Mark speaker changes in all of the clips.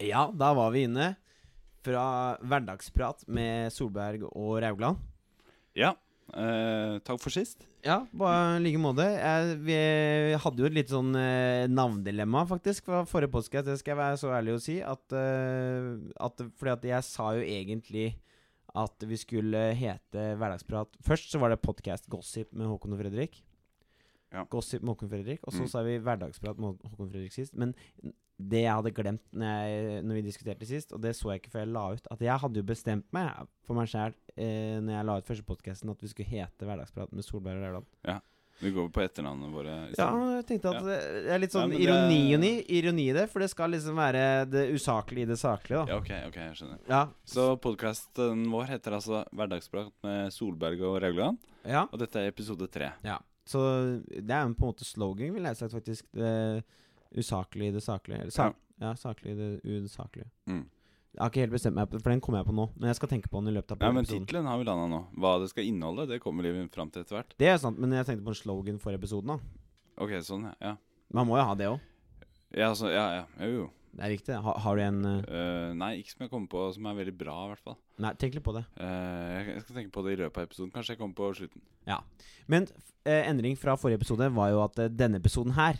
Speaker 1: Ja, da var vi inne fra hverdagsprat med Solberg og Raugland.
Speaker 2: Ja. eh, takk for sist.
Speaker 1: Ja, bare i like måte. Jeg, vi hadde jo et litt sånn eh, navndilemma, faktisk, fra forrige podkast. Det skal jeg være så ærlig å si. At, eh, at, fordi at jeg sa jo egentlig at vi skulle hete Hverdagsprat. Først så var det podcast Gossip med Håkon og Fredrik.
Speaker 2: Ja.
Speaker 1: Gossip med Håkon og Fredrik. Og så
Speaker 2: Mm.
Speaker 1: sa vi Hverdagsprat med Hå- Håkon og Fredrik sist. Men det jeg hadde glemt når, jeg, når vi diskuterte sist, og det så jeg ikke før jeg la ut, at jeg hadde jo bestemt meg for meg sjæl eh, når jeg la ut første podkasten, at vi skulle hete Hverdagsprat med Solberg og Rauland.
Speaker 2: Vi går på etternavnene våre. i
Speaker 1: Ja,
Speaker 2: stedet.
Speaker 1: jeg tenkte at det er litt sånn
Speaker 2: Nei, men det-
Speaker 1: ironi, ironi, ironi i det, for det skal liksom være det usaklige i det saklige, da.
Speaker 2: ja ok, ok, jeg skjønner.
Speaker 1: Ja.
Speaker 2: Så podkasten vår heter altså Hverdagsprat med Solberg og Raugland.
Speaker 1: ja.
Speaker 2: Og dette er episode tre.
Speaker 1: Så det er jo på en måte slogan, ville jeg sagt, faktisk. Det usaklige i det saklige. Eller Sak ja. saklige i det usaklige.
Speaker 2: Mm.
Speaker 1: Jeg har ikke helt bestemt meg, på- for den kommer jeg på nå. Men jeg skal tenke på den i løpet av
Speaker 2: Ja, men
Speaker 1: episoden.
Speaker 2: tittelen har vi landa nå. Hva det skal inneholde, det kommer vi fram til etter hvert.
Speaker 1: Det er sant, men jeg tenkte på en slogan for episoden, da.
Speaker 2: Ok, sånn, ja.
Speaker 1: Man må jo ha det òg.
Speaker 2: Ja, så, ja, ja. Jo, jo.
Speaker 1: Det er viktig. Ha, har du en eh,
Speaker 2: Eh, nei, ikke som jeg kommer på som er veldig bra, i hvert fall.
Speaker 1: Nei, tenk litt på det.
Speaker 2: Eh, jeg- jeg skal tenke på det i løpet av episoden. Kanskje jeg kommer på slutten.
Speaker 1: Men eh, endring fra forrige episode var jo at eh, denne episoden her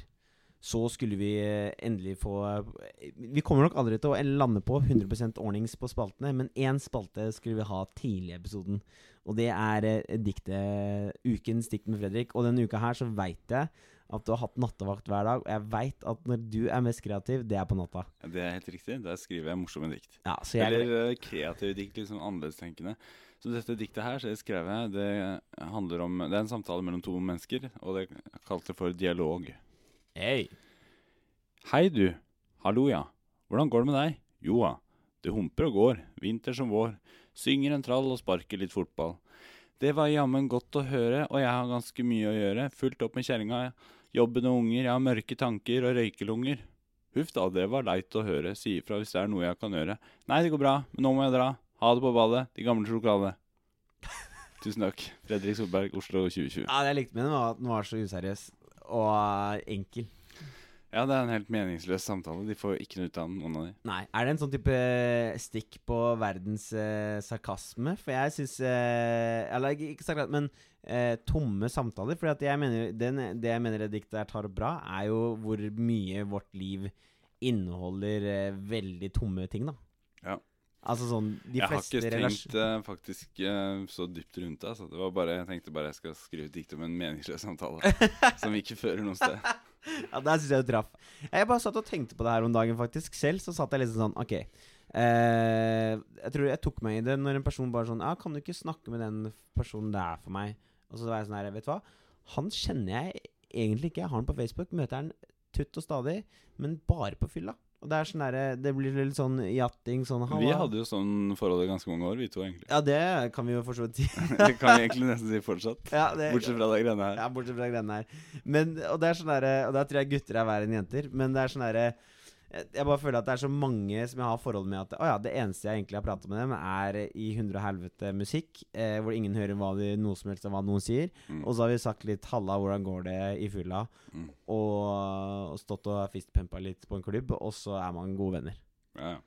Speaker 1: så skulle vi eh, endelig få eh, Vi kommer nok aldri til å lande på 100 ordnings på spaltene, men én spalte skulle vi ha tidlig i episoden. Og det er eh, diktet Ukens dikt med Fredrik. Og denne uka her så veit jeg at du har hatt nattevakt hver dag, og jeg veit at når du er mest kreativ, det er på natta.
Speaker 2: Ja, Det er helt riktig. Der skriver jeg morsomme dikt.
Speaker 1: Ja, så jeg,
Speaker 2: Eller eh, kreative dikt, liksom annerledestenkende. Så dette diktet her så det skrev jeg, det handler om Det er en samtale mellom to mennesker, og det jeg kalte det for dialog.
Speaker 1: Hei.
Speaker 2: Hei du. Hallo, ja. Hvordan går det med deg? Jo ja. Det humper og går, vinter som vår. Synger en trall og sparker litt fotball. Det var jammen godt å høre, og jeg har ganske mye å gjøre. Fulgt opp med kjerringa, jobben og unger, jeg har mørke tanker og røykelunger. Huff da, det var leit å høre. Si ifra hvis det er noe jeg kan gjøre. Nei, det går bra, men nå må jeg dra. Ha det på ballet, de gamle sjokoladene. Tusen takk. Fredrik Solberg, Oslo 2020.
Speaker 1: Ja, det jeg likte med den, var at den var så useriøs og eh, enkel.
Speaker 2: Ja, det er en helt meningsløs samtale. De får jo ikke noe ut av den, noen av de.
Speaker 1: Nei. Er det en sånn type stikk på verdens eh, sarkasme? For jeg syns eh, Eller ikke- ikke sarkasme, men eh, tomme samtaler. For jeg mener, den, det jeg mener det diktet her tar opp bra, er jo hvor mye vårt liv inneholder eh, veldig tomme ting, da.
Speaker 2: Ja.
Speaker 1: Altså sånn De
Speaker 2: jeg har
Speaker 1: fleste
Speaker 2: ikke
Speaker 1: relasj-
Speaker 2: tenkt eh, faktisk eh, så dypt rundt det. Altså. det var bare, jeg tenkte bare jeg skal skrive et dikt om en meningsløs samtale som ikke fører noe sted.
Speaker 1: Ja, der syns jeg du traff. Jeg bare satt og tenkte på det her om dagen, faktisk. Selv så satt jeg liksom sånn, ok. eh, jeg tror jeg tok meg i det når en person bare sånn Ja, kan du ikke snakke med den personen det er for meg? Og så var jeg sånn her, vet du hva? Han kjenner jeg egentlig ikke. Jeg har han på Facebook, møter han tutt og stadig, men bare på fylla. Og det er sånn derre Det blir litt sånn jatting, sånn
Speaker 2: Vi
Speaker 1: «Halla».
Speaker 2: hadde jo sånn forhold i ganske mange år, vi to egentlig.
Speaker 1: Ja, det kan vi jo for så vidt si.
Speaker 2: Det kan vi egentlig nesten si fortsatt.
Speaker 1: Ja, det-
Speaker 2: Bortsett fra de greiene her.
Speaker 1: Eh, Ja, bortsett fra greiene her. Men, og, det er sånn derre- og der tror jeg gutter er verre enn jenter. Men det er sånn derre jeg jeg bare føler at det er så mange som jeg har forhold med at Å ja, det eneste jeg egentlig har pratet med dem, er i hundre og helvete musikk, eh, hvor ingen hører hva de, noe som helst av hva noen sier.
Speaker 2: Mm.
Speaker 1: Og så har vi sagt litt 'halla, hvordan går det?' i fylla,
Speaker 2: Mm.
Speaker 1: og, og stått og fistpumpa litt på en klubb, og så er man gode venner.
Speaker 2: Ja, ja.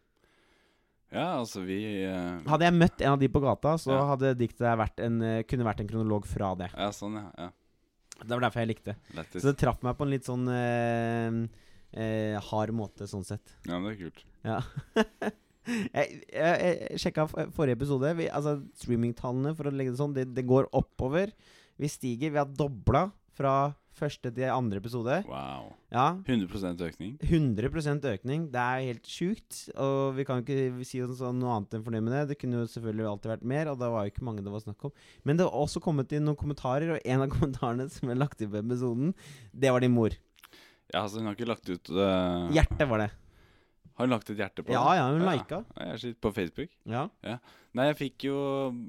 Speaker 2: ja altså vi eh,
Speaker 1: Hadde jeg møtt en av de på gata, så
Speaker 2: Ja.
Speaker 1: hadde diktet vært en, eh, kunne vært en kronolog fra det.
Speaker 2: Ja, sånn, ja. ja.
Speaker 1: Det var derfor jeg likte det.
Speaker 2: Lættis.
Speaker 1: Så det traff meg på en litt sånn eh, eh, hard måte, sånn sett.
Speaker 2: Ja, men det er kult.
Speaker 1: Ja. jeg, jeg, jeg sjekka f- forrige episode. Vi, altså Streamingtallene, for å legge det sånn, det, det går oppover. Vi stiger. Vi har dobla fra første til andre episode.
Speaker 2: Wow.
Speaker 1: Ja.
Speaker 2: 100 økning.
Speaker 1: 100 økning. Det er helt sjukt. Og vi kan ikke si oss sånn noe annet enn fornøyd med det. Det kunne jo selvfølgelig alltid vært mer, og det var jo ikke mange det var snakk om. Men det har også kommet inn noen kommentarer, og en av kommentarene som er lagt inn på episoden, det var din mor.
Speaker 2: Ja, altså hun har ikke lagt ut eh,
Speaker 1: Hjertet var det.
Speaker 2: Har hun lagt et hjerte på?
Speaker 1: Ja,
Speaker 2: det?
Speaker 1: ja, hun lika.
Speaker 2: Ja, jeg sitter på Facebook.
Speaker 1: Ja.
Speaker 2: Nei, jeg fikk jo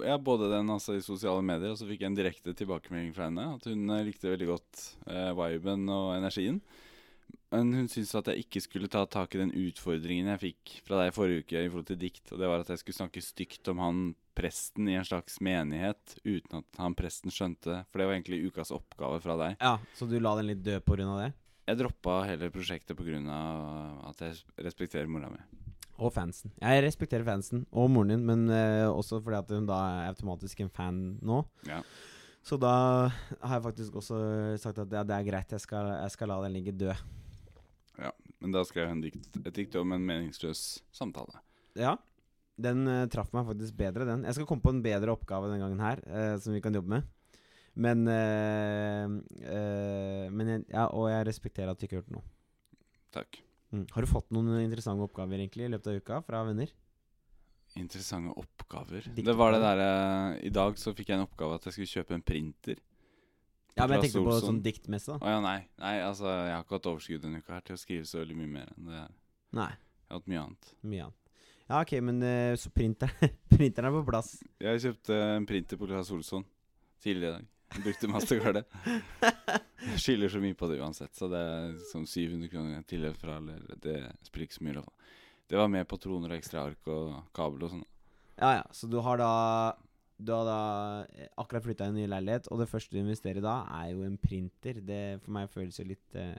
Speaker 2: ja, både den altså, i sosiale medier, og så fikk jeg en direkte tilbakemelding fra henne. At hun eh, likte veldig godt eh, viben og energien. Men hun syntes at jeg ikke skulle ta tak i den utfordringen jeg fikk fra deg forrige uke i forhold til dikt, og det var at jeg skulle snakke stygt om han presten i en slags menighet, uten at han presten skjønte det, for det var egentlig ukas oppgave fra deg.
Speaker 1: Ja, Så du la den litt dø pga. det?
Speaker 2: Jeg droppa hele prosjektet pga. at jeg respekterer mora mi.
Speaker 1: Og fansen. Jeg respekterer fansen og moren din, men eh, også fordi at hun da er automatisk en fan nå.
Speaker 2: Ja.
Speaker 1: Så da har jeg faktisk også sagt at ja, det er greit, jeg skal, jeg skal la den ligge død.
Speaker 2: Men da skrev jeg en dikt, et dikt om en meningsløs samtale.
Speaker 1: Ja. Den eh, traff meg faktisk bedre, den. Jeg skal komme på en bedre oppgave denne gangen her, eh, som vi kan jobbe med. Men, eh, eh, men jeg, ja, Og jeg respekterer at du ikke hørte noe.
Speaker 2: Takk.
Speaker 1: Mm. Har du fått noen interessante oppgaver egentlig i løpet av uka fra venner?
Speaker 2: Interessante oppgaver.
Speaker 1: Dikt-
Speaker 2: Det var det derre I dag så fikk jeg en oppgave at jeg skulle kjøpe en printer.
Speaker 1: Ja, men jeg
Speaker 2: Claes
Speaker 1: tenkte på
Speaker 2: Olsson.
Speaker 1: sånn diktmesse, da.
Speaker 2: Å ja, nei. Nei, altså, jeg har ikke hatt overskudd denne uka her til å skrive så veldig mye mer enn det her.
Speaker 1: Nei,
Speaker 2: Jeg har hatt mye annet.
Speaker 1: mye annet. Ja, OK, men eh, så printeren, printeren er på plass.
Speaker 2: Jeg kjøpte en printer på Claes Olsson tidligere i dag. Jeg Brukte mastercardet. Jeg skylder så mye på det uansett, så det er sånn 700 kroner jeg tillegg fra, eller det spiller ikke så mye rolle. Det var med på troner og ekstra ark og kabel og sånn.
Speaker 1: Ja, ja. Så du har da Du har da eh, akkurat flytta i en ny leilighet, og det første du investerer i da, er jo en printer. Det for meg føles jo litt eh,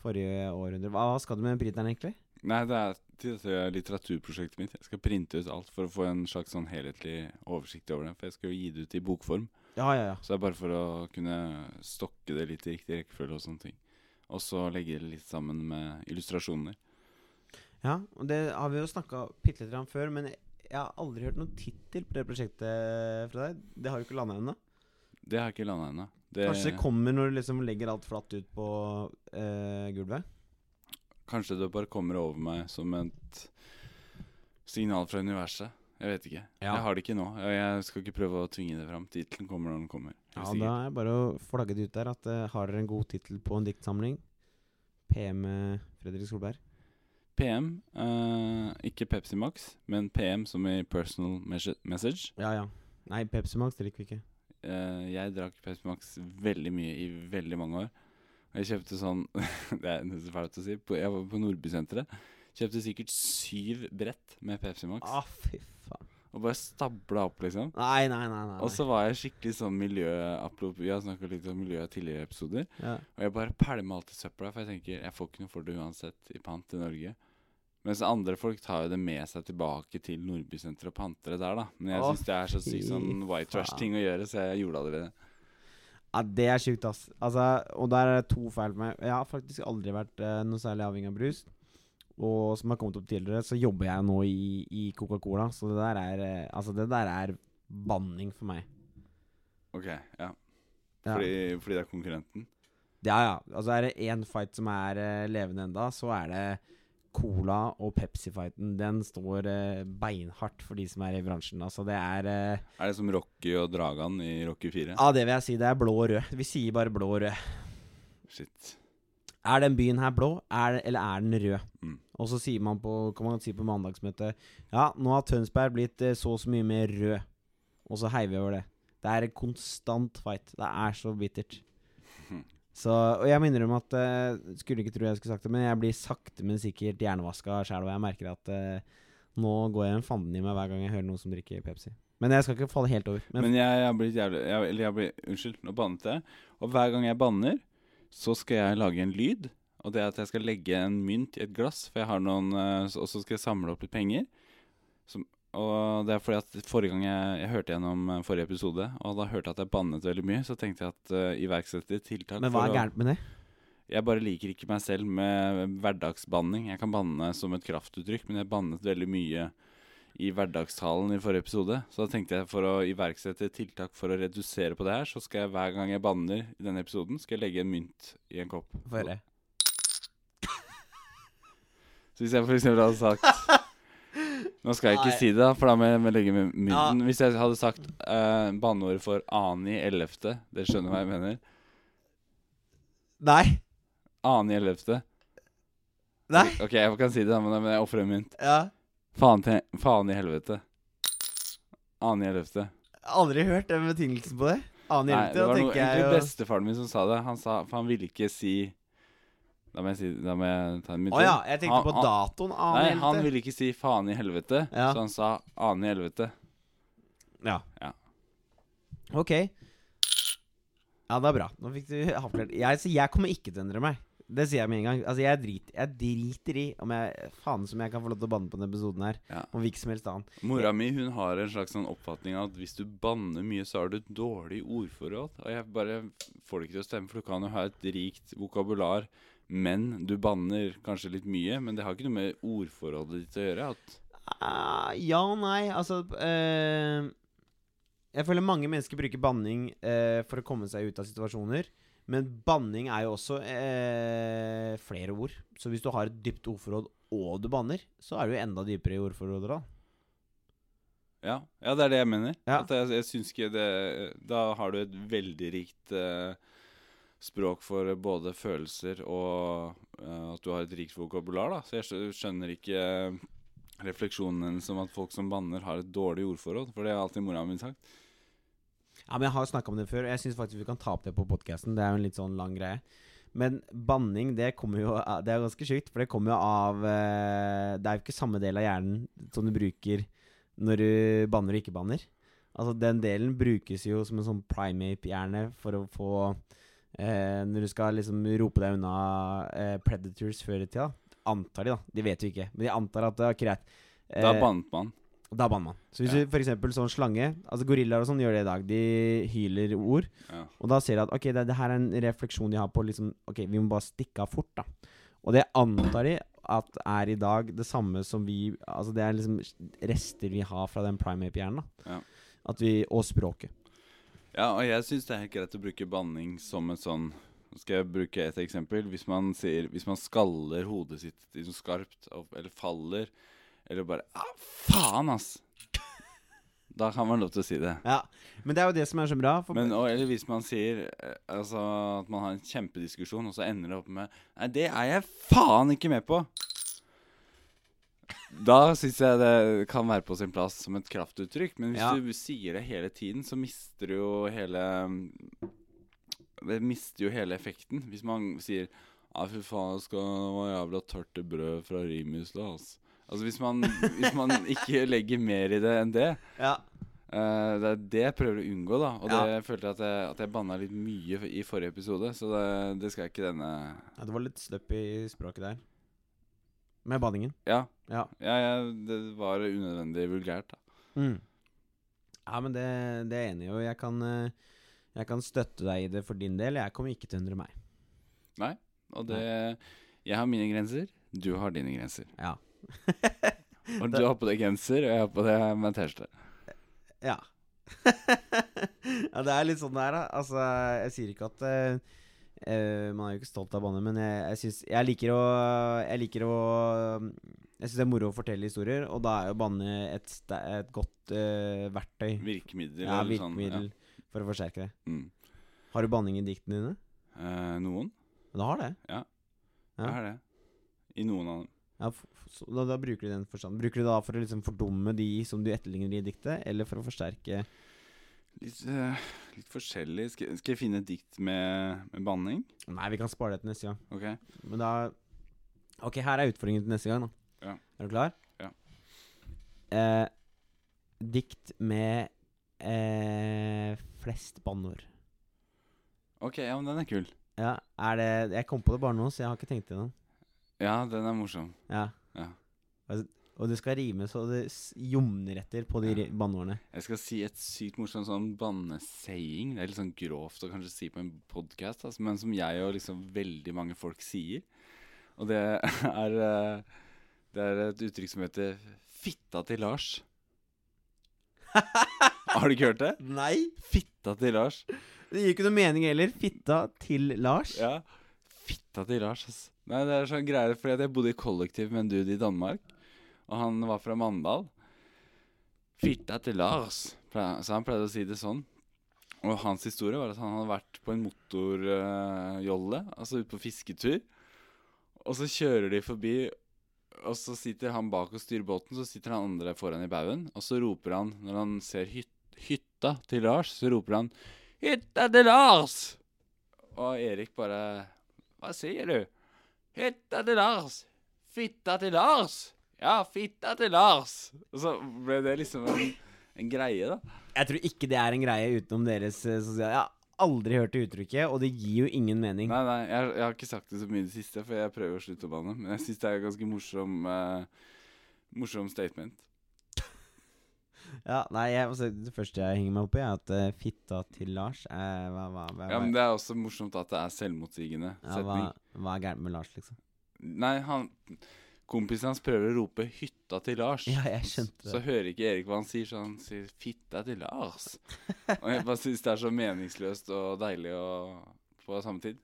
Speaker 1: forrige århundre. Hva, hva skal du med den printeren, egentlig?
Speaker 2: Nei, det er til dette litteraturprosjektet mitt. Jeg skal printe ut alt for å få en slags sånn helhetlig oversikt over det, for jeg skal jo gi det ut i bokform.
Speaker 1: Ja, ja, ja.
Speaker 2: Så det er bare for å kunne stokke det litt i riktig rekkefølge og sånne ting. Og så legge det litt sammen med illustrasjoner.
Speaker 1: Ja, og Det har vi jo snakka bitte litt om før, men jeg jeg har aldri hørt noen tittel på det prosjektet fra deg. Det har du ikke landa ennå.
Speaker 2: Det har jeg ikke landa ennå. Det-
Speaker 1: Kanskje det kommer når du liksom legger alt flatt ut på eh, gulvet.
Speaker 2: Kanskje det bare kommer over meg som et signal fra universet. Jeg vet ikke.
Speaker 1: Ja.
Speaker 2: Jeg har det ikke nå. og Jeg skal ikke prøve å tvinge det fram. Tittelen kommer når den kommer. helt
Speaker 1: Ja, Da
Speaker 2: sikkert.
Speaker 1: er det bare å flagge det ut der at eh, har dere en god tittel på en diktsamling? PM Fredrik Solberg.
Speaker 2: PM, eh, ikke Pepsi Max, men PM som i personal mes- message.
Speaker 1: Ja, ja. Nei, Pepsi Max drikker vi ikke.
Speaker 2: Eh, jeg drakk Pepsi Max veldig mye i veldig mange år. Og jeg kjøpte sånn Det er nesten fælt å si. På, jeg var på Nordbysenteret. Kjøpte sikkert syv brett med Pepsi Max.
Speaker 1: Å, Ah, fy faen.
Speaker 2: Og bare stabla opp, liksom.
Speaker 1: Nei, nei, nei. nei.
Speaker 2: Og så var jeg skikkelig sånn miljø... apropos- Vi har snakka litt om miljø i tidligere episoder.
Speaker 1: nei. ja.
Speaker 2: Og jeg bare pælma alltid søpla, for jeg tenker jeg får ikke noe for det uansett i pant til Norge. Mens andre folk tar jo det med seg tilbake til Nordbysenteret og panter det der, da. Men jeg
Speaker 1: Å,
Speaker 2: synes syns det er så sykt sånn
Speaker 1: fy
Speaker 2: white trash-ting å gjøre, så jeg gjorde aldri det.
Speaker 1: ja, det er sjukt, ass. Altså, og der er det to feil med Jeg har faktisk aldri vært eh, noe særlig avhengig av brus. Og som har kommet opp tidligere, så jobber jeg nå i, i Coca-Cola. Så det der er eh, Altså, det der er banning for meg.
Speaker 2: Ok, ja.
Speaker 1: Ja.
Speaker 2: Fordi, fordi det er konkurrenten.
Speaker 1: Ja, ja. Altså er det én fight som er eh, levende enda, så er det Cola og Pepsi-fighten. Den står eh, beinhardt for de som er i bransjen. Altså, det er eh,
Speaker 2: Er det som Rocky og Dragan i Rocky 4?
Speaker 1: Ja, det vil jeg si. Det er blå og rød. Vi sier bare blå og rød.
Speaker 2: Shit.
Speaker 1: Er den byen her blå, er, eller er den rød?
Speaker 2: Mm.
Speaker 1: Og så sier man på, kan man si på mandagsmøtet Ja, nå har Tønsberg blitt eh, så og så mye mer rød. Og så heier vi over det. Det er en konstant fight. Det er så bittert. Så, og jeg må innrømme at eh, Skulle ikke tro jeg skulle sagt det, men jeg blir sakte, men sikkert hjernevaska sjæl. Og jeg merker at eh, nå går jeg en fanden i meg hver gang jeg hører noen som drikker Pepsi. Men jeg skal ikke falle helt over. Men,
Speaker 2: Men jeg jeg har blitt jævlig jeg, Eller jeg blir Unnskyld, nå bannet jeg. Og hver gang jeg banner, så skal jeg lage en lyd. Og det er at jeg skal legge en mynt i et glass, for jeg har noen eh, s- Og så skal jeg samle opp litt penger. Som, og det er fordi at forrige gang jeg, jeg hørte gjennom eh, forrige episode, og da hørte jeg at jeg bannet veldig mye, så tenkte jeg at uh, iverksette tiltak
Speaker 1: men hva
Speaker 2: for
Speaker 1: er
Speaker 2: å-
Speaker 1: gærent med det?
Speaker 2: Jeg bare liker ikke meg selv med hverdagsbanning. Jeg kan banne som et kraftuttrykk, men jeg bannet veldig mye i hverdagstalen i forrige episode. Så da tenkte jeg for å iverksette tiltak for å redusere på det her, så skal jeg hver gang jeg banner i denne episoden, skal jeg legge en mynt i en kopp.
Speaker 1: Få høre.
Speaker 2: Så hvis jeg for eksempel hadde sagt Nå skal jeg ikke
Speaker 1: Nei.
Speaker 2: si det, da, for da må jeg må jeg legge med
Speaker 1: Ja.
Speaker 2: mynten. Hvis jeg hadde sagt eh, banneordet for Ani 11., dere skjønner hva jeg mener?
Speaker 1: Nei.
Speaker 2: Ani 11.
Speaker 1: Nei.
Speaker 2: Ok, jeg kan si det, da, men men jeg ofrer en mynt.
Speaker 1: Ja.
Speaker 2: Faen, til, faen i helvete. Annen i helvete.
Speaker 1: Aldri hørt den betingelsen på det. Annen
Speaker 2: Nei,
Speaker 1: hjelp
Speaker 2: det
Speaker 1: til, da
Speaker 2: var noe,
Speaker 1: tenker jeg
Speaker 2: egentlig
Speaker 1: jo
Speaker 2: bestefaren min som sa det. Han sa, for han ville ikke si Da må jeg, si, da må jeg ta en
Speaker 1: Å
Speaker 2: min
Speaker 1: ja, jeg tenkte
Speaker 2: Han-
Speaker 1: på
Speaker 2: han-
Speaker 1: datoen. Annen
Speaker 2: Nei,
Speaker 1: helvete.
Speaker 2: han ville ikke si faen i helvete,
Speaker 1: Ja.
Speaker 2: så han sa annen i helvete.
Speaker 1: Ja.
Speaker 2: Ja.
Speaker 1: Ok. Ja, det er bra. Nå fikk du avklart. Jeg, så jeg kommer ikke til å endre meg. Det sier jeg med en gang. Altså, jeg, drit, jeg driter i om jeg Faen som jeg kan få lov til å banne på denne episoden her.
Speaker 2: Ja.
Speaker 1: Om hvilken som helst annen.
Speaker 2: Mora mi hun har en slags sånn oppfatning av at hvis du banner mye, så har du et dårlig ordforråd. Og jeg bare får det ikke til å stemme, for du kan jo ha et rikt vokabular, men du banner kanskje litt mye. Men det har ikke noe med ordforrådet ditt å gjøre. At
Speaker 1: Ah, ja og nei. Altså eh, Jeg føler mange mennesker bruker banning eh, for å komme seg ut av situasjoner. Men banning er jo også eh, flere ord. Så hvis du har et dypt ordforråd og du banner, så er du jo enda dypere i ordforrådet da.
Speaker 2: Ja, ja det er det jeg mener.
Speaker 1: Ja.
Speaker 2: At jeg, jeg syns ikke det Da har du et veldig rikt eh, språk for både følelser og eh, at du har et rikt vokabular, da. Så jeg skjø- skjønner ikke eh, refleksjonen hennes om at folk som banner, har et dårlig ordforråd. For det har alltid mora mi sagt.
Speaker 1: Ja, men Jeg har snakka om det før, og jeg syns faktisk vi kan ta opp det på podkasten. Det er jo en litt sånn lang greie. Men banning det kommer jo av- Det er ganske sjukt, for det kommer jo av eh, Det er jo ikke samme del av hjernen som du bruker når du banner og ikke banner. Altså Den delen brukes jo som en sånn primate-hjerne for å få eh, Når du skal liksom rope deg unna eh, predators før i tida. Antar de, da. De vet jo ikke. Men de antar at det er greit.
Speaker 2: Da
Speaker 1: Eh,
Speaker 2: bannet man.
Speaker 1: da banner man. Så hvis
Speaker 2: Ja.
Speaker 1: du for eksempel sånn slange Altså Gorillaer og sånn gjør det i dag. De hyler ord.
Speaker 2: Ja.
Speaker 1: Og da ser de at ok, det, det her er en refleksjon de har på liksom Ok, vi må bare stikke av fort, da. Og det antar de at er i dag det samme som vi Altså det er liksom rester vi har fra den primate-hjernen. da
Speaker 2: Ja.
Speaker 1: At vi, Og språket.
Speaker 2: Ja, og jeg syns det er helt greit å bruke banning som et sånn Nå skal jeg bruke et eksempel. Hvis man, sier, hvis man skaller hodet sitt liksom skarpt, opp, eller faller, eller bare ah, Faen, ass! Da kan man lov til å si det.
Speaker 1: Ja. Men det er jo det som er så bra. For
Speaker 2: Men, og, eller hvis man sier eh, altså, at man har en kjempediskusjon, og så ender det opp med Nei, det er jeg faen ikke med på! Da syns jeg det kan være på sin plass som et kraftuttrykk. Men hvis
Speaker 1: Ja.
Speaker 2: du sier det hele tiden, så mister du jo hele Det mister jo hele effekten. Hvis man sier Ja, fy faen, jeg skal ha jævla tørt brød fra Rimusla, ass. Altså hvis man, hvis man ikke legger mer i det enn det,
Speaker 1: ja.
Speaker 2: Eh, det er det jeg prøver å unngå, da. Og
Speaker 1: Ja.
Speaker 2: det jeg følte jeg at jeg, at jeg banna litt mye f- i forrige episode, så det, det skal jeg ikke denne
Speaker 1: ja, det var litt støpp i språket der. Med banningen.
Speaker 2: Ja.
Speaker 1: Ja.
Speaker 2: ja, jeg- det var unødvendig vulgært, da.
Speaker 1: Mm. Ja, men det, det er jeg enig i, og jeg kan, eh, jeg kan støtte deg i det for din del. Jeg kommer ikke til å undre meg.
Speaker 2: Og det Jeg har mine grenser, du har dine grenser.
Speaker 1: Ja.
Speaker 2: Og
Speaker 1: Det-
Speaker 2: du har på deg genser, og jeg har på deg eh, med T-skjorte.
Speaker 1: Ja. ja, det er litt sånn det er, da. Altså, jeg sier ikke at eh, eh, Man er jo ikke stolt av banne, men jeg, jeg syns Jeg liker å Jeg liker å Jeg syns det er moro å fortelle historier, og da er jo banne et, ste- et godt eh, verktøy.
Speaker 2: Virkemiddel.
Speaker 1: Ja,
Speaker 2: eller sånn,
Speaker 1: virkemiddel for å forsterke det.
Speaker 2: ja. Mm.
Speaker 1: Har du banning i diktene dine?
Speaker 2: Eh, noen?
Speaker 1: Du har det? Ja.
Speaker 2: Jeg har det. I noen av dem.
Speaker 1: Ja, f- f- så, da, da bruker du den forstanden. Bruker du da for å liksom fordumme de som du etterligner i diktet, eller for å forsterke
Speaker 2: Litt, eh, litt forskjellig. Skal, skal jeg finne et dikt med, med banning?
Speaker 1: Nei, vi kan spare det til neste gang.
Speaker 2: Ok.
Speaker 1: Men da Ok, her er utfordringen til neste gang, da.
Speaker 2: Ja.
Speaker 1: Er du klar?
Speaker 2: Ja.
Speaker 1: Eh, dikt med eh, flest banneord.
Speaker 2: Ok, ja, men den er kul.
Speaker 1: Ja, er det Jeg kom på det bare nå, så jeg har ikke tenkt gjennom.
Speaker 2: Ja, den er morsom.
Speaker 1: Ja.
Speaker 2: Ja.
Speaker 1: Altså, og det skal rime så det s- jomner etter på de
Speaker 2: Ja.
Speaker 1: ri- banneordene.
Speaker 2: Jeg skal si et sykt morsomt sånn bannesaying. Det er litt sånn grovt å kanskje si på en podkast, altså, men som jeg og liksom veldig mange folk sier. Og det er, eh, det er et uttrykk som heter 'fitta til Lars'. Har du ikke hørt det?
Speaker 1: Nei!
Speaker 2: Fitta til Lars.
Speaker 1: Det gir ikke noe mening heller. Fitta til Lars.
Speaker 2: Ja. Fitta til Lars, ass. Nei, det er sånn greier, fordi at jeg bodde i kollektiv med en dude i Danmark, og han var fra Mandal. Fitta til Lars, ple- så han pleide å si det sånn. Og hans historie var at han hadde vært på en motorjolle, altså ute på fisketur, og så kjører de forbi, og så sitter han bak og styrer båten, så sitter han andre foran i baugen, og så roper han, når han ser hyt hytta til Lars, så roper han, Hytta til Lars! Og Erik bare Hva sier du? Hytta til Lars! Fitta til Lars! Ja, fitta til Lars! Og så ble det liksom en, en greie, da.
Speaker 1: Jeg tror ikke det er en greie utenom deres eh, sosiale Jeg har aldri hørt det uttrykket, og det gir jo ingen mening.
Speaker 2: Nei, nei, jeg, jeg har ikke sagt det så mye i det siste, for jeg prøver å slutte å banne. Men jeg syns det er et ganske morsom, eh, morsom statement.
Speaker 1: Ja, nei, jeg, altså, Det første jeg henger meg opp i, er at eh, fitta til Lars er hva, hva, hva,
Speaker 2: Ja, men
Speaker 1: hva,
Speaker 2: Det er også morsomt at det er selvmotsigende
Speaker 1: ja, hva,
Speaker 2: setning.
Speaker 1: hva er gærent med Lars, liksom?
Speaker 2: Nei, han Kompisen hans prøver å rope 'hytta til Lars'.
Speaker 1: Ja, jeg skjønte det.
Speaker 2: Så hører ikke Erik hva han sier, så han sier 'fitta til Lars'. Og jeg bare syns det er så meningsløst og deilig å, på samme tid.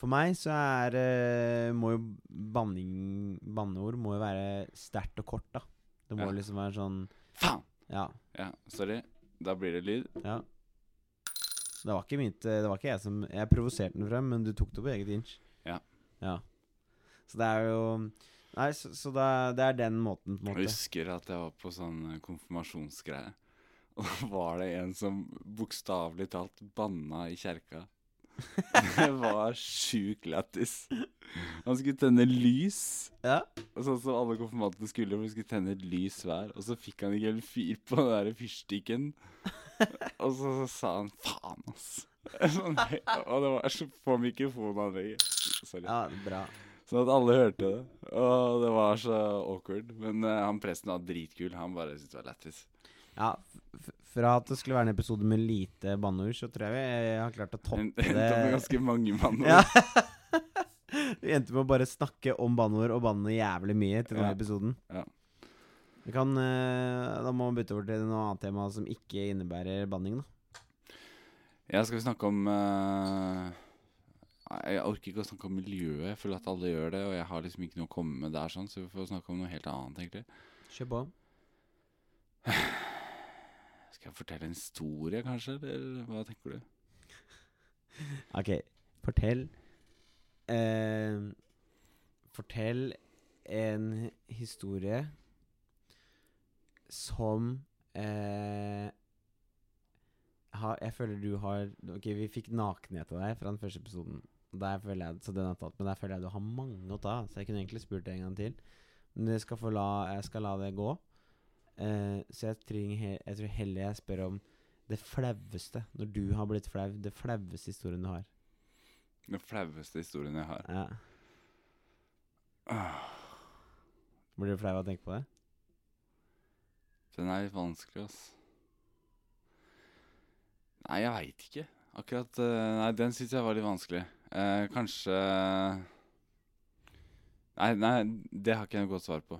Speaker 1: For meg så er eh, Må jo banning Banneord må jo være sterkt og kort, da. Det må
Speaker 2: Ja.
Speaker 1: liksom være sånn
Speaker 2: Faen!
Speaker 1: Ja.
Speaker 2: Ja, sorry. Da blir det lyd.
Speaker 1: ja. Det var ikke mitt eh, Det var ikke jeg som Jeg provoserte den frem, men du tok det på eget inch.
Speaker 2: Ja.
Speaker 1: ja. Så det er jo Nei, så, så det, er, det er den måten, på en
Speaker 2: Jeg
Speaker 1: måte.
Speaker 2: husker at jeg var på sånn eh, konfirmasjonsgreie. Og da var det en som bokstavelig talt banna i kjerka. Det var sjukt lættis. Han skulle tenne lys.
Speaker 1: Ja.
Speaker 2: Og Sånn som alle konfirmantene skulle, for de skulle tenne et lys hver. Og så fikk han ikke en fyr på den der fyrstikken. og så, så sa han 'faen, ass'. Sånn, hei- og det var så på mikrofonanlegget. Sorry.
Speaker 1: ja, bra.
Speaker 2: Sånn at alle hørte det. Og det var så awkward. Men eh, han presten var dritkul. Han bare syntes det var lættis.
Speaker 1: Ja, f Fra at det skulle være en episode med lite banneord, så tror jeg vi jeg har klart å
Speaker 2: En-
Speaker 1: toppe
Speaker 2: Endte opp med
Speaker 1: det.
Speaker 2: ganske mange mann.
Speaker 1: Ja. Vi endte med å bare snakke om banneord og banne jævlig mye til denne
Speaker 2: Ja.
Speaker 1: episoden.
Speaker 2: Ja.
Speaker 1: Vi kan, eh, da må vi bytte over til noe annet tema som ikke innebærer banning. da
Speaker 2: Ja, skal vi snakke om eh, nei, Jeg orker ikke å snakke om miljøet. Jeg føler at alle gjør det, og jeg har liksom ikke noe å komme med der, sånn, så vi får snakke om noe helt annet, egentlig.
Speaker 1: Kjør på.
Speaker 2: Skal jeg fortelle en historie, kanskje? Eller hva tenker du?
Speaker 1: Ok, fortell eh, Fortell en historie som eh, har, Jeg føler du har Ok, vi fikk nakenhet av deg fra den første episoden. Der føler jeg, så den er tatt, men der føler jeg du har mange å ta. Så jeg kunne egentlig spurt deg en gang til. Men jeg skal, få la, jeg skal la det gå. Eh, så jeg, trenger, he- jeg tror heller jeg spør om det flaueste. Når du har blitt flau. Det flaueste historien du har.
Speaker 2: Den flaueste historien jeg har.
Speaker 1: Ja.
Speaker 2: Ah,
Speaker 1: Blir du flau av å tenke på det?
Speaker 2: Den er litt vanskelig, ass. Nei, jeg veit ikke. Akkurat eh, Nei, den syns jeg var litt vanskelig. Eh, kanskje Nei, nei, det har ikke jeg noe godt svar på,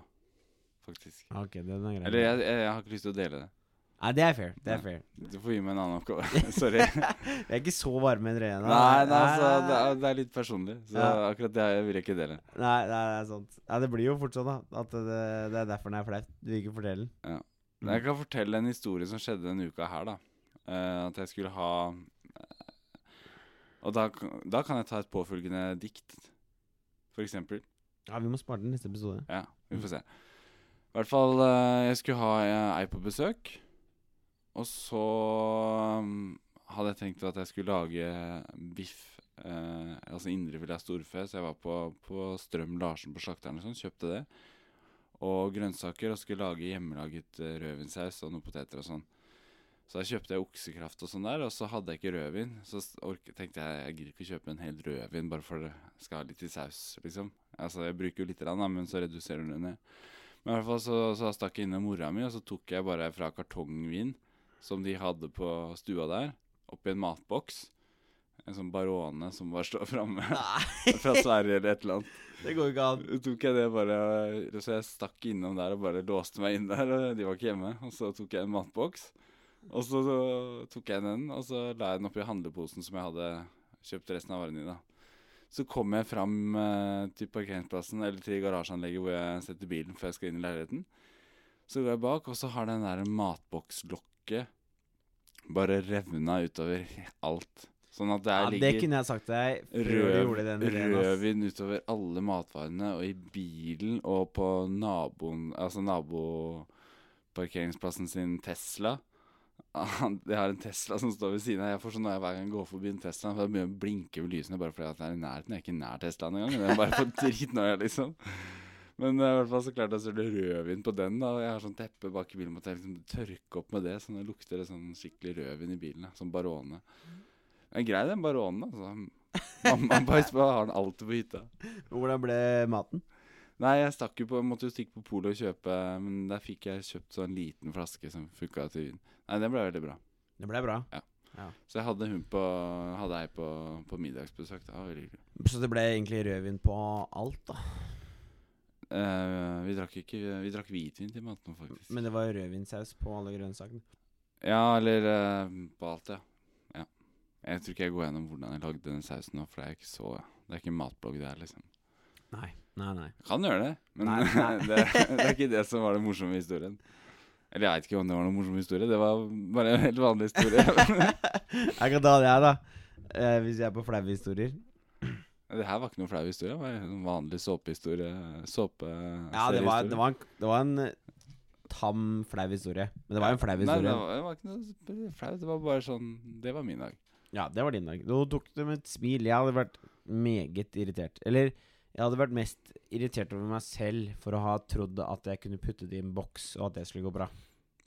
Speaker 2: faktisk.
Speaker 1: Ah, Ok, det er greit.
Speaker 2: Eller jeg, jeg, jeg har ikke lyst til å dele det.
Speaker 1: Nei, det er fair. Det er
Speaker 2: Nei.
Speaker 1: fair.
Speaker 2: Du får gi meg en annen oppgave. Sorry.
Speaker 1: Vi er ikke så varme i drøyene.
Speaker 2: Nei, nei, altså, det er, det er litt personlig. Så
Speaker 1: Ja.
Speaker 2: akkurat det vil jeg ikke dele.
Speaker 1: nei, nei, det er sant. Nei, det blir jo fort sånn, da. At det, det er derfor den er flau. Du vil ikke fortelle den.
Speaker 2: Men Jeg kan fortelle en historie som skjedde denne uka her, da. Eh, at jeg skulle ha eh, Og da, k- da kan jeg ta et påfølgende dikt, for eksempel.
Speaker 1: Ja, vi må spare den neste episode.
Speaker 2: Ja, vi får se. I hvert fall, eh, jeg skulle ha eh, ei på besøk. Og så mm, hadde jeg tenkt at jeg skulle lage biff. Eh, altså indre ville ha storfe, så jeg var på, på Strøm Larsen på slakteren og sånn, kjøpte det. Og grønnsaker, og skulle lage hjemmelaget eh, rødvinsaus og noen poteter og sånn. Så da kjøpte jeg oksekraft og sånn der, og så hadde jeg ikke rødvin. Så s- ork- tenkte jeg jeg gidder ikke å kjøpe en hel rødvin bare for det skal ha litt i saus, liksom. Altså, jeg bruker jo litt, grann, da, men så reduserer du det ned. Men i hvert fall så, så stakk jeg innom mora mi, og så tok jeg bare fra kartongvin som de hadde på stua der, oppi en matboks. En sånn Barone som bare står framme
Speaker 1: Nei,
Speaker 2: fra Sverige eller et eller annet.
Speaker 1: det går ikke an.
Speaker 2: Så tok jeg det bare Så jeg stakk innom der og bare låste meg inn der, og de var ikke hjemme. Og så tok jeg en matboks, og så, så tok jeg den, og så la jeg den oppi handleposen som jeg hadde kjøpt resten av varene i, da. Så kom jeg fram eh, til parkeringsplassen, eller til garasjeanlegget hvor jeg setter bilen før jeg skal inn i leiligheten. Så går jeg bak, og så har den der matbokslokket bare revna utover alt. Sånn at det
Speaker 1: Ja,
Speaker 2: er
Speaker 1: det kunne jeg sagt til deg før du gjorde den ideen. ass.
Speaker 2: rødvin utover alle matvarene og i bilen og på naboen, altså naboparkeringsplassen sin Tesla. han- Jeg har en Tesla som står ved siden av. Jeg får sånn når jeg hver gang går forbi en Tesla, for jeg begynner å blinke med lysene bare fordi at den er i nærheten. Jeg er ikke nær Teslaen engang. men Jeg er bare får dritnøye, liksom. Men eh, i hvert fall så klarte jeg å søle rødvin på den. da Og Jeg har sånn teppe bak i bilen måtte jeg liksom tørke opp med det, så det lukter det sånn skikkelig rødvin i bilen. da, Sånn Barone.
Speaker 1: Mm.
Speaker 2: Den er grei, den Baronen. altså Mamma og pappa har den alltid på hytta.
Speaker 1: Hvordan ble maten?
Speaker 2: Nei, jeg stakk jo på, måtte jo stikke på polet og kjøpe, men der fikk jeg kjøpt sånn liten flaske som funka til vin. Nei, den ble veldig bra.
Speaker 1: Det ble bra.
Speaker 2: Så jeg hadde hun på, hadde ei på, på middagsbesøk. Det var veldig hyggelig.
Speaker 1: Så det ble egentlig rødvin på alt, da.
Speaker 2: Eh, vi drakk ikke, vi drakk hvitvin til maten, faktisk.
Speaker 1: Men det var rødvinsaus på alle grønnsakene.
Speaker 2: Ja, eller eh, på alt, ja. ja. Jeg tror ikke jeg går gjennom hvordan jeg lagde den sausen nå, for det er ikke så Det er ikke en matblogg, det her, liksom.
Speaker 1: Nei, nei, nei.
Speaker 2: Jeg kan gjøre det, men
Speaker 1: Nei, nei.
Speaker 2: det, det er ikke det som var den morsomme historien. Eller jeg vet ikke om det var noen morsom historie, det var bare en helt vanlig historie.
Speaker 1: Jeg kan ta det, jeg, da. Eh, hvis jeg er på flaue historier.
Speaker 2: det her var ikke noen flau historie, det var en sånn vanlig såpehistorie. Såpe
Speaker 1: Ja, det var,
Speaker 2: seriehistorie.
Speaker 1: det var en, det var en eh, tam, flau historie. Men det var en flau
Speaker 2: Nei,
Speaker 1: historie.
Speaker 2: det var, det var ikke noe sp- flaut. Det var bare sånn Det var min dag.
Speaker 1: Ja, det var din dag. Nå tok du med et smil. Jeg hadde vært meget irritert. Eller jeg hadde vært mest irritert over meg selv for å ha trodd at jeg kunne putte det i en boks, og at det skulle gå bra.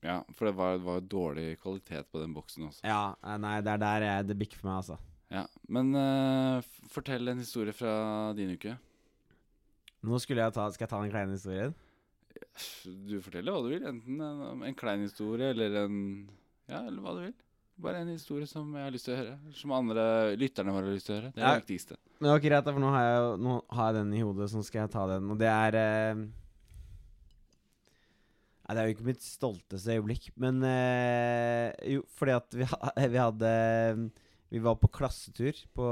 Speaker 2: Ja, for det var, det var jo dårlig kvalitet på den boksen også.
Speaker 1: Ja, eh, nei, det er der jeg, det bikker for meg, altså.
Speaker 2: Ja, Men eh, f- fortell en historie fra din uke.
Speaker 1: Nå skulle jeg ta, Skal jeg ta den kleine historien?
Speaker 2: Du forteller hva du vil. Enten en, en klein historie eller en Ja, eller hva du vil. Bare en historie som jeg har lyst til å høre. Som andre lytterne våre har lyst til å høre. Det er det viktigste.
Speaker 1: Men ok, greit, da, for nå har, jeg, jo- nå har jeg den i hodet, så nå skal jeg ta den. Og det er eh, Nei, det er jo ikke mitt stolteste øyeblikk, men eh, Jo, fordi at vi, ha- vi hadde Vi var på klassetur på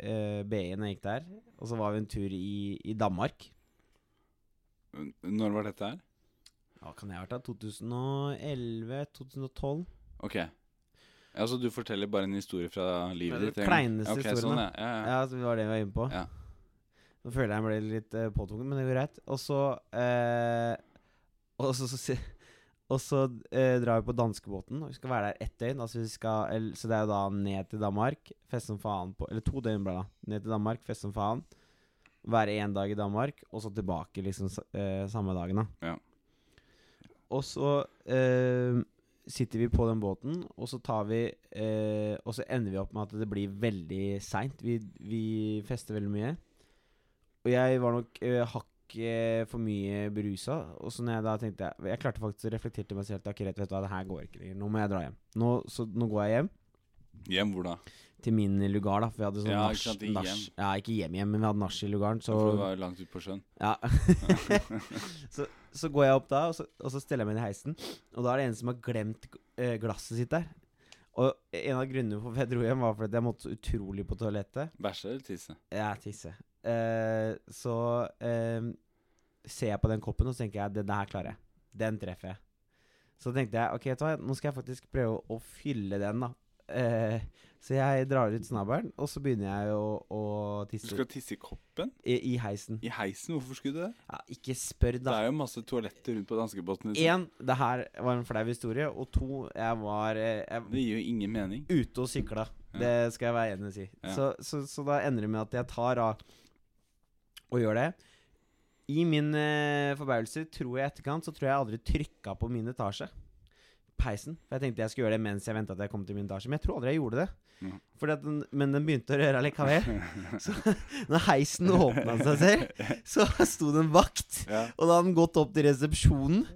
Speaker 1: eh, BI når jeg gikk der. Og så var vi en tur i, i Danmark.
Speaker 2: N- Når var dette her?
Speaker 1: Ja, kan jeg ha vært da? 2011-2012?
Speaker 2: Ok. Ja, så du forteller bare en historie fra livet
Speaker 1: Den
Speaker 2: ditt? en gang.
Speaker 1: kleineste
Speaker 2: Ok,
Speaker 1: historien,
Speaker 2: Sånn,
Speaker 1: da.
Speaker 2: ja. Ja, ja.
Speaker 1: Ja, så det var det vi var inne på.
Speaker 2: Ja.
Speaker 1: Nå føler jeg jeg ble litt uh, påtvunget, men det går greit. Og så eh, Og så, så, si- og så eh, drar vi på danskebåten, og vi skal være der ett døgn. Altså vi skal, el- så det er jo da ned til Danmark, fest som faen på Eller to døgn ble det. da. Ned til Danmark, fest som faen. Være én dag i Danmark, og så tilbake liksom sa- eh, samme dagen, da.
Speaker 2: Ja.
Speaker 1: Og så eh, sitter vi på den båten, og så tar vi eh, Og så ender vi opp med at det blir veldig seint. Vi, vi fester veldig mye. Og jeg var nok eh, hakk eh, for mye berusa. Og så når jeg da tenkte Jeg, jeg klarte faktisk å reflektere til meg selv at ok, greit, vet du hva, det her går ikke lenger. Nå må jeg dra hjem. Nå, så nå går jeg hjem
Speaker 2: Hjem hvor da?
Speaker 1: til min lugar, da. For vi hadde sånn
Speaker 2: Ja, ikke
Speaker 1: nach.
Speaker 2: sant, i
Speaker 1: nach ja, ikke hjem hjem, men vi hadde nach i lugaren. Så
Speaker 2: For det var jo langt ut på sjøen.
Speaker 1: ja. så, så går jeg opp da, og så, og så steller jeg meg inn i heisen. Og da er det en som har glemt eh, glasset sitt der. Og en av grunnene for at jeg dro hjem, var fordi at jeg måtte så utrolig på toalettet.
Speaker 2: Bæsje eller tisse?
Speaker 1: Jeg tisse. Eh, så eh, ser jeg på den koppen, og så tenker jeg det der klarer jeg. Den treffer jeg. Så tenkte jeg ok, vet du hva, nå skal jeg faktisk prøve å fylle den, da. Eh, så jeg drar ut snabelen, og så begynner jeg å, å
Speaker 2: Du
Speaker 1: tisse
Speaker 2: skal tisse i koppen?
Speaker 1: i, i heisen.
Speaker 2: I heisen? Hvorfor skulle du det?
Speaker 1: Ja, ikke spør,
Speaker 2: Det
Speaker 1: da.
Speaker 2: er jo masse toaletter rundt på danskebåten. Liksom.
Speaker 1: Én, det her var en flau historie. Og to, jeg var eh, jeg,
Speaker 2: Det gir jo ingen mening.
Speaker 1: ute og sykla.
Speaker 2: Ja.
Speaker 1: Det skal jeg være enig i. å Si.
Speaker 2: Ja.
Speaker 1: Så, så, så da ender det med at jeg tar av og gjør det. I min eh, forbauselse, tror jeg i etterkant, så tror jeg jeg aldri trykka på min etasje. Peisen. For jeg tenkte jeg skulle gjøre det mens jeg venta at jeg kom til min etasje. Men jeg tror aldri jeg gjorde det.
Speaker 2: Ja.
Speaker 1: Fordi at den, men den begynte å røre likevel. Så når heisen åpna seg selv, så sto det en vakt.
Speaker 2: Ja.
Speaker 1: Og da hadde den gått opp til resepsjonen.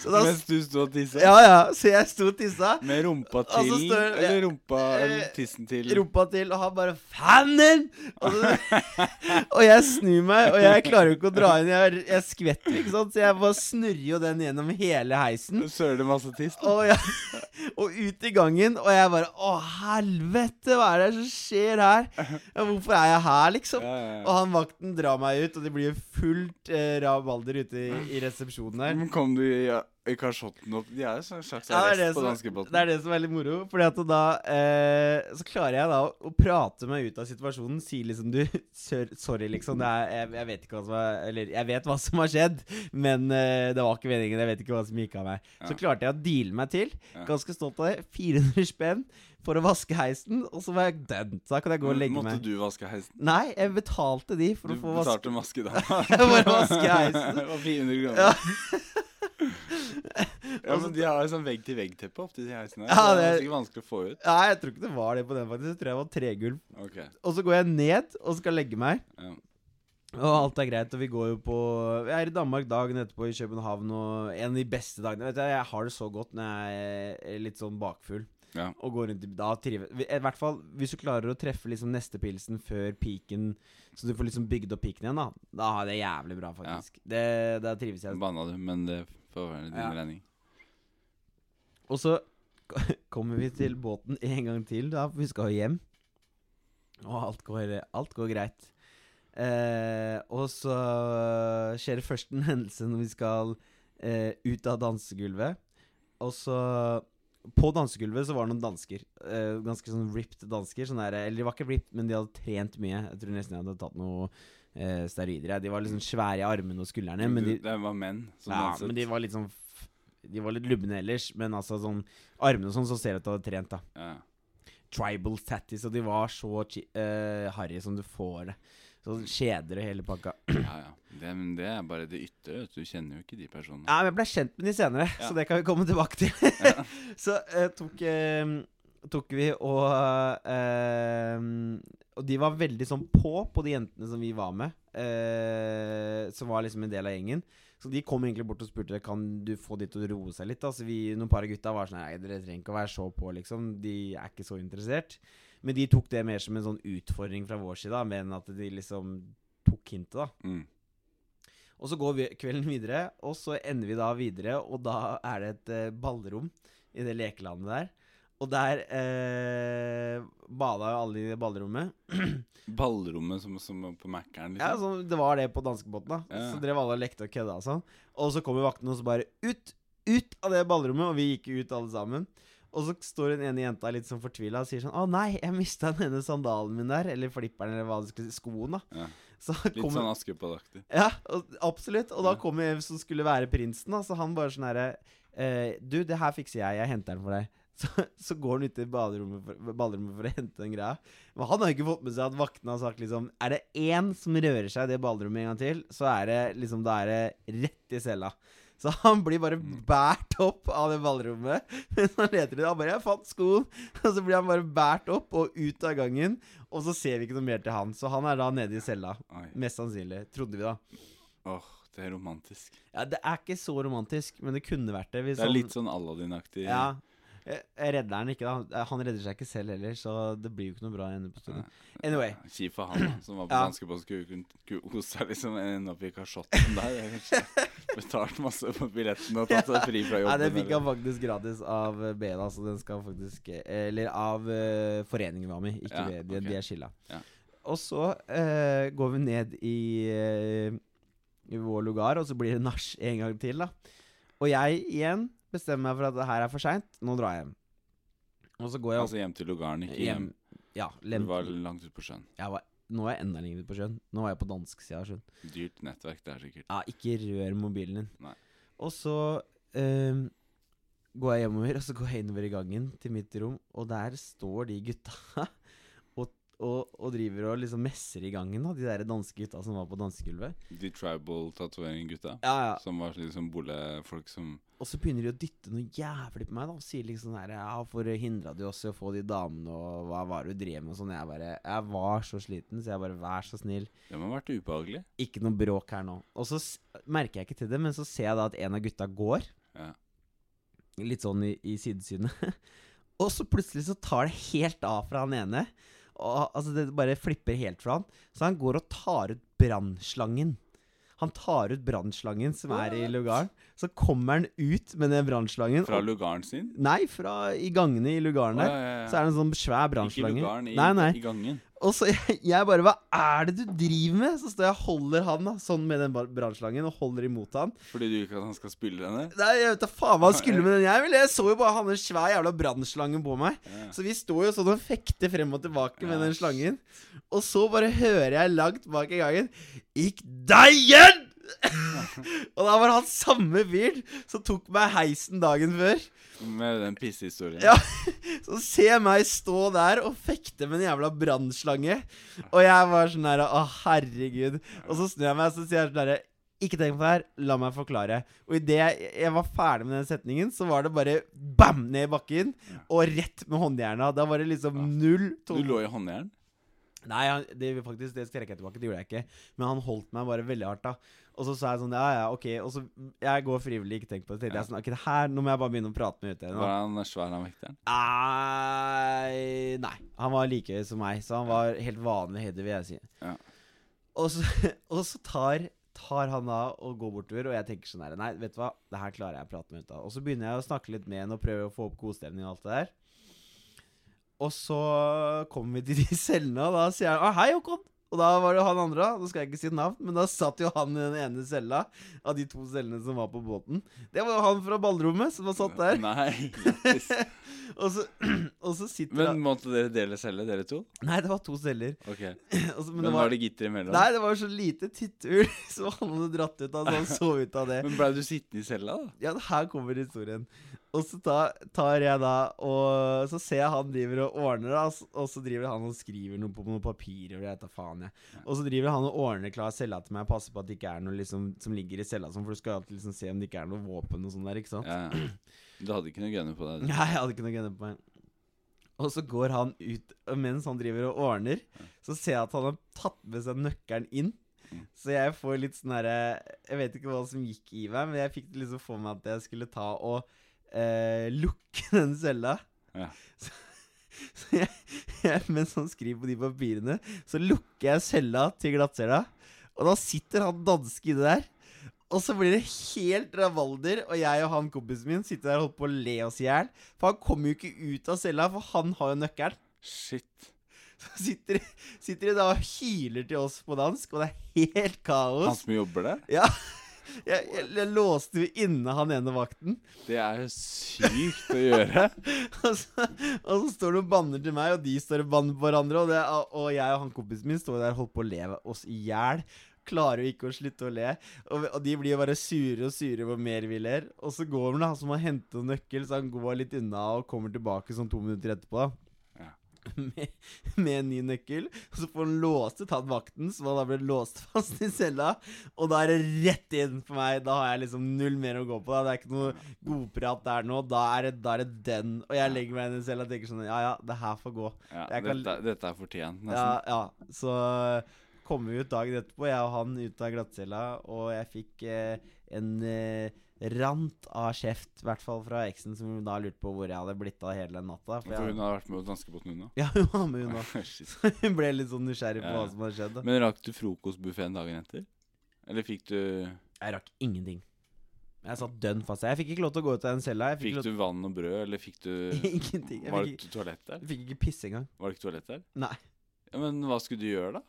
Speaker 1: Så da-
Speaker 2: Mens du sto og tissa?
Speaker 1: Ja, ja, så jeg sto og tissa.
Speaker 2: Med rumpa
Speaker 1: Og
Speaker 2: til,
Speaker 1: så står det-
Speaker 2: eller rumpa eller
Speaker 1: Eh,
Speaker 2: tissen til?
Speaker 1: Rumpa til, og han bare 'Fanen!' Og, så, og jeg snur meg, og jeg klarer jo ikke å dra inn. Jeg, jeg skvetter, ikke sant? Så jeg bare snurrer jo den gjennom hele heisen.
Speaker 2: Du Søler det masse tiss? da?
Speaker 1: Og, jeg, og ut i gangen, og jeg bare 'Å, helvete, hva er det som skjer her?' Ja, hvorfor er jeg her, liksom?
Speaker 2: Ja, ja,
Speaker 1: Og
Speaker 2: ja.
Speaker 1: han vakten drar meg ut, og det blir fullt eh, rabalder ute i, i resepsjonen der.
Speaker 2: Men Kom du i ja, Kasjotten opp De er jo en slags
Speaker 1: Ja, det er
Speaker 2: arrest
Speaker 1: det
Speaker 2: på
Speaker 1: som-
Speaker 2: danskebåten.
Speaker 1: Det er det som er litt moro. Fordi at da eh, Så klarer jeg da å, å prate meg ut av situasjonen. Si liksom du sør- Sorry, liksom. Det er, jeg, jeg vet ikke hva som er Eller jeg vet hva som har skjedd, men eh, det var ikke meningen. Jeg vet ikke hva som gikk av meg. Så klarte jeg å deale meg til.
Speaker 2: Ja.
Speaker 1: Ganske stolt av det. 400 spenn for å vaske heisen, og så var jeg done. Så da kan jeg gå og legge
Speaker 2: Måtte
Speaker 1: meg.
Speaker 2: du vaske heisen?
Speaker 1: Nei, jeg betalte de for
Speaker 2: Du
Speaker 1: å få vaske
Speaker 2: betalte maskedama.
Speaker 1: For å vaske heisen.
Speaker 2: Det var 400 kroner. Ja, men de har jo sånn vegg-til-vegg-teppe oppi de heisene.
Speaker 1: Ja,
Speaker 2: så det er
Speaker 1: det-
Speaker 2: sikkert vanskelig å få ut.
Speaker 1: Nei, jeg tror ikke det var det på den, faktisk. Jeg tror jeg var tregulv.
Speaker 2: Ok,
Speaker 1: Og så går jeg ned og skal legge meg.
Speaker 2: ja.
Speaker 1: Og alt er greit, og vi går jo på Jeg er i Danmark dagen etterpå, i København, og en av de beste dagene Vet du, Jeg har det så godt når jeg er litt sånn bakfull.
Speaker 2: Ja.
Speaker 1: Og går rundt i- Da trives I hvert fall hvis du klarer å treffe liksom neste pilsen før peaken, så du får liksom bygd opp peaken igjen, da. Da har jeg det jævlig bra, faktisk. Det, da trives jeg.
Speaker 2: Banna du, men det får være din
Speaker 1: Ja.
Speaker 2: regning.
Speaker 1: Og så kommer vi til båten en gang til, da, for vi skal jo hjem. Og alt går, alt går greit. Eh, og så skjer det først en hendelse når vi skal eh, ut av dansegulvet. Og så På dansegulvet så var det noen dansker. Eh, ganske sånn ripped dansker. Sånn der, eller de var ikke ripped, men de hadde trent mye. Jeg tror nesten jeg hadde tatt noe eh, steroider. jeg. De var liksom svære i armene og skuldrene. Men de,
Speaker 2: det var menn som
Speaker 1: ja,
Speaker 2: danset.
Speaker 1: men de var litt sånn f- De var litt lubne ellers, men altså sånn Armene og sånn, så ser du at du hadde trent, da.
Speaker 2: ja.
Speaker 1: Tribal tatties, og de var så chi- eh, harry som du får det. Sånn kjeder og hele pakka.
Speaker 2: ja, ja. Det, men det er bare det ytre. vet Du Du kjenner jo ikke de personene.
Speaker 1: Ja, men jeg ble kjent med de senere,
Speaker 2: sånn, Ja.
Speaker 1: så det kan vi komme tilbake til. så eh, tok, eh, tok vi og eh, Og de var veldig sånn på på de jentene som vi var med, eh, som var liksom en del av gjengen. Så de kom egentlig bort og spurte Kan du få de til å roe seg litt. Da? Så vi, noen par av gutta var sånn Nei, dere trenger ikke å være så på, liksom. De er ikke så interessert. Men de tok det mer som en sånn utfordring fra vår side, da, mer enn at de liksom tok hintet, da.
Speaker 2: Mm.
Speaker 1: Og så går vi kvelden videre, og så ender vi da videre, og da er det et eh, ballrom i det lekelandet der. Og der eh, bada jo alle i det ballrommet.
Speaker 2: Ballrommet som, som på Mækkern,
Speaker 1: Ja, altså,
Speaker 2: liksom.
Speaker 1: så Det var det på danskebåten, da.
Speaker 2: Ja.
Speaker 1: Så drev alle og lekte og kødda og sånn. Og så kommer vaktene og så bare ut! Ut av det ballrommet! Og vi gikk ut alle sammen. Og så står hun ene jenta litt sånn fortvila og sier sånn Å nei, jeg mista den ene sandalen min der. Eller flipperen, eller hva det skulle si. Skoen, da.
Speaker 2: Ja.
Speaker 1: Så
Speaker 2: Litt
Speaker 1: kommer-
Speaker 2: sånn Askepott-aktig.
Speaker 1: Ja, og, absolutt. Og da
Speaker 2: Ja.
Speaker 1: kom jeg som skulle være prinsen, da, så han bare sånn herre eh, Du, det her fikser jeg. Jeg henter den for deg. Så, så går han ut i baderommet for, baderommet for å hente den greia. Men han har jo ikke fått med seg at vaktene har sagt liksom Er det én som rører seg i det baderommet en gang til, så er det liksom Da er det rett i cella. Så han blir bare båret opp av det ballrommet. Mens han leter i det. Han bare 'Jeg fant skoen!' Og så blir han bare båret opp og ut av gangen. Og så ser vi ikke noe mer til han. Så han er da nede i cella.
Speaker 2: Oi.
Speaker 1: Mest sannsynlig. Trodde vi, da.
Speaker 2: Åh, det er romantisk.
Speaker 1: Ja, Det er ikke så romantisk, men det kunne vært det. Hvis
Speaker 2: Det er
Speaker 1: han-
Speaker 2: litt sånn Aladdin-aktig.
Speaker 1: ja. Jeg jeg redder han ikke, da. Eh, Han redder seg ikke selv heller, så det blir jo ikke noe bra i enden på stunden. Anyway.
Speaker 2: Kjipt for han da, som var på
Speaker 1: Ja.
Speaker 2: danskebåt, skulle kunne kunne kose seg liksom ende opp i kasjotten der. Jeg kanskje Betalt masse for billetten og tatt seg fri fra
Speaker 1: Nei,
Speaker 2: jobben.
Speaker 1: det fikk
Speaker 2: eller-
Speaker 1: han faktisk gratis av eh, Beda, så den skal faktisk Eller av eh, foreningen vi var med i, ikke
Speaker 2: Ja,
Speaker 1: ved, de,
Speaker 2: ok.
Speaker 1: de er skilla.
Speaker 2: Ja.
Speaker 1: Og så eh, går vi ned i, eh, i vår lugar, og så blir det nach en gang til, da. Og jeg igjen bestemmer meg for at det her er for seint, nå drar jeg hjem. Og så går jeg
Speaker 2: Altså hjem til lugaren, ikke hjem.
Speaker 1: hjem. Ja,
Speaker 2: Det
Speaker 1: lem,
Speaker 2: var langt ut på sjøen.
Speaker 1: Jeg var, nå er jeg enda lenger ute på sjøen. Nå var jeg på dansk sida av sjøen.
Speaker 2: Dyrt nettverk, det er sikkert.
Speaker 1: Ja, ikke rør mobilen din.
Speaker 2: Nei.
Speaker 1: Og så ehm, går jeg hjemover, og så går jeg innover i gangen til mitt rom, og der står de gutta og, og, og driver og liksom messer i gangen, da, de der danske gutta som var på dansegulvet.
Speaker 2: De tribal-tatovering-gutta,
Speaker 1: Ja, ja.
Speaker 2: som var liksom bolefolk som
Speaker 1: Og så begynner de å dytte noe jævlig på meg, da, og sier liksom sånn her Ja, for hindra du oss i å få de damene, og hva var det du drev med, og sånn. Jeg bare Jeg var så sliten, så jeg bare Vær så snill.
Speaker 2: Det må ha vært ubehagelig.
Speaker 1: ikke noe bråk her nå. Og så s- merker jeg ikke til det, men så ser jeg da at en av gutta går.
Speaker 2: Ja.
Speaker 1: Litt sånn i, i sidesynet. og så plutselig så tar det helt av fra han ene. Og, altså Det bare flipper helt fra han. Så han går og tar ut brannslangen. Han tar ut brannslangen som er i lugaren. Så kommer han ut med den brannslangen.
Speaker 2: Fra
Speaker 1: og-
Speaker 2: lugaren sin?
Speaker 1: Nei, fra i gangene i lugaren
Speaker 2: Å,
Speaker 1: der.
Speaker 2: ja, ja, ja.
Speaker 1: Så er det en sånn svær
Speaker 2: Ikke
Speaker 1: brannslange.
Speaker 2: lugaren, i,
Speaker 1: Nei, nei.
Speaker 2: i gangen.
Speaker 1: Og så jeg, jeg bare Hva er det du driver med? Så står jeg og holder han da sånn med den bar- brannslangen og holder imot han.
Speaker 2: Fordi du ikke at han skal spille henne?
Speaker 1: Nei, Jeg vet da faen hva han skulle med den jeg ville. Jeg så jo bare han med en svær jævla brannslange på meg.
Speaker 2: Ja.
Speaker 1: Så vi står jo sånn og fekter frem og tilbake med
Speaker 2: Ja.
Speaker 1: den slangen. Og så bare hører jeg langt bak i gangen Ikk deg igjen! og da var han samme fyren som tok meg heisen dagen før.
Speaker 2: Med den pissehistorien.
Speaker 1: Ja. Så ser jeg meg stå der og fekte med en jævla brannslange. Og jeg var sånn der Å, herregud. Og så snur jeg meg og så sier jeg sånn derre Ikke tenk på det her, la meg forklare. Og idet jeg, jeg var ferdig med den setningen, så var det bare bam ned i bakken. Og rett med håndjerna. Da var det liksom null
Speaker 2: Du lå i håndjern?
Speaker 1: Nei, han, det, faktisk, det trekker jeg tilbake. Det gjorde jeg ikke. Men han holdt meg bare veldig hardt. da Og så sa jeg sånn Ja, ja, ok. Og så Jeg går frivillig, ikke tenk på det. Tenkte jeg sånn Ok, det her Nå må jeg bare begynne å prate med utøveren.
Speaker 2: Var han svær, han vekteren?
Speaker 1: Nei, nei. Han var like høy som meg, så han var helt vanlig høyde, vil jeg si.
Speaker 2: Ja.
Speaker 1: Og så, og så tar, tar han av og går bortover, og jeg tenker sånn her Nei, vet du hva, det her klarer jeg å prate med ut av. Og så begynner jeg å snakke litt med henne og prøve å få opp godstemning og alt det der. Og så kommer vi til de cellene, og da sier han ah, 'hei, Håkon'. Og da var det han andre, nå skal jeg ikke si navn, men da satt jo han i den ene cella av de to cellene som var på båten. Det var jo han fra ballrommet som var satt der.
Speaker 2: Nei. Jesus.
Speaker 1: og, så, og så sitter han
Speaker 2: Men måtte dere dele celle, dere to?
Speaker 1: Nei, det var to celler.
Speaker 2: Ok.
Speaker 1: Og så- men,
Speaker 2: Men
Speaker 1: det
Speaker 2: var
Speaker 1: var,
Speaker 2: det gitter imellom?
Speaker 1: Nei, det var så lite titthull som han hadde dratt ut av, så han så ut av det.
Speaker 2: Men blei du sittende i cella, da?
Speaker 1: Ja, her kommer historien. Og så ta, tar jeg da og Så ser jeg han driver og ordner, da, og s- og så driver han og skriver noe på noen papirer. Og jeg vet da faen jeg. Og så driver han og ordner klar cella til meg, passer på at det ikke er noe liksom, som ligger i cella, sånn, for du skal jo alltid liksom se om det ikke er noe våpen og sånn der, ikke sant?
Speaker 2: Ja. Du hadde ikke noe gunner på deg? du.
Speaker 1: Nei, jeg hadde ikke noe gunner på meg. Og så går han ut, og mens han driver og ordner, så ser jeg at han har tatt med seg nøkkelen inn. Så jeg får litt sånn herre Jeg vet ikke hva som gikk i meg, men jeg fikk det liksom for meg at jeg skulle ta og eh, lukke den cella.
Speaker 2: Ja.
Speaker 1: Så, så jeg, jeg, mens han skriver på de papirene, så lukker jeg cella til glattcella. Og da sitter han danske inni der. Og så blir det helt rabalder, og jeg og han kompisen min sitter der og holder på å le oss i hjel. For han kommer jo ikke ut av cella, for han har jo nøkkelen.
Speaker 2: Shit.
Speaker 1: Så sitter, sitter de da og hyler til oss på dansk, og det er helt
Speaker 2: Han
Speaker 1: kaos.
Speaker 2: som jobber der?
Speaker 1: Ja, jeg, jeg, jeg låste jo inne han ene vakten.
Speaker 2: Det er jo sykt å gjøre.
Speaker 1: Og så, og så står det og banner til meg, og de står og banner på hverandre. Og, det, og jeg og han kompisen min står der og holder på å le oss i hjel. Klarer jo ikke å slutte å le. Og, vi- og de blir jo bare surere og surere hvor mer vi ler. Og så går han da, han som har hentet en nøkkel, så han går litt unna og kommer tilbake sånn to minutter etterpå.
Speaker 2: Ja.
Speaker 1: Med, med en ny nøkkel. Og så får han låst ut han vakten, som han da ble låst fast i cella. Og da er det rett inn for meg. Da har jeg liksom null mer å gå på. Da. Det er ikke noe godprat der nå. Da er, det, da er det den. Og jeg legger meg inn i cella og tenker sånn Ja, ja, det her får gå.
Speaker 2: Ja,
Speaker 1: Jeg kan-
Speaker 2: dette, dette er fortjent,
Speaker 1: Ja,
Speaker 2: nesten.
Speaker 1: ja. Så kom vi ut dagen etterpå, jeg og han ut av glattcella, og jeg fikk eh, en eh, rant av kjeft, i hvert fall fra eksen, som da lurte på hvor jeg hadde blitt av hele den natta. For
Speaker 2: For hun
Speaker 1: jeg,
Speaker 2: har vært med på danskebåten, hun
Speaker 1: ja, hun var med, hun òg.
Speaker 2: òg. Shit.
Speaker 1: Hun ble litt sånn nysgjerrig på
Speaker 2: Ja.
Speaker 1: hva som hadde skjedd. Da.
Speaker 2: Men rakk du frokostbuffeen dagen etter? Eller fikk du,
Speaker 1: Jeg rakk ingenting. Jeg satt dønn fast. Jeg fikk ikke lov til å gå ut av den cella. Jeg fikk,
Speaker 2: fikk du vann og brød, eller fikk du
Speaker 1: lov Ingenting. Jeg
Speaker 2: Var
Speaker 1: fikk,
Speaker 2: det ikke toalett der?
Speaker 1: ikke- fikk ikke pisse engang.
Speaker 2: Var det ikke toalett der?
Speaker 1: Nei.
Speaker 2: Ja, men hva skulle du gjøre, da?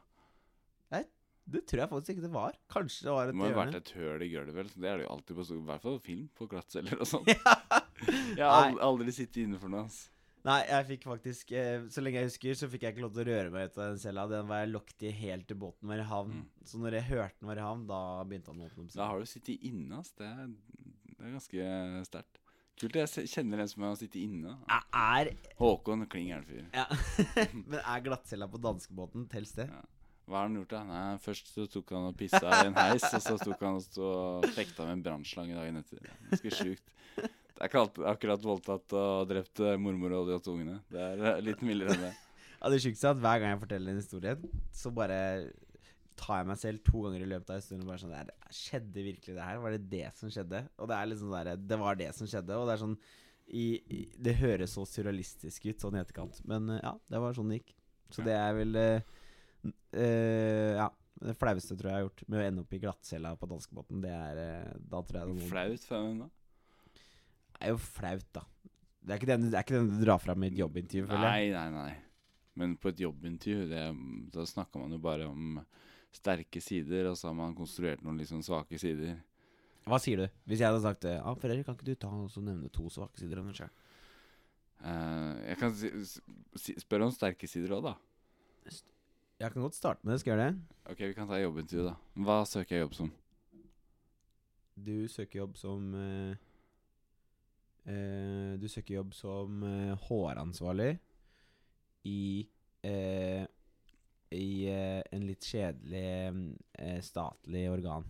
Speaker 1: Det tror jeg faktisk ikke det var. Kanskje det var
Speaker 2: Det
Speaker 1: et
Speaker 2: må jo ha vært
Speaker 1: hjørne.
Speaker 2: et høl i gulvet. Det er det jo alltid på stor- i hvert fall film på glattceller og sånn. Jeg har
Speaker 1: Nei.
Speaker 2: aldri, aldri sittet inne for noe. ass.
Speaker 1: Nei, jeg fikk faktisk eh, Så lenge jeg husker, så fikk jeg ikke lov til å røre meg ut av den cella. Den var jeg lokket i helt til båten var i havn. Så når jeg hørte den var i havn, da begynte han å åpne opp
Speaker 2: Mm. Da
Speaker 1: seg.
Speaker 2: har du sittet inne, ass. Det er, det er ganske sterkt. Kult. Jeg se- kjenner en som har sittet inne.
Speaker 1: Er, er
Speaker 2: Håkon Kling er det fyr.
Speaker 1: ja. Men er glattcella på danskebåten? Tels det?
Speaker 2: Hva har han gjort, da? Nei, først så tok han og pissa i en heis, og så tok han og stå og fekta med en brannslange dagen etter. Ganske sjukt. Det er ikke alt- akkurat voldtatt og drept eh, mormor og de åtte ungene. Det er eh, litt mildere enn det.
Speaker 1: Ja, det sjukeste er at hver gang jeg forteller en historie, så bare tar jeg meg selv to ganger i løpet av historien og bare sånn der, Skjedde virkelig det her? Var det det som skjedde? Og det er liksom der, Det var det som skjedde. Og det er sånn i, i, Det høres så surrealistisk ut sånn i etterkant, men eh, ja, det var sånn det gikk. Så det er vel eh, n- eh, Ja. Det flaueste tror jeg jeg har gjort, med å ende opp i glattcella på danskebåten. Det er eh, Da tror jeg det er noen-
Speaker 2: Flaut for hvem da?
Speaker 1: Det er jo flaut, da. Det er ikke den, det er ikke den du drar fram i et jobbintervju, føler jeg.
Speaker 2: Nei, nei, nei. Men på et jobbintervju, det, da snakka man jo bare om sterke sider, og så har man konstruert noen litt sånn svake sider.
Speaker 1: Hva sier du? Hvis jeg hadde sagt eh, ah, Fredrik, kan ikke du ta og så nevne to svake sider av deg sjøl?
Speaker 2: Eh, jeg kan si, si, spørre om sterke sider òg, da.
Speaker 1: Jeg kan godt starte med det. Skal jeg gjøre det?
Speaker 2: Ok, vi kan ta jobbintervju, da. Hva søker jeg jobb som?
Speaker 1: Du søker jobb som eh, eh, Du søker jobb som eh, HR-ansvarlig i eh, I eh, en litt kjedelig eh, statlig organ.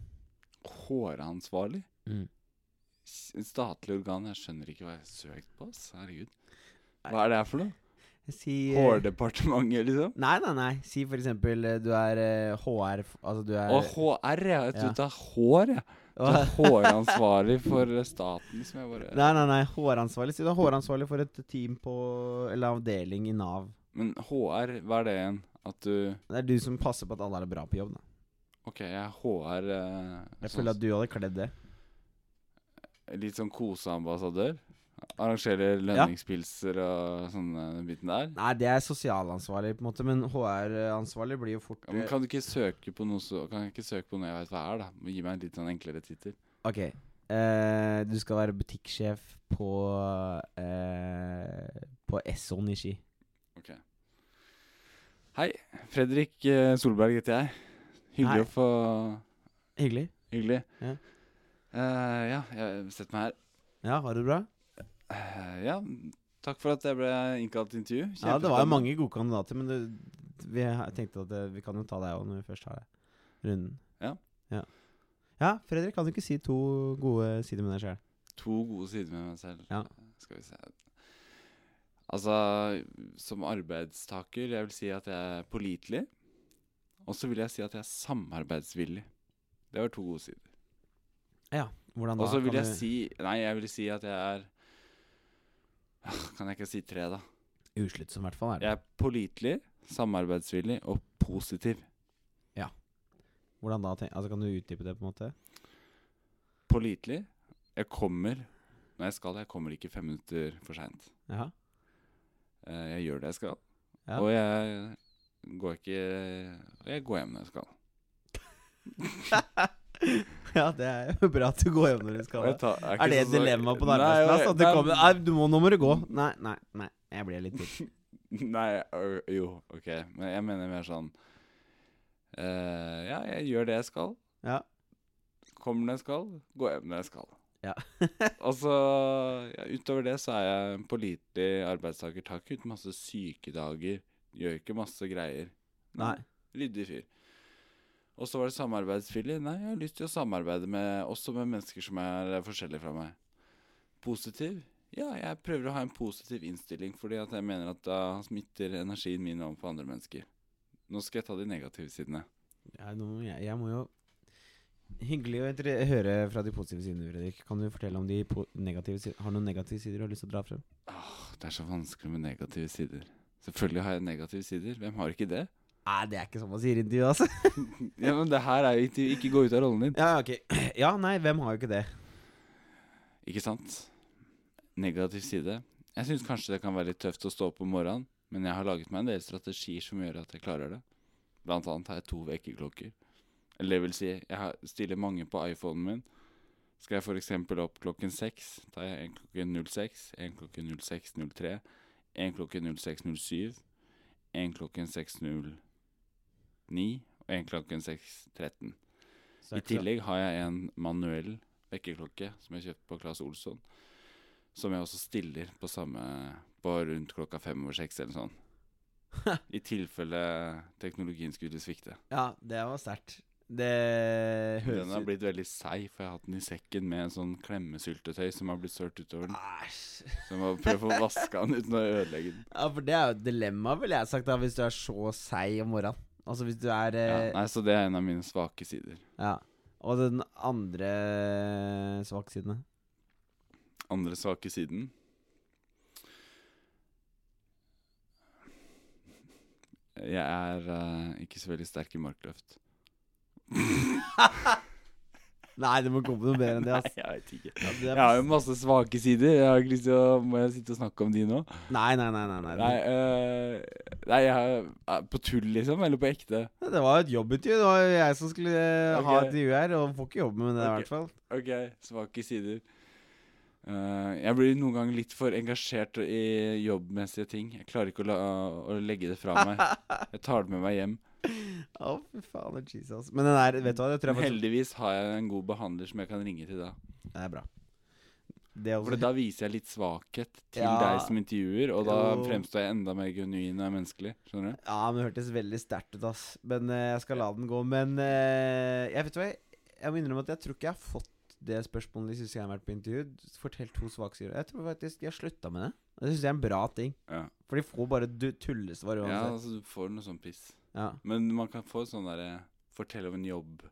Speaker 2: Håransvarlig? S- Statlig organ? Jeg skjønner ikke hva jeg søkte på, ass. Herregud. Hva er det her for noe?
Speaker 1: Si eh,
Speaker 2: Hårdepartementet, liksom?
Speaker 1: Nei, nei, nei. Si for eksempel eh, du er eh, HR f- Altså du er
Speaker 2: Å, HR, ja.
Speaker 1: Ja.
Speaker 2: Jeg trodde det var hår, jeg.
Speaker 1: Åh.
Speaker 2: Ja. Håransvarlig for eh, staten, som jeg bare
Speaker 1: Nei, nei, nei. HR-ansvarlig. Si du er HR-ansvarlig for et team på Eller avdeling i Nav.
Speaker 2: Men HR, hva er det igjen? At du
Speaker 1: Det er du som passer på at alle er bra på jobb, da.
Speaker 2: OK, jeg er HR eh,
Speaker 1: Jeg
Speaker 2: sånn,
Speaker 1: føler at du hadde kledd det.
Speaker 2: Litt sånn koseambassadør. Arrangerer lønningspilser og sånne biten der.
Speaker 1: Nei, det er sosialansvarlig, på en måte, men HR-ansvarlig blir jo fort eh,
Speaker 2: Ja, men kan du ikke søke på noe så, Kan jeg ikke søke på noe jeg vet hva er, da? Men Gi meg en litt sånn enklere tittel.
Speaker 1: Ok. eh, du skal være butikksjef på eh, På Esson i Ski.
Speaker 2: Ok. Hei. Fredrik eh, Solberg heter jeg. Hyggelig
Speaker 1: Hei.
Speaker 2: å få
Speaker 1: Hyggelig.
Speaker 2: Hyggelig.
Speaker 1: Ja.
Speaker 2: Eh, ja, jeg setter meg her.
Speaker 1: Ja, har du det bra?
Speaker 2: Eh, ja, takk for at jeg ble innkalt til intervju.
Speaker 1: Ja, det var jo
Speaker 2: Kjempespennende.
Speaker 1: mange gode kandidater, men det, vi har- tenkte at eh, vi kan jo ta deg òg når vi først har deg runden.
Speaker 2: Ja.
Speaker 1: ja. Ja, Fredrik, kan du ikke si to gode sider med deg sjøl?
Speaker 2: To gode sider med meg selv.
Speaker 1: Ja.
Speaker 2: Skal vi se Altså, som arbeidstaker, jeg vil si at jeg er pålitelig. Og så vil jeg si at jeg er samarbeidsvillig. Det var to gode sider.
Speaker 1: Hvordan da?
Speaker 2: Og så vil
Speaker 1: kan
Speaker 2: jeg
Speaker 1: du-
Speaker 2: si Nei, jeg vil si at jeg er Ah, Kan jeg ikke si tre, da?
Speaker 1: Usluttsom, i hvert fall. er det.
Speaker 2: Jeg er pålitelig, samarbeidsvillig og positiv.
Speaker 1: Hvordan da? Tenk, altså, kan du utdype det, på en måte?
Speaker 2: Pålitelig. Jeg kommer når jeg skal. Jeg kommer ikke fem minutter for seint.
Speaker 1: Ja.
Speaker 2: Jeg gjør det jeg skal.
Speaker 1: Ja.
Speaker 2: Og jeg går ikke Og jeg går hjem når jeg skal.
Speaker 1: ja, det er jo bra at du går hjem når du skal.
Speaker 2: Og jeg
Speaker 1: da.
Speaker 2: tar- er
Speaker 1: Er
Speaker 2: ikke
Speaker 1: det et
Speaker 2: sånn som-
Speaker 1: dilemma på en
Speaker 2: Nei,
Speaker 1: arbeidsplass?
Speaker 2: jeg-
Speaker 1: At det
Speaker 2: nei,
Speaker 1: kommer Nei, du må, nå må du gå. Nei, nei, nei. Jeg blir litt litt
Speaker 2: Nei, ø- jo, OK. Men jeg mener mer sånn eh, Ja, jeg gjør det jeg skal.
Speaker 1: Ja.
Speaker 2: Kommer når jeg skal, går hjem når jeg skal.
Speaker 1: Ja.
Speaker 2: Og så, ja, utover det så er jeg en pålitelig arbeidstaker. Tar ikke ut masse sykedager. Gjør ikke masse greier.
Speaker 1: Nei.
Speaker 2: Ryddig fyr. Og så var det samarbeidsvillig. Nei, jeg har lyst til å samarbeide med, også med mennesker som er eh, forskjellige fra meg. Positiv? Ja, jeg prøver å ha en positiv innstilling, fordi at jeg mener at da smitter energien min over på andre mennesker. Nå skal jeg ta de negative sidene.
Speaker 1: Ja, nå, må jeg, jeg må jo Hyggelig å inter- høre fra de positive sidene, Fredrik. Kan du fortelle om de po negative sidene? Har du noen negative sider du har lyst til å dra frem?
Speaker 2: Åh, Det er så vanskelig med negative sider. Selvfølgelig har jeg negative sider. Hvem har ikke det?
Speaker 1: Nei, det er ikke sånn man sier i intervjuet, altså.
Speaker 2: Ja, men det her er jo ikke, ikke gå ut av rollen din.
Speaker 1: Ja, ok. Ja, nei, hvem har jo ikke det?
Speaker 2: Ikke sant? Negativ side. Jeg syns kanskje det kan være litt tøft å stå opp om morgenen, men jeg har laget meg en del strategier som gjør at jeg klarer det. Blant annet har jeg to vekkerklokker. Eller det vil si, jeg har- stiller mange på iPhonen min. Skal jeg f.eks. opp klokken seks, tar jeg en klokken 06, en klokken 06.03, en klokken 06.07, en klokken 6.09 og en klokken 6.13.
Speaker 1: Så
Speaker 2: I
Speaker 1: det er ikke så-
Speaker 2: tillegg har jeg en manuell vekkerklokke som jeg kjøpte på Claes Olsson. Som jeg også stiller på samme på rundt klokka fem over seks eller sånn. I tilfelle teknologien skulle svikte.
Speaker 1: Ja, det var sterkt. Det høres
Speaker 2: Den har
Speaker 1: ut
Speaker 2: blitt veldig seig, for jeg har hatt den i sekken med en sånn klemmesyltetøy som har blitt sølt utover den.
Speaker 1: Æsj.
Speaker 2: Så jeg må prøve å vaske den uten å ødelegge den.
Speaker 1: Ja, for det er jo et dilemma, ville jeg sagt, da, hvis du er så seig om morgenen. Altså hvis du er
Speaker 2: Ja,
Speaker 1: eh,
Speaker 2: nei, Så det er en av mine svake sider.
Speaker 1: ja. Og den andre svaksiden
Speaker 2: Andre svake siden Jeg er eh, ikke så veldig sterk i markløft.
Speaker 1: Nei, det må komme noe bedre enn det.
Speaker 2: Nei,
Speaker 1: ass.
Speaker 2: jeg vet ikke.
Speaker 1: Ja, det
Speaker 2: Jeg
Speaker 1: er-
Speaker 2: har jo masse svake sider. Jeg har ikke lyst til å, må jeg sitte og snakke om de nå?
Speaker 1: Nei, nei, nei. nei, nei.
Speaker 2: Nei, øh, nei jeg har, er på tull, liksom? Eller på ekte?
Speaker 1: Det var et jobbintervju. Det var jo jeg som skulle eh, ha
Speaker 2: Ok.
Speaker 1: et intervju her, og får ikke jobbe med det i
Speaker 2: Ok.
Speaker 1: hvert fall.
Speaker 2: Ok, svake sider. Eh, jeg blir noen ganger litt for engasjert i jobbmessige ting. Jeg klarer ikke å, la, å legge det fra meg. Jeg tar det med meg hjem.
Speaker 1: Å, fy faen. det er Jesus. Men den der, vet du hva, det tror
Speaker 2: Men
Speaker 1: jeg faktisk
Speaker 2: heldigvis har jeg en god behandler som jeg kan ringe til da.
Speaker 1: Det er bra. Det er
Speaker 2: For
Speaker 1: også
Speaker 2: da viser jeg litt svakhet til
Speaker 1: Ja.
Speaker 2: deg som intervjuer, og da
Speaker 1: Jo.
Speaker 2: fremstår jeg enda mer genuin og menneskelig. Skjønner du?
Speaker 1: Ja, men det hørtes veldig sterkt ut, ass. Men eh, jeg skal la den gå. Men eh, jeg vet hva, jeg, jeg må innrømme at jeg tror ikke jeg har fått det spørsmålet de siste gang jeg har vært på intervju. Fortell to svaksider. Jeg tror faktisk de har slutta med det. Og Det syns jeg er en bra ting.
Speaker 2: Ja.
Speaker 1: For de får bare du- tullesvar
Speaker 2: ja,
Speaker 1: uansett.
Speaker 2: altså du får noe sånn piss.
Speaker 1: Ja.
Speaker 2: Men man kan få sånn derre Fortell om en jobb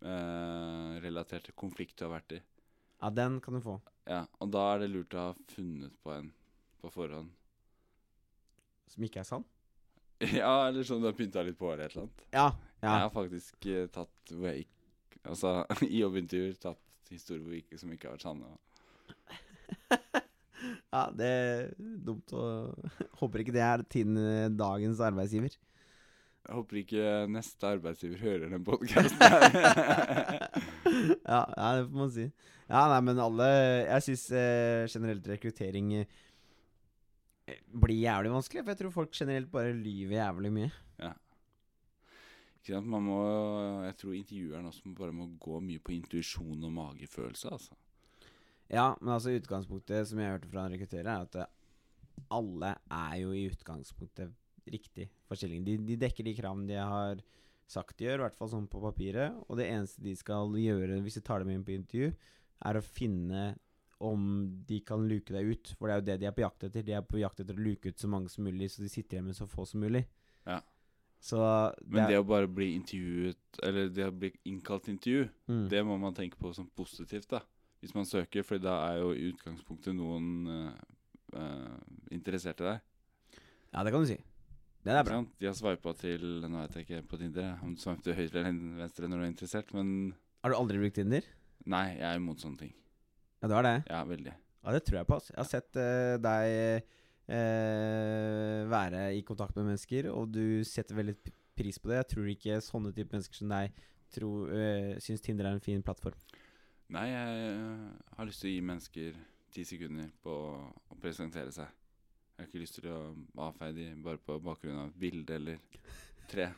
Speaker 2: eh, relatert til konflikt du har vært i.
Speaker 1: ja, den kan du få.
Speaker 2: Ja, og da er det lurt å ha funnet på en på forhånd.
Speaker 1: Som ikke er sann.
Speaker 2: Ja, eller sånn du har pynta litt på eller et eller annet.
Speaker 1: Ja. ja.
Speaker 2: Jeg har faktisk eh, tatt hvor jeg ikke Altså, i jobbintervjuer tatt historier hvor ikke, som ikke har vært sanne.
Speaker 1: ja, det er dumt å Håper ikke det er tiden eh, dagens arbeidsgiver.
Speaker 2: Jeg håper ikke neste arbeidsgiver hører den podkasten.
Speaker 1: ja, ja, det får man si. Ja, nei, men alle Jeg syns eh, generelt rekruttering eh, blir jævlig vanskelig. For jeg tror folk generelt bare lyver jævlig mye.
Speaker 2: Ikke sant? Man må, jeg tror intervjueren også bare må gå mye på intuisjon og magefølelse. Altså.
Speaker 1: Ja, men altså utgangspunktet som jeg hørte fra en rekrutterer, er at eh, alle er jo i utgangspunktet riktig for stillingen. De, de dekker de kravene de har sagt de gjør, i hvert fall sånn på papiret. Og det eneste de skal gjøre hvis de tar dem inn på intervju, er å finne om de kan luke deg ut. For det er jo det de er på jakt etter. De er på jakt etter å luke ut så mange som mulig, så de sitter igjen med så få som mulig.
Speaker 2: Ja.
Speaker 1: Så
Speaker 2: Men det,
Speaker 1: er-
Speaker 2: å bare bli intervjuet, eller det å bli innkalt til intervju,
Speaker 1: mm.
Speaker 2: det må man tenke på som positivt da, hvis man søker. For da er jo i utgangspunktet noen eh, eh, interessert i deg.
Speaker 1: Ja, det kan du si. Det er
Speaker 2: Ikke
Speaker 1: bra.
Speaker 2: sant? De har sveipa til Nå vet jeg ikke på Tinder jeg, om du sveiper til høyre eller venstre når du er interessert, men
Speaker 1: Har du aldri brukt Tinder?
Speaker 2: nei, jeg er imot sånne ting.
Speaker 1: Ja, du har det?
Speaker 2: Ja, veldig.
Speaker 1: Ja, det tror jeg på. ass. Jeg har sett eh, deg eh, være i kontakt med mennesker, og du setter veldig p- pris på det. Jeg tror ikke sånne type mennesker som deg tror, eh, syns Tinder er en fin plattform.
Speaker 2: Nei, jeg eh, har lyst til å gi mennesker ti sekunder på å presentere seg. Jeg har ikke lyst til å avfeie de bare på bakgrunn av et bilde eller tre.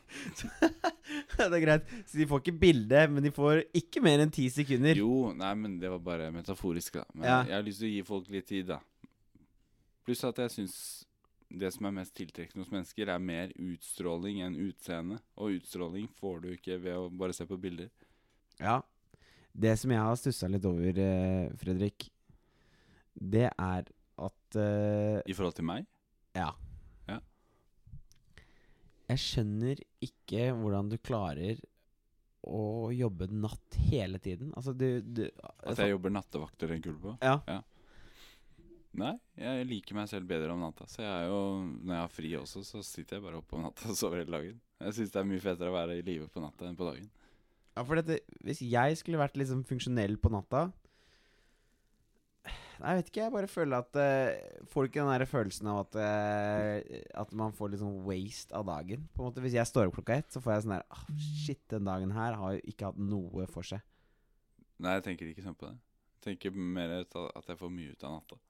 Speaker 1: det er greit. Så de får ikke bilde, men de får ikke mer enn ti sekunder.
Speaker 2: Jo, nei, men det var bare metaforisk, da. Men
Speaker 1: Ja.
Speaker 2: jeg har lyst til å gi folk litt tid, da. Pluss at jeg syns det som er mest tiltrekkende hos mennesker, er mer utstråling enn utseende. Og utstråling får du ikke ved å bare se på bilder.
Speaker 1: Ja. Det som jeg har stussa litt over, eh, Fredrik, det er at eh,
Speaker 2: I forhold til meg?
Speaker 1: Ja.
Speaker 2: Ja.
Speaker 1: Jeg skjønner ikke hvordan du klarer å jobbe natt hele tiden. Altså, du, du
Speaker 2: At jeg jobber nattevakter en kul på?
Speaker 1: Ja.
Speaker 2: Nei, jeg liker meg selv bedre om natta. Så jeg er jo, når jeg har fri også, så sitter jeg bare oppe om natta og sover hele dagen. Jeg syns det er mye fetere å være i live på natta enn på dagen.
Speaker 1: Ja, for dette Hvis jeg skulle vært liksom funksjonell på natta Nei, jeg vet ikke. Jeg bare føler at eh, Får du ikke den der følelsen av at eh, At man får litt sånn waste av dagen? På en måte Hvis jeg står opp klokka ett, så får jeg sånn der ah, Shit, den dagen her har jo ikke hatt noe for seg.
Speaker 2: Nei, jeg tenker ikke sånn på det. Jeg tenker mer ut av at jeg får mye ut av natta.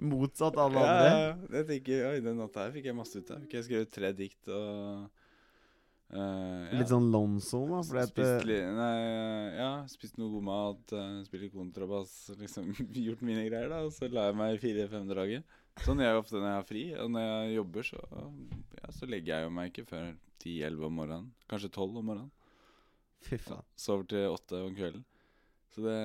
Speaker 1: Motsatt av alle andre.
Speaker 2: Ja, ja. jeg tenker, oi, den natta her fikk jeg masse ut av. Fikk jeg skrevet tre dikt og eh, ja.
Speaker 1: Litt sånn lonesome, da. Fordi at, eh,
Speaker 2: Spist, li nei, ja, spist noe god mat, eh, spilt litt kontrabass, liksom gjort mine greier, da. Og så la jeg meg i fire-fem draget. Sånn gjør jeg ofte når jeg har fri. Og når jeg jobber, så, ja, så legger jeg jo meg ikke før 10-11 om morgenen. Kanskje 12 om morgenen.
Speaker 1: eh, Fy faen.
Speaker 2: Sover til 8 om kvelden. Så det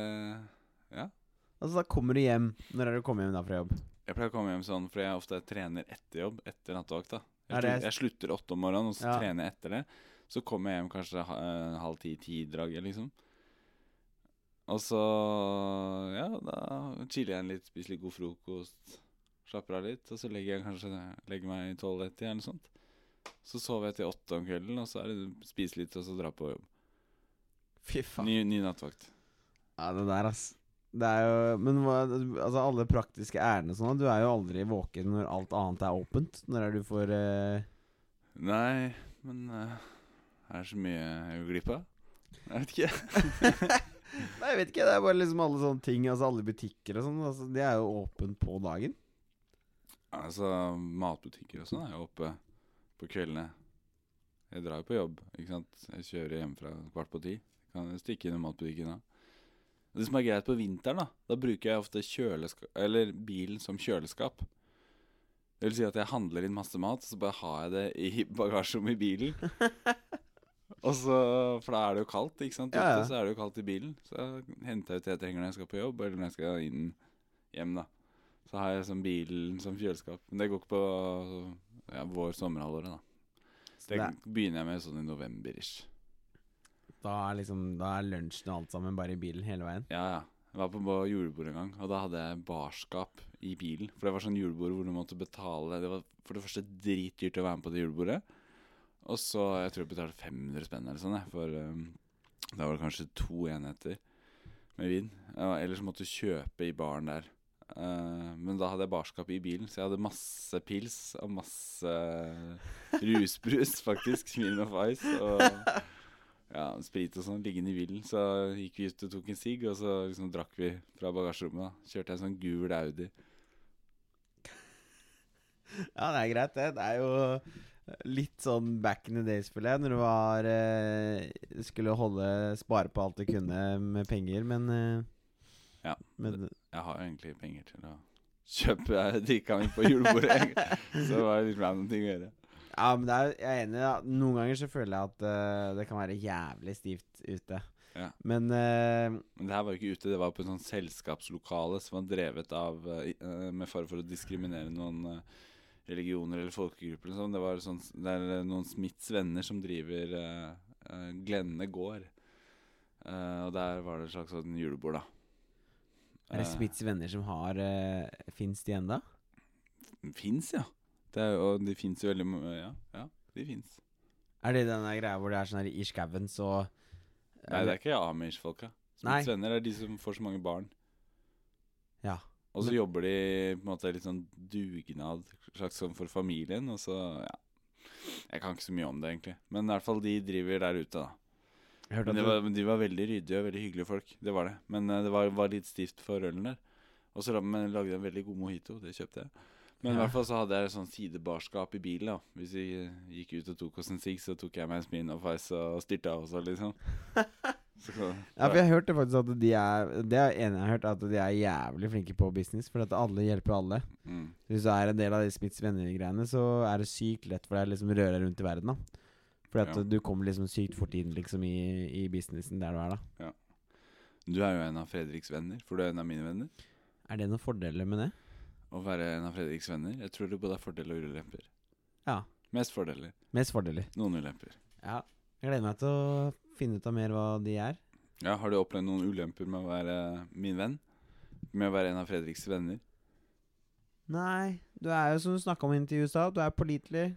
Speaker 1: Altså, da kommer du hjem. Når er det du kommer hjem da fra jobb?
Speaker 2: Jeg pleier å komme hjem sånn, for jeg ofte trener etter jobb, etter nattevakt. da. Jeg,
Speaker 1: Er det-
Speaker 2: slu- jeg slutter åtte om morgenen, og så
Speaker 1: Ja.
Speaker 2: trener jeg etter det. Så kommer jeg hjem kanskje ha- eh, halv ti-ti-draget, liksom. Og så ja, da chiller jeg litt, spiser litt god frokost, slapper av litt. Og så legger jeg kanskje legger meg i tolv-ett eller noe sånt. Så sover jeg til åtte om kvelden, og så er det spise litt, og så dra på jobb.
Speaker 1: Fy faen.
Speaker 2: Ny, ny nattvakt.
Speaker 1: Ja, det der, ass. Det er jo Men hva, altså, alle praktiske ærender og sånn, du er jo aldri våken når alt annet er åpent. Når er du for eh,
Speaker 2: Nei, men eh, er det så mye jeg går glipp av? Jeg vet ikke.
Speaker 1: Nei, jeg vet ikke. Det er bare liksom alle sånne ting. Altså alle butikker og sånn. Altså, de er jo åpent på dagen.
Speaker 2: Altså, matbutikker og sånn er jo oppe på kveldene. Jeg drar jo på jobb, ikke sant. Jeg kjører hjemmefra kvart på ti. Kan jeg stikke innom matbutikken da. Det som er greit på vinteren, da, da bruker jeg ofte kjøleska- eller bilen som kjøleskap. Det vil si at jeg handler inn masse mat, så bare har jeg det i bagasjerommet i bilen. Og så, For da er det jo kaldt, ikke sant.
Speaker 1: Ja, ja.
Speaker 2: Ute så er det jo kaldt i bilen. Så jeg henter jeg ut det jeg trenger når jeg skal på jobb, eller når jeg skal inn hjem, da. Så har jeg sånn bilen som kjøleskap. Men det går ikke på ja, vår sommerhalvåret, da.
Speaker 1: Så
Speaker 2: Det
Speaker 1: det,
Speaker 2: begynner jeg med sånn i november-ish.
Speaker 1: da er liksom Da er lunsjen og alt sammen bare i bilen hele veien.
Speaker 2: Ja, ja. Jeg var på på julebord en gang, og da hadde jeg barskap i bilen. For det var sånn julebord hvor du måtte betale Det var for det første dritdyrt å være med på det julebordet. Og så Jeg tror jeg betalte 500 spenn eller sånn, jeg, for um, da var det kanskje to enheter med vin. Ja, ellers måtte du kjøpe i baren der. Eh, men da hadde jeg barskap i bilen, så jeg hadde masse pils og masse rusbrus, faktisk. Smirnoff Ice og ja, sprit og sånn liggende i bilen. Så gikk vi ut og tok en sigg, og så liksom drakk vi fra bagasjerommet. da Kjørte jeg en sånn gul Audi.
Speaker 1: Ja, det er greit, det. Det er jo litt sånn back in the days, føler jeg, når du var eh, Skulle holde spare på alt du kunne med penger, men eh,
Speaker 2: Ja.
Speaker 1: Men
Speaker 2: Jeg har jo egentlig penger til å kjøpe drikka mi på julebordet, egentlig. så det var jo litt random ting å gjøre.
Speaker 1: Ja, men det er, jeg er enig. Da. Noen ganger så føler jeg at eh, det kan være jævlig stivt ute.
Speaker 2: Ja.
Speaker 1: Men eh,
Speaker 2: Men det her var jo ikke ute, det var på et sånt selskapslokale som var drevet av eh, i- eh, Med fare for å diskriminere noen eh, religioner eller folkegrupper eller sånn. Det var sånn, det er eh, noen Smiths venner som driver eh, eh, Glenne gård. Eh, og der var det et slags sånn julebord, da.
Speaker 1: er det
Speaker 2: Eh,
Speaker 1: Smiths venner som har uh, Fins de ennå?
Speaker 2: De fins, ja. Det er, jo- og de fins jo veldig ma- Ja, ja de fins.
Speaker 1: Er det den der greia hvor det er sånn her i skauen, så
Speaker 2: Nei, det er ikke Amish-folka.
Speaker 1: Nei.
Speaker 2: Smiths venner er de som får så mange barn.
Speaker 1: Ja.
Speaker 2: Og så
Speaker 1: Men-
Speaker 2: jobber de på en måte litt sånn dugnad, slags sånn for familien, og så Ja. Jeg kan ikke så mye om det, egentlig. Men i hvert fall de driver der ute, da.
Speaker 1: Jeg hørte
Speaker 2: Men
Speaker 1: eh, at
Speaker 2: de
Speaker 1: du-
Speaker 2: var, men de var veldig ryddige og veldig hyggelige folk. Det var det. Men eh, det var, var litt stivt for ølen der. Og så la- men lagde jeg en veldig god mojito. Det kjøpte jeg. Men i
Speaker 1: Ja.
Speaker 2: hvert fall så hadde jeg sånn sidebarskap i bilen. da Hvis vi eh, gikk ut og tok oss en sigg, så tok jeg meg en smil og feis og styrta også, liksom. Så,
Speaker 1: Ja, for jeg hørte faktisk at de er Det er ene jeg har hørt, at de er jævlig flinke på business. For at alle hjelper alle.
Speaker 2: mm.
Speaker 1: Hvis du er en del av de Smiths venner-greiene, så er det sykt lett for deg å liksom å røre deg rundt i verden. da Fordi at
Speaker 2: Ja.
Speaker 1: du kommer liksom sykt fort inn liksom i, i businessen der du er, da.
Speaker 2: Du er jo en av Fredriks venner, for du er en av mine venner.
Speaker 1: Er det noen fordeler med det?
Speaker 2: Å være en av Fredriks venner Jeg tror det både er fordeler og ulemper.
Speaker 1: Ja.
Speaker 2: Mest fordeler.
Speaker 1: Mest fordeler.
Speaker 2: Noen ulemper.
Speaker 1: Ja. Jeg gleder meg til å finne ut av mer hva de er.
Speaker 2: Ja, Har du opplevd noen ulemper med å være min venn? Med å være en av Fredriks venner?
Speaker 1: Nei, du er jo som du snakka om inntil i USA, du er pålitelig.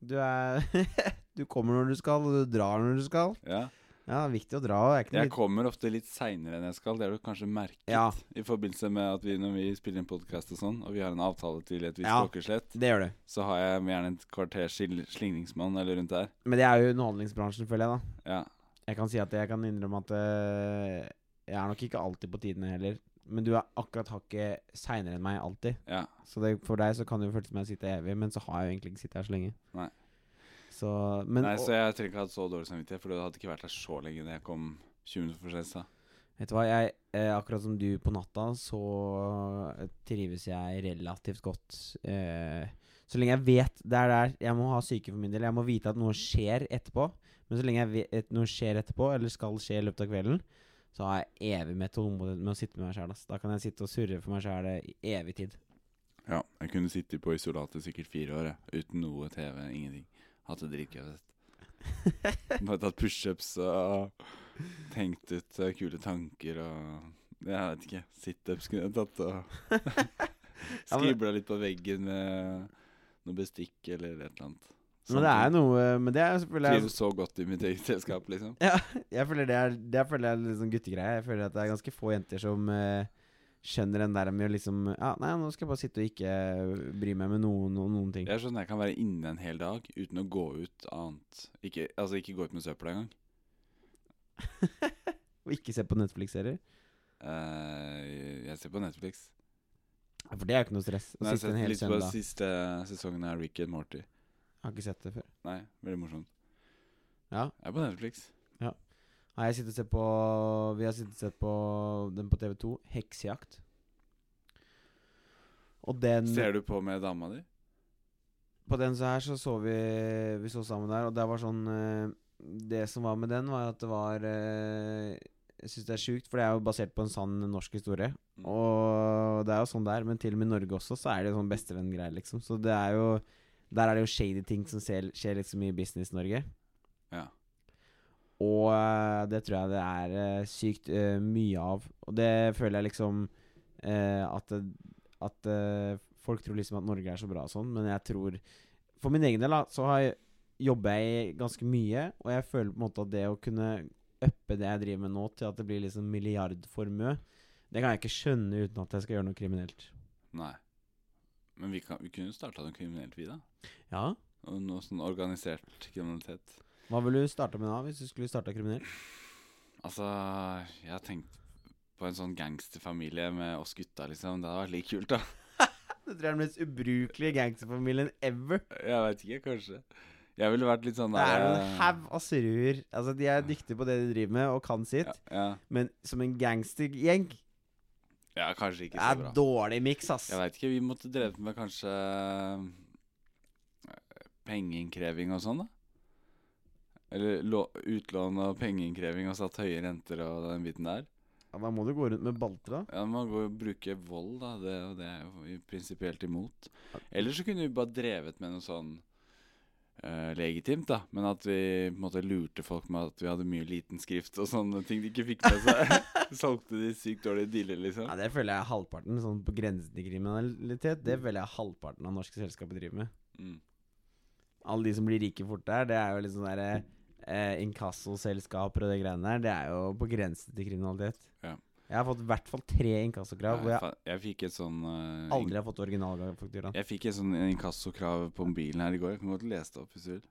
Speaker 1: Du er Du kommer når du skal, og du drar når du skal.
Speaker 2: Ja
Speaker 1: Ja, det er viktig å dra. Det er ikke noe
Speaker 2: Jeg
Speaker 1: litt-
Speaker 2: kommer ofte litt seinere enn jeg skal, det har du kanskje merket.
Speaker 1: Ja.
Speaker 2: I forbindelse med at vi, når vi spiller inn podkast og sånn, og vi har en avtale til et visst
Speaker 1: Ja.
Speaker 2: klokkeslett,
Speaker 1: det gjør du.
Speaker 2: så har jeg gjerne et kvarters skil- slingringsmonn eller rundt der.
Speaker 1: Men det er jo underholdningsbransjen, føler jeg, da.
Speaker 2: Ja.
Speaker 1: Jeg kan si at jeg kan innrømme at eh, jeg er nok ikke alltid på tidene heller. Men du er akkurat hakket seinere enn meg alltid.
Speaker 2: ja.
Speaker 1: Så det, for deg så kan det jo føles som jeg sitter evig, men så har jeg jo egentlig ikke sittet her så lenge.
Speaker 2: Nei.
Speaker 1: Så, men,
Speaker 2: Nei,
Speaker 1: og-
Speaker 2: så jeg trenger ikke ha så dårlig samvittighet, for du hadde ikke vært der så lenge da jeg kom 20 minutter for sent. da.
Speaker 1: Vet du hva, jeg, eh, akkurat som du på natta, så eh, trives jeg relativt godt. Eh, så lenge jeg vet det er der Jeg må ha syke for min del. Jeg må vite at noe skjer etterpå. Men så lenge jeg vet at noe skjer etterpå, eller skal skje i løpet av kvelden, så har jeg evig med tålmodighet med å sitte med meg sjæl. Da kan jeg sitte og surre for meg sjæl i evig tid.
Speaker 2: Ja, jeg kunne sittet på isolatet sikkert fire år, jeg, uten noe TV, ingenting. Hatt det dritgøy. vet du. Bare tatt pushups og tenkt ut eh, kule tanker og Jeg vet ikke. Situps kunne jeg tatt og Skribla litt på veggen med noe bestikk eller et eller annet.
Speaker 1: Men det er jo noe Men det er selvfølgelig
Speaker 2: Trives så godt i mitt eget selskap, liksom.
Speaker 1: Jeg føler det er, det er- føler jeg er litt sånn guttegreie. Jeg føler at det er ganske få jenter som eh, skjønner den der med å liksom Ja, nei, nå skal jeg bare sitte og ikke eh, bry meg med noen og noen ting.
Speaker 2: Det er sånn jeg kan være inne en hel dag uten å gå ut annet Ikke, altså, ikke gå ut med søpla engang.
Speaker 1: Og ikke se på Netflix-serier.
Speaker 2: Eh, jeg ser på Netflix.
Speaker 1: Ja, For det er jo ikke noe stress. Å
Speaker 2: Men jeg
Speaker 1: sitte en
Speaker 2: har sett
Speaker 1: hel
Speaker 2: litt på
Speaker 1: søndag.
Speaker 2: siste sesongen av Rick and Morty.
Speaker 1: Har ikke sett det før.
Speaker 2: Nei, veldig morsomt.
Speaker 1: Ja.
Speaker 2: Jeg er på Netflix.
Speaker 1: Nei, jeg sitter og ser på Vi har sittet og sett på den på TV2, 'Heksejakt'. Og den
Speaker 2: Ser du på med dama di?
Speaker 1: På den så her så så vi Vi så sammen der, og det var sånn eh, Det som var med den, var at det var eh, Jeg syns det er sjukt, for det er jo basert på en sann norsk historie.
Speaker 2: Mm.
Speaker 1: Og det er jo sånn det er, men til og med i Norge også så er det jo sånn bestevenngreie, liksom. Så det er jo Der er det jo shady ting som skjer, skjer liksom i Business-Norge.
Speaker 2: Ja.
Speaker 1: Og eh, det tror jeg det er eh, sykt eh, mye av. Og det føler jeg liksom eh, at, det- at eh, folk tror liksom at Norge er så bra og sånn, men jeg tror For min egen del da, så har jeg, jobber jeg ganske mye, og jeg føler på en måte at det å kunne uppe det jeg driver med nå, til at det blir liksom milliardformue, det kan jeg ikke skjønne uten at jeg skal gjøre noe kriminelt.
Speaker 2: Nei. Men vi, kan, vi kunne jo starta noe kriminelt, vi, da.
Speaker 1: Ja?
Speaker 2: Og Noe sånn organisert kriminalitet.
Speaker 1: Hva ville du starta med da, hvis du skulle starta kriminelt?
Speaker 2: Altså, jeg har tenkt på en sånn gangsterfamilie med oss gutta, liksom. Det hadde vært litt kult, da.
Speaker 1: Det tror jeg er den mest ubrukelige gangsterfamilien ever.
Speaker 2: Jeg veit ikke, kanskje. Jeg ville vært litt sånn
Speaker 1: Det er
Speaker 2: der,
Speaker 1: en haug av surruer. Altså, de er dyktige på det de driver med, og kan sitt,
Speaker 2: ja, ja,
Speaker 1: men som en gangstergjeng det
Speaker 2: ja, kanskje ikke så
Speaker 1: er
Speaker 2: bra.
Speaker 1: dårlig miks, ass.
Speaker 2: Jeg veit ikke. Vi måtte drevet med kanskje eh, pengeinnkreving og sånn, da. Eller lå- utlån og pengeinnkreving og satt høye renter og den biten der.
Speaker 1: Ja, da må du gå rundt med balter, da.
Speaker 2: Ja, Man går jo bruke vold, da. Det, og det er jo vi prinsipielt imot. Eller så kunne vi bare drevet med noe sånn eh, legitimt, da. Men at vi på en måte lurte folk med at vi hadde mye liten skrift og sånne ting de ikke fikk med seg. Solgte de sykt dårlige dealer, liksom.
Speaker 1: Ja, det føler jeg er halvparten, sånn på grensen til kriminalitet. Det føler jeg er halvparten av norske selskaper driver med.
Speaker 2: Mm.
Speaker 1: Alle de som blir rike fort der, det er jo litt sånn derre eh, inkassoselskaper og det greiene der. Det er jo på grensen til kriminalitet.
Speaker 2: Ja.
Speaker 1: Jeg har fått i hvert fall tre inkassokrav hvor
Speaker 2: jeg,
Speaker 1: jeg
Speaker 2: fa- jeg fikk et sånn eh, ink-
Speaker 1: aldri har fått originalfakturaen.
Speaker 2: Jeg fikk et sånn inkassokrav på mobilen her i går. Jeg kan godt lese det opp hvis du vil.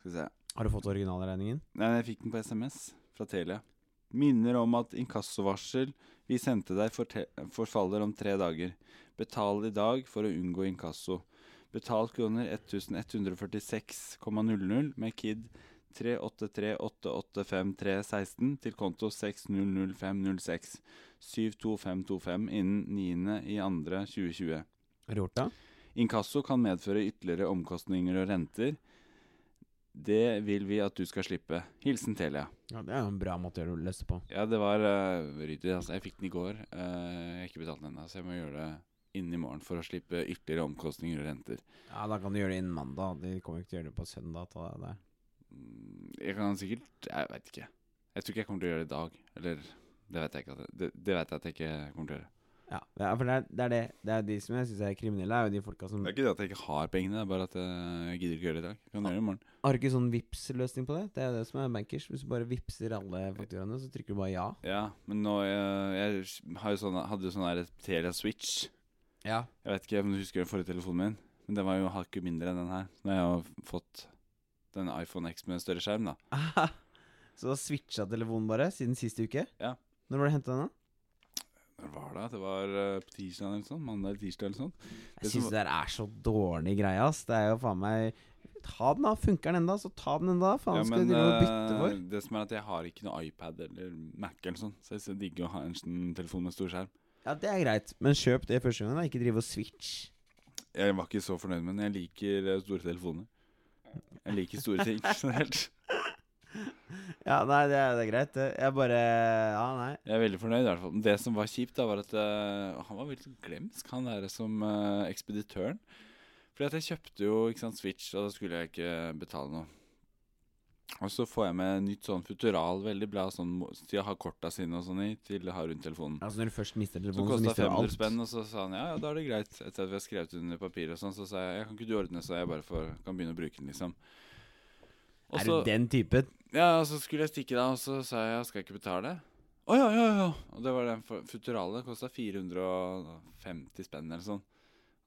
Speaker 2: Skal vi se.
Speaker 1: Har du fått originalregningen?
Speaker 2: Nei, jeg fikk den på SMS fra Telia. Minner om at inkassovarsel vi sendte deg forte- forfaller om tre dager. Betal i dag for å unngå inkasso. Betal kroner 1146,00 med KID 383885316 til konto 600506 72525 innen 9.2.2020.
Speaker 1: Har du gjort det?
Speaker 2: Inkasso kan medføre ytterligere omkostninger og renter. Det vil vi at du skal slippe. Hilsen Telia.
Speaker 1: Ja, det er jo en bra måte å løse det på.
Speaker 2: Ja, det var uh, ryddig. Altså. Jeg fikk den i går. Eh, jeg har ikke betalt den ennå, så jeg må gjøre det innen i morgen for å slippe ytterligere omkostninger og renter.
Speaker 1: Ja, da kan du gjøre det innen mandag. De kommer jo ikke til å gjøre det på søndag. Ta det der.
Speaker 2: Mm, Jeg kan sikkert Jeg veit ikke. Jeg tror ikke jeg kommer til å gjøre det i dag. Eller det vet jeg ikke. At, det, det vet jeg at jeg ikke kommer til å gjøre.
Speaker 1: Ja, det er- for det er, det er det. Det er de som jeg syns er kriminelle, er jo de folka som
Speaker 2: Det er ikke det at jeg ikke har pengene, det er bare at eh, jeg gidder ikke gjøre det i dag. Jeg kan gjøre det i morgen.
Speaker 1: Har du ikke sånn Vipps-løsning på det? Det er det som er bankers. Hvis du bare vippser alle fakturaene, så trykker du bare ja.
Speaker 2: Ja, men nå eh, Jeg har jo sånn- hadde jo sånn der Telia Switch.
Speaker 1: Ja.
Speaker 2: Jeg vet ikke om du husker den forrige telefonen min, men den var jo hakket mindre enn den her. Nå har jeg jo fått den iPhone X med en større skjerm, da.
Speaker 1: Så du har switcha telefonen bare siden sist uke?
Speaker 2: Ja.
Speaker 1: Når var det du henta den? da?
Speaker 2: Når var det? Det var eh, på tirsdag eller sånn? Mandag eller tirsdag eller sånn?
Speaker 1: Jeg
Speaker 2: Det som
Speaker 1: syns det der er så dårlig greie, ass. Det er jo faen meg Ta den, da. Funker den enda, så ta den enda. Faen, skal du drive og bytte
Speaker 2: eh,
Speaker 1: for?
Speaker 2: det som er at jeg har ikke noe iPad eller Mac eller sånn, så jeg synes det digger å ha en sånn telefon med stor skjerm.
Speaker 1: Ja, det er greit, men kjøp det første gangen, da. Ikke drive og switch.
Speaker 2: Jeg var ikke så fornøyd med den. Jeg liker eh, store telefoner. Jeg liker store ting generelt.
Speaker 1: Ja, nei, det er, det er greit. det. Jeg bare Ja, nei.
Speaker 2: Jeg er veldig fornøyd i hvert fall. Men Det som var kjipt, da, var at eh, han var veldig glemsk, han der som eh, ekspeditøren. Fordi at jeg kjøpte jo ikke sant, Switch, og da skulle jeg ikke betale noe. Og så får jeg med nytt sånn Futural, veldig bra, sånn mo- til å ha korta sine og sånn i, til å ha rundt telefonen.
Speaker 1: Altså Når du først mister
Speaker 2: Så
Speaker 1: telefonen, så
Speaker 2: kosta
Speaker 1: mister du
Speaker 2: 500
Speaker 1: alt.
Speaker 2: spenn, og så sa han ja, ja, da er det greit. Etter at vi har skrevet under papir og sånn, så sa jeg ja, kan ikke du ordne så jeg bare får, kan begynne å bruke den, liksom. Og
Speaker 1: Er
Speaker 2: så-
Speaker 1: du den type?
Speaker 2: ja, og så skulle jeg stikke da, og så sa jeg skal jeg ikke betale. Å ja, ja, ja. Og det var den for- futurale. Kosta 450 spenn eller sånn.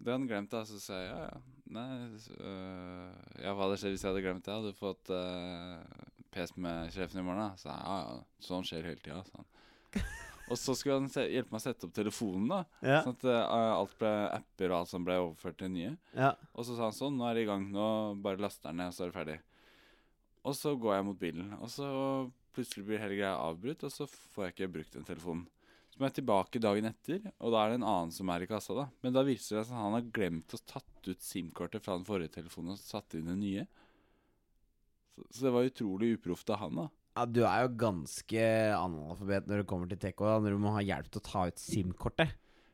Speaker 2: Det hadde han glemt, da. Så sa jeg ja, ja. Nei, s- øh, ja, hva hadde skjedd hvis jeg hadde glemt det? Hadde du fått øh, pes med sjefen i morgen, da? Så sa jeg, ja, ja. Sånn skjer hele tida, sa han. Og så skulle han se, hjelpe meg å sette opp telefonen, da.
Speaker 1: Ja.
Speaker 2: Sånn at øh, alt ble apper og alt som ble overført til nye.
Speaker 1: ja.
Speaker 2: Og så sa han sånn, nå er det i gang, nå bare laster den ned, og så er det ferdig. Og så går jeg mot bilen, og så plutselig blir hele greia avbrutt, og så får jeg ikke brukt den telefonen. Så må jeg tilbake dagen etter, og da er det en annen som er i kassa da. Men da viser det seg at han har glemt å tatt ut SIM-kortet fra den forrige telefonen og satt inn det nye. Så, så det var utrolig uproft av han da.
Speaker 1: ja, du er jo ganske analfabet når det kommer til tech, og når du må ha hjelp til å ta ut SIM-kortet.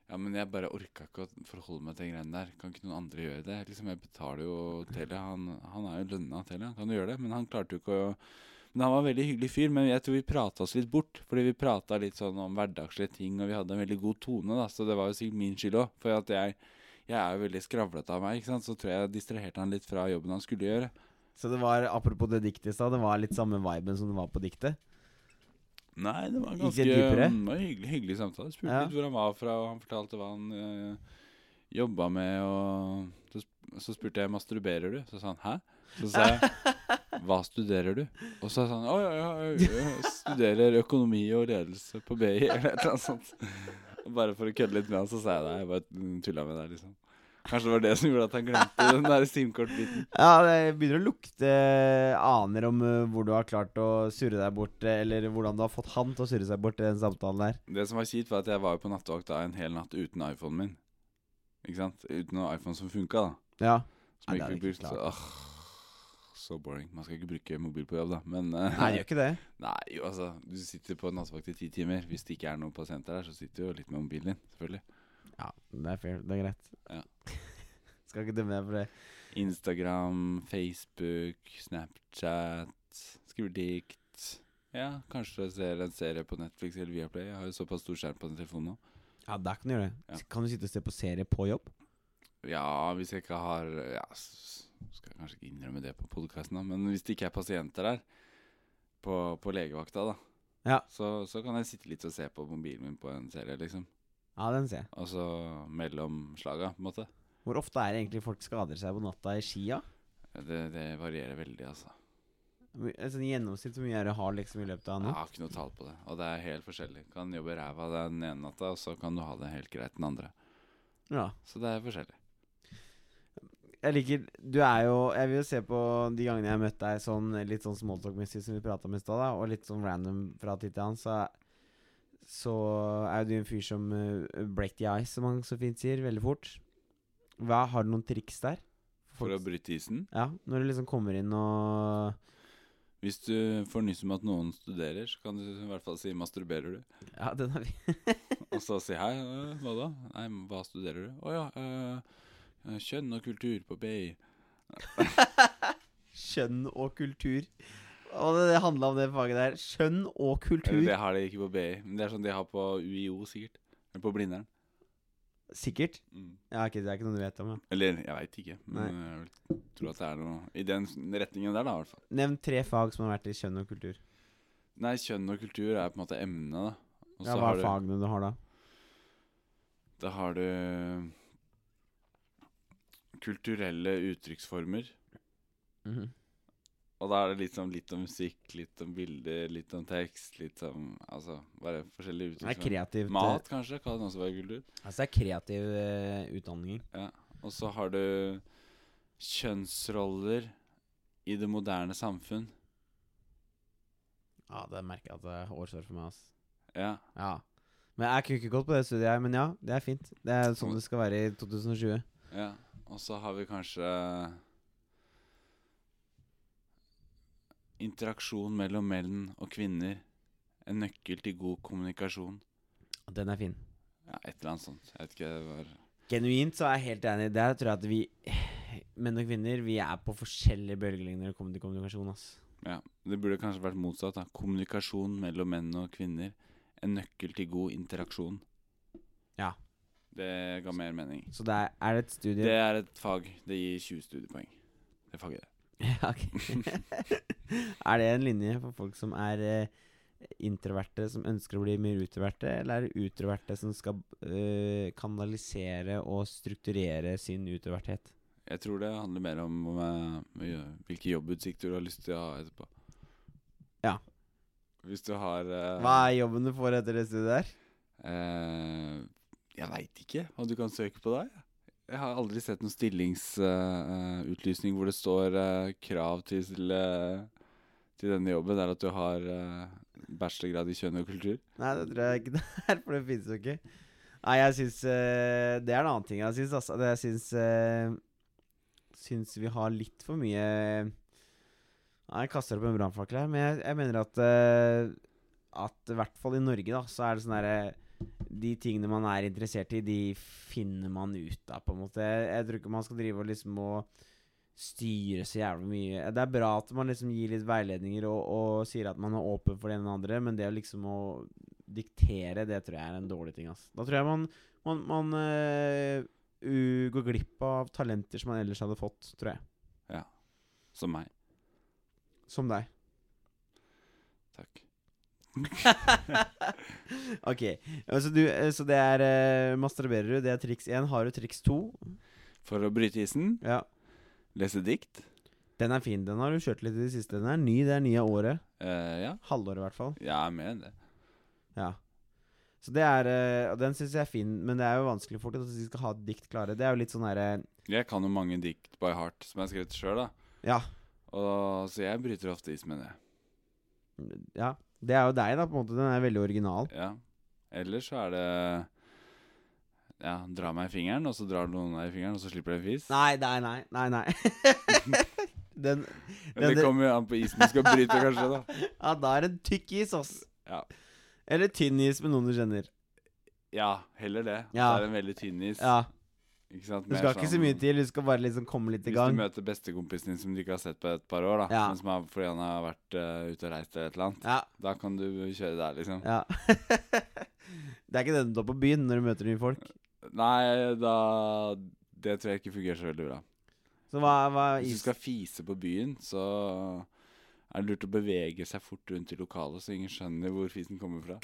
Speaker 2: Ja, men jeg bare orka ikke å forholde meg til greiene der. Kan ikke noen andre gjøre det? Liksom, jeg betaler jo Telia. Han, han er jo lønna av Telia, han kan jo gjøre det? Men han klarte jo ikke å Men han var en veldig hyggelig fyr, men jeg tror vi prata oss litt bort. Fordi vi prata litt sånn om hverdagslige ting, og vi hadde en veldig god tone, da. Så det var jo sikkert min skyld òg. For at jeg, jeg er jo veldig skravlete av meg, ikke sant. Så tror jeg jeg distraherte han litt fra jobben han skulle gjøre.
Speaker 1: Så det var, apropos det diktet i stad, det var litt samme viben som det var på diktet.
Speaker 2: Nei, det var en
Speaker 1: Gikk
Speaker 2: ganske
Speaker 1: det dypere?
Speaker 2: mm, det var en hyggelig, hyggelig samtale. Jeg Spurte
Speaker 1: Ja.
Speaker 2: litt hvor han var fra, og han fortalte hva han øh, jobba med. Og så, sp- så spurte jeg masturberer du? Så sa han hæ? Så sa jeg hva studerer du? Og så sa han å ja, ja, ja, jeg studerer økonomi og ledelse på BI, eller et eller annet sånt. Og bare for å kødde litt med han, så sa jeg det. Jeg bare tulla med deg, liksom. Kanskje det var det som gjorde at han glemte den der SIM-kortbiten.
Speaker 1: Ja, det begynner å lukte aner om eh, hvor du har klart å surre deg bort, eh, eller hvordan du har fått han til å surre seg bort i den samtalen der.
Speaker 2: Det som var kjipt, var at jeg var jo på nattevakt da en hel natt uten iPhonen min. Ikke sant? Uten noen iPhone som funka, da.
Speaker 1: Ja.
Speaker 2: Som
Speaker 1: Nei,
Speaker 2: ikke
Speaker 1: det
Speaker 2: fikk brukt.
Speaker 1: hadde jeg ikke
Speaker 2: Så, åh, så boring. Man skal ikke bruke mobil på jobb, da. Men eh,
Speaker 1: Nei, det gjør ikke det.
Speaker 2: nei, jo, altså. Du sitter på nattevakt i ti timer. Hvis det ikke er noen pasienter der, så sitter du jo litt med mobilen din, selvfølgelig.
Speaker 1: Ja, det er fair. Det er greit.
Speaker 2: Ja.
Speaker 1: Skal ikke dømme deg for det.
Speaker 2: Instagram, Facebook, Snapchat, skriver dikt. Ja, kanskje ser en serie på Netflix eller Viaplay. Jeg har jo såpass stor skjerm på den telefonen nå.
Speaker 1: Ja, der kan du gjøre det.
Speaker 2: Ja.
Speaker 1: S- Kan du sitte og se på serie på jobb?
Speaker 2: Ja, hvis jeg ikke har ja, s- Skal jeg kanskje ikke innrømme det på podkasten, men hvis det ikke er pasienter der på, på legevakta, da,
Speaker 1: Ja.
Speaker 2: så, så kan jeg sitte litt og se på mobilen min på en serie, liksom.
Speaker 1: Ja, den ser jeg.
Speaker 2: Altså mellom slaga, på en måte.
Speaker 1: Hvor ofte er det egentlig folk skader seg på natta i skia?
Speaker 2: Ja, Det, det varierer veldig, altså.
Speaker 1: Hvor- Altså, I gjennomsnitt hvor mye er det du har liksom, i løpet av
Speaker 2: Jeg
Speaker 1: nå?
Speaker 2: har ikke noe tall på det, og det er helt forskjellig. Kan jobbe ræva den ene natta, og så kan du ha det helt greit den andre.
Speaker 1: Ja.
Speaker 2: Så det er forskjellig.
Speaker 1: Jeg liker Du er jo Jeg vil jo se på de gangene jeg har møtt deg sånn litt sånn smalltalk-messig som vi prata om i stad, da, og litt sånn random fra tid til annen, så så er jo du en fyr som eh, break the ice, som han så fint sier, veldig fort. Hva, har du noen triks der?
Speaker 2: For å bryte isen
Speaker 1: Ja, når du liksom kommer inn og
Speaker 2: Hvis du får nyss om at noen studerer, så kan du i hvert fall si 'masturberer du'?
Speaker 1: Ja, den har vi.
Speaker 2: Og så sier jeg «Øh, Hva da? Nei, men hva studerer du? Å ja, øh, kjønn og kultur på BI.
Speaker 1: Kjønn og kultur. Og det, det handla om det faget der. Kjønn og
Speaker 2: Eller
Speaker 1: kultur.
Speaker 2: det har de ikke på BI, men det er sånn de har på UiO sikkert. Eller på Blindern. Mm.
Speaker 1: Sikkert. Ja, ok, det er ikke noe du vet om. Ja.
Speaker 2: Eller jeg veit ikke, men
Speaker 1: Nei.
Speaker 2: jeg vil tro at det er noe i den s- retningen der, da, i hvert fall.
Speaker 1: Nevn tre fag som har vært i kjønn og kultur.
Speaker 2: Nei, kjønn og kultur er på en måte emnet, da. Og
Speaker 1: Ja,
Speaker 2: så
Speaker 1: hva
Speaker 2: har
Speaker 1: er
Speaker 2: du,
Speaker 1: fagene du har da?
Speaker 2: da har du kulturelle uttrykksformer. Mhm. Og da er det litt sånn litt om musikk, litt om bilder, litt om tekst, litt om Altså bare forskjellige
Speaker 1: Det er
Speaker 2: uttrykksformer.
Speaker 1: kreativt.
Speaker 2: Mat, kanskje, kan også være kultur.
Speaker 1: eh, Altså, det er kreativ eh, utdanning.
Speaker 2: Og så har du kjønnsroller i det moderne samfunn.
Speaker 1: Ja, det merker jeg at det er årsår for meg, ass.
Speaker 2: Ja.
Speaker 1: Ja. Men jeg kunne ikke gått på det studiet her, men ja, det er fint. Det er sånn det skal være i 2020.
Speaker 2: ja. Og så har vi kanskje Interaksjon mellom menn og kvinner. En nøkkel til god kommunikasjon.
Speaker 1: Den er fin.
Speaker 2: Ja, et eller annet sånt. Jeg vet ikke det var
Speaker 1: Genuint så er jeg helt enig. Der tror jeg at vi menn og kvinner Vi er på forskjellige bølgelengder når det kommer til kommunikasjon. ass
Speaker 2: Ja, Det burde kanskje vært motsatt. da Kommunikasjon mellom menn og kvinner. En nøkkel til god interaksjon.
Speaker 1: Ja.
Speaker 2: Det ga mer mening.
Speaker 1: Så det er, er det et studie
Speaker 2: Det er et fag. Det gir 20 studiepoeng. Det faget.
Speaker 1: Ja, ok. er det en linje for folk som er eh, introverte, som ønsker å bli mer utroverte, eller er det utroverte som skal eh, kanalisere og strukturere sin utroverthet?
Speaker 2: Jeg tror det handler mer om eh, hvilke jobbutsikter du har lyst til å ha etterpå.
Speaker 1: Ja.
Speaker 2: Hvis du har eh,
Speaker 1: Hva er jobben du får etter det studiet der?
Speaker 2: eh, Jeg veit ikke hva du kan søke på der. Jeg har aldri sett noen stillingsutlysning hvor det står eh, krav til, eh, til denne jobben. Det er at du har eh, bachelorgrad i kjønn og kultur.
Speaker 1: Nei, det tror jeg ikke det er, for det finnes jo ikke. Nei, jeg syns eh, Det er en annen ting jeg syns, altså. Det jeg syns eh, Syns vi har litt for mye eh, Nei, jeg kaster opp en brannfakkel her, men jeg, jeg mener at eh, At i hvert fall i Norge, da, så er det sånn derre De tingene man er interessert i, de finner man ut av, på en måte. Jeg, jeg tror ikke man skal drive og liksom å styre så jævlig mye. Det er bra at man liksom gir litt veiledninger og, og sier at man er åpen for det ene og det andre, men det å liksom å diktere, det tror jeg er en dårlig ting. Ass. Da tror jeg man, man, man eh, u- går glipp av talenter som man ellers hadde fått, tror jeg.
Speaker 2: Som meg.
Speaker 1: Som deg.
Speaker 2: Takk.
Speaker 1: ok, så, du, eh, så det er eh, masturberer du, det er triks én. Har du triks to?
Speaker 2: For å bryte isen,
Speaker 1: Ja.
Speaker 2: lese dikt.
Speaker 1: Den er fin, den har du kjørt litt i det siste. Den er ny, det er ny av året.
Speaker 2: Eh, ja,
Speaker 1: Halvåret, i hvert fall.
Speaker 2: jeg er med i det.
Speaker 1: Ja. Så det er eh, Og den syns jeg er fin, men det er jo vanskelig for dem at de skal ha dikt klare. Det er jo litt sånn herre
Speaker 2: Jeg kan jo mange dikt by heart som jeg har skrevet sjøl, da.
Speaker 1: Ja.
Speaker 2: Og, så jeg bryter ofte is med det.
Speaker 1: Ja. Det er jo deg, da, på en måte. Den er veldig original.
Speaker 2: Ja. Ellers så er det Ja, dra meg i fingeren, og så drar noen deg i fingeren, og så slipper jeg fis.
Speaker 1: Nei, nei, nei. Nei, nei. den
Speaker 2: Men det
Speaker 1: den-
Speaker 2: kommer jo an på isen du skal bryte, kanskje, da.
Speaker 1: Ja, da er det en tykk is, ass.
Speaker 2: Ja.
Speaker 1: Eller tynn is med noen du kjenner.
Speaker 2: Ja, heller det.
Speaker 1: Ja.
Speaker 2: Det er en veldig tynn is.
Speaker 1: Ja.
Speaker 2: Ikke sant?
Speaker 1: Du
Speaker 2: Mer
Speaker 1: skal ikke så
Speaker 2: sånn-
Speaker 1: mye til, du skal bare liksom komme litt i
Speaker 2: Hvis
Speaker 1: gang.
Speaker 2: du møter bestekompisen din som du ikke har sett på et par år, da,
Speaker 1: Ja.
Speaker 2: men som er fordi han har vært eh, ute og reist eller et eller annet,
Speaker 1: Ja.
Speaker 2: da kan du kjøre der, liksom.
Speaker 1: ja. det er ikke den du tar på byen når du møter nye folk.
Speaker 2: Nei, da Det tror jeg ikke fungerer så veldig bra.
Speaker 1: Så hva, hva er
Speaker 2: Hvis
Speaker 1: is?
Speaker 2: du skal fise på byen, så er det lurt å bevege seg fort rundt i lokalet, så ingen skjønner hvor fisen kommer fra.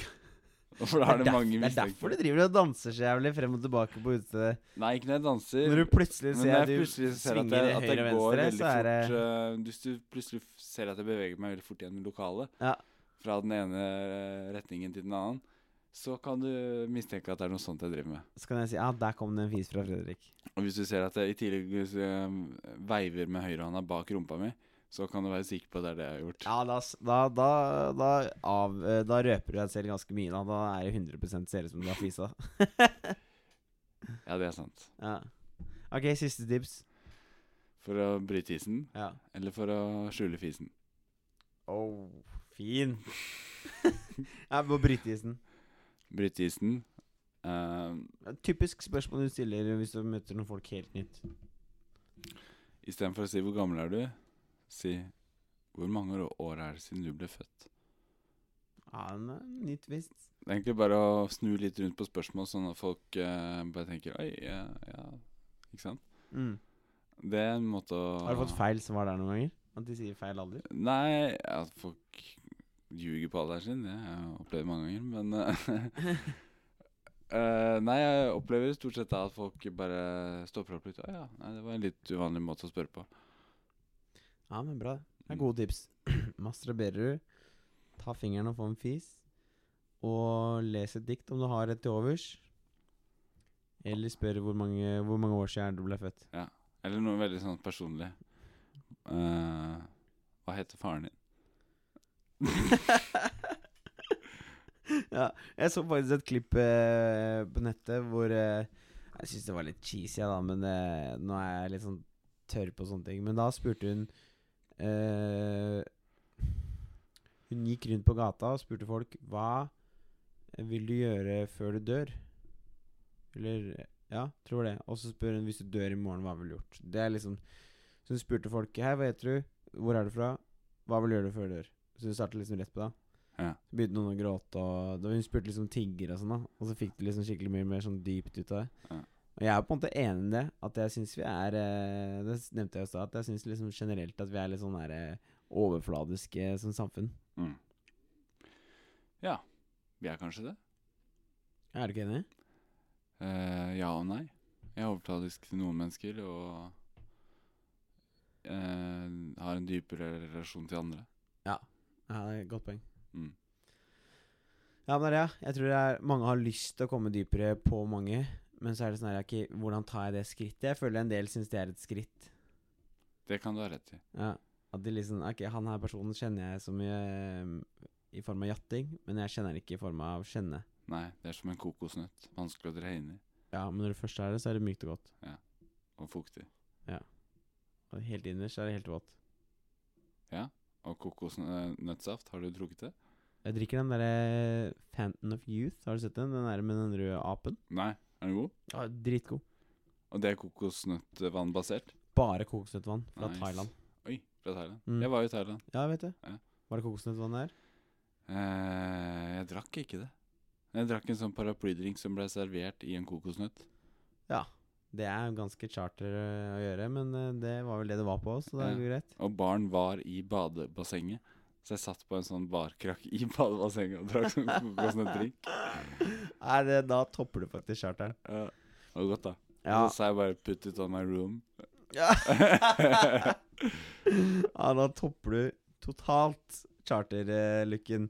Speaker 2: Og For da er det
Speaker 1: derf-
Speaker 2: mange
Speaker 1: det er derfor
Speaker 2: mistenkte.
Speaker 1: du driver og danser så jævlig frem og tilbake på utestedet.
Speaker 2: Nei, ikke når jeg danser.
Speaker 1: Når du plutselig
Speaker 2: men
Speaker 1: ser
Speaker 2: når
Speaker 1: at
Speaker 2: jeg
Speaker 1: du
Speaker 2: plutselig ser at
Speaker 1: svinger
Speaker 2: jeg, at jeg
Speaker 1: høyre og
Speaker 2: går
Speaker 1: venstre,
Speaker 2: veldig
Speaker 1: så er det
Speaker 2: fort eh, Hvis du plutselig f- ser at jeg beveger meg veldig fort gjennom lokalet,
Speaker 1: Ja.
Speaker 2: fra den ene eh, retningen til den annen, så kan du mistenke at det er noe sånt jeg driver med.
Speaker 1: Så kan jeg si ja, der kom det en fis fra Fredrik.
Speaker 2: Og hvis du ser at jeg i tillegg eh, veiver med høyrehånda bak rumpa mi, så kan du være sikker på at det er det jeg har gjort.
Speaker 1: Ja, da, s- da, da, da, av, eh, da røper du deg selv ganske mye. Da, da er det 100 ser ut som du har fisa.
Speaker 2: ja det er sant.
Speaker 1: Ja. Ok, siste tips.
Speaker 2: For å bryte isen,
Speaker 1: Ja.
Speaker 2: eller for å skjule fisen.
Speaker 1: Oh, fin. ja, på bryteisen.
Speaker 2: Bryte isen ehm,
Speaker 1: Typisk spørsmål du stiller hvis du møter noen folk helt nytt.
Speaker 2: i stedet Istedenfor å si 'hvor gammel er du', si 'hvor mange år- år er det siden du ble født'?
Speaker 1: Ja, men, nytt visst.
Speaker 2: Det er egentlig bare å snu litt rundt på spørsmål, sånn at folk eh, bare tenker 'oi, ja, ja'. Ikke sant?
Speaker 1: Mm.
Speaker 2: Det er en måte å
Speaker 1: Har du fått feil svar der noen ganger? At de sier feil alder?
Speaker 2: Nei, at folk ljuger på alderen sin. Det har jeg opplevd mange ganger, men eh, eh, Nei, jeg opplever stort sett da at folk bare stopper opp litt. Å ja, nei, det var en litt uvanlig måte å spørre på.
Speaker 1: Ja, men bra. Det er gode tips. Masturberer du, ta fingeren og få en fis, og les et dikt om du har et til overs. Eller spør hvor mange, hvor mange år siden er det du ble født.
Speaker 2: Eller noe veldig sånn personlig. Eh, hva heter faren din?
Speaker 1: ja, jeg så faktisk et klipp eh, på nettet hvor eh, Jeg syns det var litt cheesy, ja, da, men eh, nå er jeg litt sånn tørr på sånne ting. Men da spurte hun eh, Hun gikk rundt på gata og spurte folk hva vil du gjøre før du dør? Eller Ja, tror det. Og så spør hun hvis du dør i morgen, hva ville du gjort? Det er liksom Så hun spurte folk Hei, hva heter du? Hvor er du fra? Hva vil du gjøre før du dør? Så du startet liksom rett på det.
Speaker 2: Ja.
Speaker 1: Så begynte noen å gråte, og da hun spurte liksom tigger og sånn, da. Og så fikk du liksom skikkelig mye mer sånn dypt ut av det.
Speaker 2: Ja.
Speaker 1: Og jeg er på en måte enig i det, at jeg syns vi er eh, Det s- nevnte jeg i stad, at jeg syns liksom generelt at vi er litt sånn der eh, overfladiske som samfunn.
Speaker 2: Mm. Ja, vi er kanskje det.
Speaker 1: Er du ikke enig?
Speaker 2: Eh, ja og nei. Jeg er overfladisk til noen mennesker og eh, har en dypere relasjon til andre.
Speaker 1: Ja, det er et godt poeng.
Speaker 2: Mm.
Speaker 1: Ja, men det er det. ja. Jeg tror det er, mange har lyst til å komme dypere på mange. Men så er det sånn her, ok, hvordan tar jeg det skrittet? Jeg føler en del syns det er et skritt.
Speaker 2: Det kan du ha rett i.
Speaker 1: Ja, at de liksom, ok, han her personen kjenner jeg så mye eh, i form av jatting, men jeg kjenner ikke i form av kjenne.
Speaker 2: Nei, det er som en kokosnøtt. Vanskelig å dreie inn i.
Speaker 1: Ja, men når det først er det, så er det mykt og godt.
Speaker 2: Og fuktig.
Speaker 1: Og helt innerst er det helt vått.
Speaker 2: Og kokosnøttsaft, har du drukket det?
Speaker 1: Jeg drikker den derre Phantom of Youth, har du sett den? Den der med den røde apen.
Speaker 2: Nei. Er den god?
Speaker 1: Ja, dritgod.
Speaker 2: Og det er kokosnøttvannbasert?
Speaker 1: Bare kokosnøttvann fra
Speaker 2: Nice.
Speaker 1: Thailand.
Speaker 2: Oi, fra Thailand.
Speaker 1: Mm.
Speaker 2: Jeg var i Thailand.
Speaker 1: Ja, vet du.
Speaker 2: Ja.
Speaker 1: Var det kokosnøttvann der?
Speaker 2: Eh, jeg drakk ikke det. Jeg drakk en sånn paraplydrink som ble servert i en kokosnøtt.
Speaker 1: Det er jo ganske charter eh, å gjøre, men eh, det var vel det det var på oss, så det
Speaker 2: Ja.
Speaker 1: er jo greit.
Speaker 2: Og baren var i badebassenget. Så jeg satt på en sånn barkrakk i badebassenget og drakk sånn kokosnøttdrikk.
Speaker 1: Nei, det- da topper du faktisk charteren.
Speaker 2: Ja, det var godt, da.
Speaker 1: Ja.
Speaker 2: Og så sa jeg bare 'put it on my room'.
Speaker 1: Ja. ja, da topper du totalt charterlykken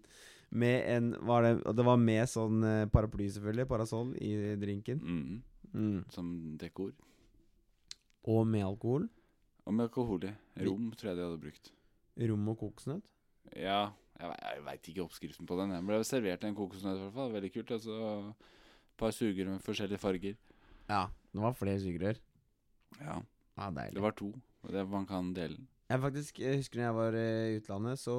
Speaker 1: med en var det, Og det var med sånn eh, paraply, selvfølgelig, parasoll, i drinken.
Speaker 2: Mhm,
Speaker 1: Mm.
Speaker 2: som dekor.
Speaker 1: Og med alkohol.
Speaker 2: Og med alkohol i. Rom tror jeg de hadde brukt.
Speaker 1: Rom og kokosnøtt.
Speaker 2: Ja, jeg, ve- jeg veit ikke oppskriften på den. Jeg ble servert en kokosnøtt, i hvert fall. Veldig kult. Og så et par sugerør med forskjellige farger.
Speaker 1: Ja, det var flere sugerør.
Speaker 2: Ja,
Speaker 1: Ja, deilig.
Speaker 2: Det var to. Og det man kan dele. den.
Speaker 1: Jeg faktisk jeg husker når jeg var eh, i utlandet, så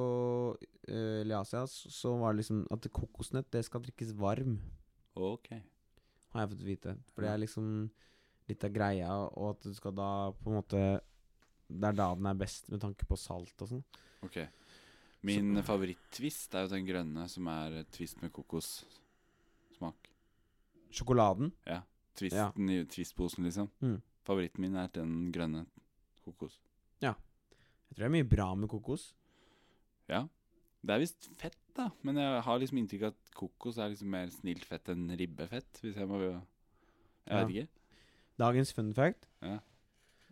Speaker 1: eh, Eller i Asia, så, så var det liksom at kokosnøtt, det skal drikkes varm,
Speaker 2: Ok.
Speaker 1: har jeg fått vite. For det er liksom litt av greia, og at du skal da på en måte Det er da den er best, med tanke på salt og sånn.
Speaker 2: ok Min favoritt-twist er jo den grønne, som er twist med kokossmak.
Speaker 1: Sjokoladen.
Speaker 2: Twisten i twistposen, liksom.
Speaker 1: Mm.
Speaker 2: Favoritten min er den grønne kokos.
Speaker 1: Jeg tror det er mye bra med kokos.
Speaker 2: Det er visst fett, da, men jeg har liksom inntrykk av at kokos er liksom mer snilt fett enn ribbefett, hvis jeg må Jeg
Speaker 1: Ja.
Speaker 2: vet ikke.
Speaker 1: Dagens fun fact.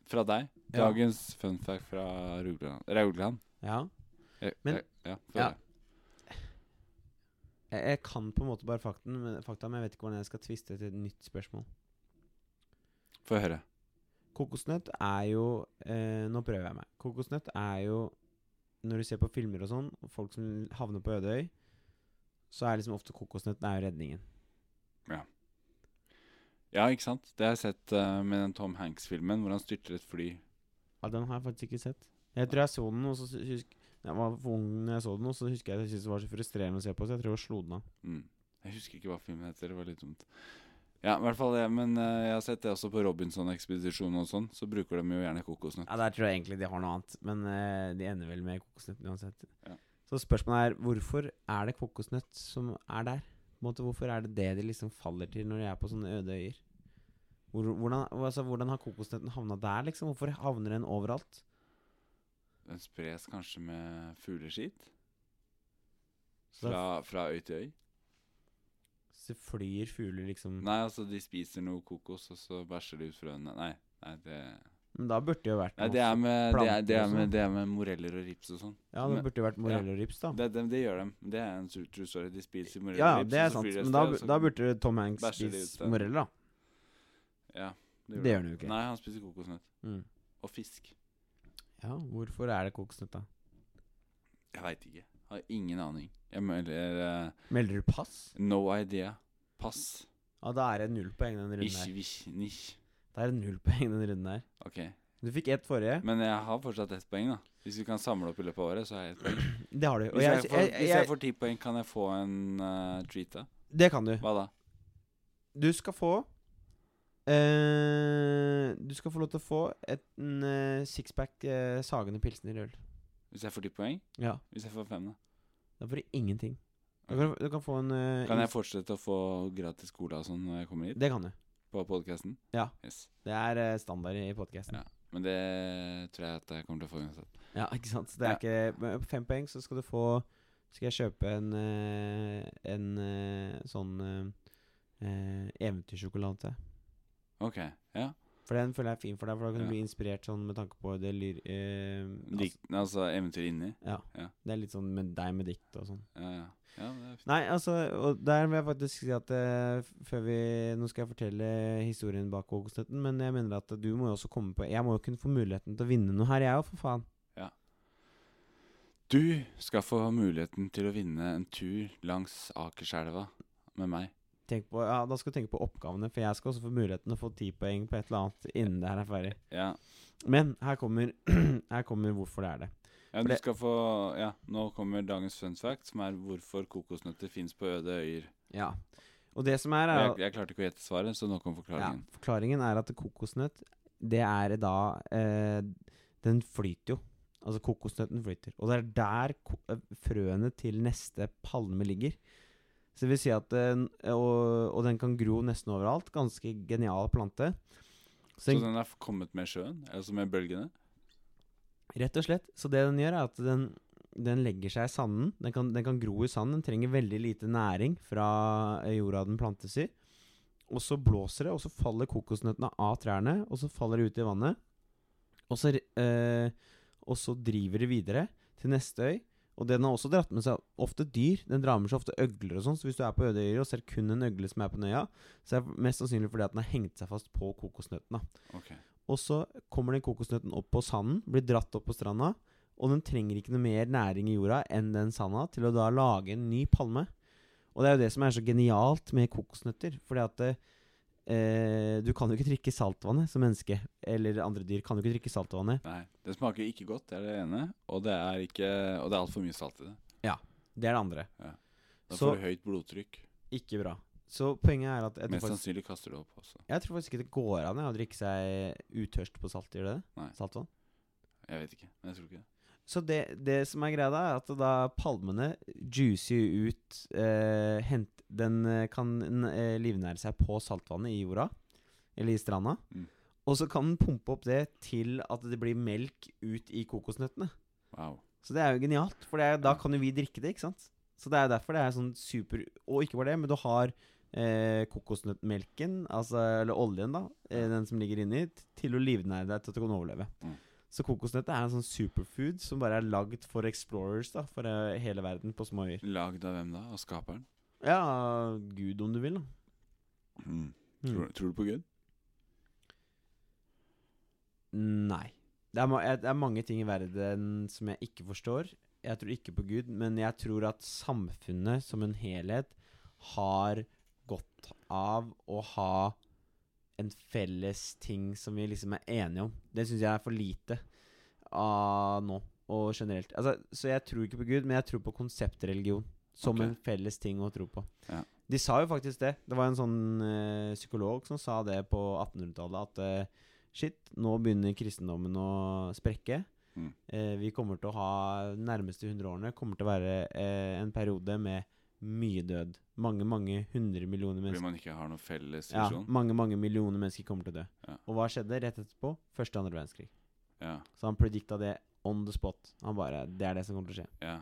Speaker 2: Fra deg.
Speaker 1: Ja.
Speaker 2: Dagens fun fact fra Eh, Rugland. Raugland.
Speaker 1: Ja.
Speaker 2: Jeg-
Speaker 1: Men-
Speaker 2: jeg- Eh, ja, fra
Speaker 1: Ja.
Speaker 2: deg.
Speaker 1: Jeg, jeg kan på en måte bare fakten, men, fakta, men jeg vet ikke hvordan jeg skal tviste til et nytt spørsmål.
Speaker 2: Få høre.
Speaker 1: Kokosnøtt er jo eh, Nå prøver jeg meg. Kokosnøtt er jo Når du ser på filmer og sånn, og folk som havner på øde øy, så er liksom ofte kokosnøtt det er jo redningen.
Speaker 2: Ja, ikke sant? Det har jeg sett eh, med den Tom Hanks-filmen hvor han styrter et fly.
Speaker 1: Ja, den har jeg faktisk ikke sett. Jeg tror jeg så den, og så sy- husk Jeg var for ung når jeg så den, og så husker jeg at jeg syntes det var så frustrerende å se på, så jeg tror jeg slo den av.
Speaker 2: Mm. Jeg husker ikke hva filmen heter, det var litt dumt. Ja, i hvert fall det, men eh, jeg har sett det også på Robinson-ekspedisjonen og sånn, så bruker de jo gjerne kokosnøtt.
Speaker 1: Ja, Der tror jeg egentlig de har noe annet, men eh, de ender vel med kokosnøtt uansett.
Speaker 2: Ja.
Speaker 1: Så spørsmålet er hvorfor er det kokosnøtt som er der? På en måte, hvorfor er det det de liksom faller til når de er på sånne øde øyer? Hvor, hvordan, altså, hvordan har kokosnøtten havna der, liksom? Hvorfor havner den overalt?
Speaker 2: Den spres kanskje med fugleskitt
Speaker 1: Så da
Speaker 2: fra, fra øy til øy.
Speaker 1: f- så flyr fugler liksom
Speaker 2: Nei, altså de spiser noe kokos, og så bæsjer de ut frøene. Nei, nei, det,
Speaker 1: Men da burde det jo vært
Speaker 2: nei, det, er,
Speaker 1: masse-
Speaker 2: med, det, er, det,
Speaker 1: planter og
Speaker 2: er
Speaker 1: sånn.
Speaker 2: med, det er med moreller og rips og sånn.
Speaker 1: Ja, det burde jo vært morell og rips, da.
Speaker 2: Det, det, det gjør de. Det er en true true story. De spiser moreller
Speaker 1: Ja,
Speaker 2: og rips,
Speaker 1: det er
Speaker 2: og så
Speaker 1: sant.
Speaker 2: flyr de et
Speaker 1: Men da,
Speaker 2: sted, og
Speaker 1: bu-
Speaker 2: så-
Speaker 1: da burde Tom Hanks
Speaker 2: bæsjer de ut
Speaker 1: spise
Speaker 2: der.
Speaker 1: moreller, da.
Speaker 2: Ja, det
Speaker 1: Det gjør han jo ikke.
Speaker 2: Nei, han spiser kokosnøtt.
Speaker 1: Mm.
Speaker 2: Og fisk.
Speaker 1: Ja, hvorfor er det kokosnøtt, da?
Speaker 2: Jeg veit ikke. Har ingen aning. Jeg melder eh,
Speaker 1: Melder du pass?
Speaker 2: no idea. Pass.
Speaker 1: Ja, da er det null poeng den runden
Speaker 2: Ich,
Speaker 1: her.
Speaker 2: wich, nicht.
Speaker 1: Da er det null poeng den runden her.
Speaker 2: Ok.
Speaker 1: Du fikk ett forrige.
Speaker 2: Men jeg har fortsatt ett poeng, da. Hvis vi kan samle opp i løpet av året, så har jeg ett poeng.
Speaker 1: Det har du. Og
Speaker 2: Hvis jeg
Speaker 1: jeg,
Speaker 2: får,
Speaker 1: jeg,
Speaker 2: hvis jeg
Speaker 1: jeg,
Speaker 2: får ti poeng, kan jeg få en eh, treat, da?
Speaker 1: det kan du.
Speaker 2: Hva da?
Speaker 1: Du skal få eh, Du skal få lov til å få et, en eh, sixpack eh, Sagene pilsner i øl.
Speaker 2: Hvis jeg får ti poeng?
Speaker 1: Ja.
Speaker 2: Hvis jeg får fem, da?
Speaker 1: Da får du ingenting. Du kan, du kan få en eh,
Speaker 2: Kan jeg
Speaker 1: ins-
Speaker 2: fortsette å få gratis cola og sånn når jeg kommer hit?
Speaker 1: Det kan du.
Speaker 2: På podkasten?
Speaker 1: Ja.
Speaker 2: Yes.
Speaker 1: Det er eh, standard i podkasten.
Speaker 2: Ja. Men det tror jeg at jeg kommer til å få uansett.
Speaker 1: Ja. ikke sant. Så det er ikke men På fem poeng så skal du få Skal jeg kjøpe en eh, En eh, sånn eh, eh, eventyrsjokolade til.
Speaker 2: Ok, ja.
Speaker 1: For den føler jeg er fin for deg, for da kan du
Speaker 2: Ja.
Speaker 1: bli inspirert sånn med tanke på det lyr... eh,
Speaker 2: Lik, altså eventyr inni?
Speaker 1: ja.
Speaker 2: Ja.
Speaker 1: Det er litt sånn med deg med dikt og sånn.
Speaker 2: Ja, ja. ja det er fint.
Speaker 1: Nei, altså, og der vil jeg faktisk si at eh, f- før vi Nå skal jeg fortelle historien bak kokosnøtten, men jeg mener at du må jo også komme på Jeg må jo kunne få muligheten til å vinne noe her, jeg òg, for faen.
Speaker 2: Du skal få muligheten til å vinne en tur langs Akerselva med meg.
Speaker 1: Tenk på, ja, da skal du tenke på oppgavene, for jeg skal også få muligheten til å få ti poeng på et eller annet innen det her er ferdig.
Speaker 2: Ja,
Speaker 1: Men her kommer, her kommer hvorfor det er det.
Speaker 2: ja du
Speaker 1: det-
Speaker 2: skal få Ja, nå kommer dagens fun fact, som er hvorfor kokosnøtter fins på øde øyer.
Speaker 1: Ja. Og det som er, er
Speaker 2: Jeg, jeg klarte ikke å gjette svaret, så nå kommer forklaringen.
Speaker 1: Ja, forklaringen er at kokosnøtt, det er da eh, Den flyter jo. Altså kokosnøtten flyter. Og det er der ko eh, frøene til neste palme ligger. Så det vil si at eh, n- og, og den kan gro nesten overalt. Ganske genial plante. Så
Speaker 2: Så
Speaker 1: den,
Speaker 2: den er f- kommet med sjøen? Altså med bølgene?
Speaker 1: rett og slett, så det den gjør, er at den den legger seg i sanden. Den kan, den kan gro i sanden. Den trenger veldig lite næring fra eh, jorda den plantes i. Og så blåser det, og så faller kokosnøttene av trærne, og så faller de ut i vannet. Og så, re- eh, og så driver de videre til neste øy. Og den har også dratt med seg ofte dyr. Den drar med seg ofte øgler og sånn. Så hvis du er på øde øyer og ser kun en øgle som er på den øya, så er det mest sannsynlig fordi at den har hengt seg fast på kokosnøttene.
Speaker 2: Ok.
Speaker 1: Og så kommer den kokosnøtten opp på sanden, blir dratt opp på stranda, og den trenger ikke noe mer næring i jorda enn den sanda til å da lage en ny palme. Og det er jo det som er så genialt med kokosnøtter, fordi at eh, du kan jo ikke drikke saltvannet som menneske, eller andre dyr kan jo ikke drikke saltvannet.
Speaker 2: Nei. Det smaker ikke godt, det er det ene. Og det er ikke Og det er altfor mye salt i det.
Speaker 1: Det er det andre.
Speaker 2: Da
Speaker 1: Så-
Speaker 2: får du høyt blodtrykk.
Speaker 1: Ikke bra. Så poenget er at jeg
Speaker 2: Mest
Speaker 1: tror, faktisk,
Speaker 2: sannsynlig kaster du opp også.
Speaker 1: jeg tror faktisk ikke det går an ja, å drikke seg utørst på salt, gjør det det?
Speaker 2: Nei.
Speaker 1: Saltvann?
Speaker 2: Jeg vet ikke. Men jeg tror ikke det.
Speaker 1: Så det, det som er greia da, er at da palmene juicer jo ut eh, hent, Den eh, kan n- eh, livnære seg på saltvannet i jorda, eller i stranda.
Speaker 2: Mm.
Speaker 1: Og så kan den pumpe opp det til at det blir melk ut i kokosnøttene.
Speaker 2: Wow.
Speaker 1: Så det er jo genialt, for det er, da
Speaker 2: Ja.
Speaker 1: kan jo vi drikke det, ikke sant? Så det er derfor det er sånn super Og ikke bare det, men du har eh, kokosnøttmelken, altså, eller oljen, da, eh, den som ligger inni, t- til å livnære deg til at du kan overleve.
Speaker 2: Mm.
Speaker 1: Så kokosnøttet er en sånn superfood som bare er lagd for explorers, da, for eh, hele verden på små øyer.
Speaker 2: Lagd av hvem da? Av skaperen?
Speaker 1: Ja, gud om du vil, da.
Speaker 2: Mm.
Speaker 1: Mm.
Speaker 2: Tror, tror du på Gud?
Speaker 1: Nei. Det er, ma jeg- det er mange ting i verden som jeg ikke forstår. Jeg tror ikke på Gud, men jeg tror at samfunnet som en helhet har godt av å ha en felles ting som vi liksom er enige om. Det syns jeg er for lite av nå, og generelt. Altså, så jeg tror ikke på Gud, men jeg tror på konseptreligion som
Speaker 2: Ok.
Speaker 1: en felles ting å tro på.
Speaker 2: Ja.
Speaker 1: De sa jo faktisk det. Det var en sånn eh, psykolog som sa det på 1800-tallet, at eh, Shit, nå begynner kristendommen å sprekke.
Speaker 2: Mm.
Speaker 1: Eh, vi kommer til å ha de nærmeste 100 årene kommer til å være eh, en periode med mye død. Mange, mange hundre millioner
Speaker 2: Fordi
Speaker 1: mennesker.
Speaker 2: man ikke har noen felles
Speaker 1: Ja,
Speaker 2: visjon?
Speaker 1: mange, mange millioner mennesker kommer til å dø.
Speaker 2: sånn. Ja.
Speaker 1: Og hva skjedde rett etterpå? Første og andre verdenskrig.
Speaker 2: Ja.
Speaker 1: Så han predikta det on the spot. Han bare Det er det som kommer til å skje.
Speaker 2: ja,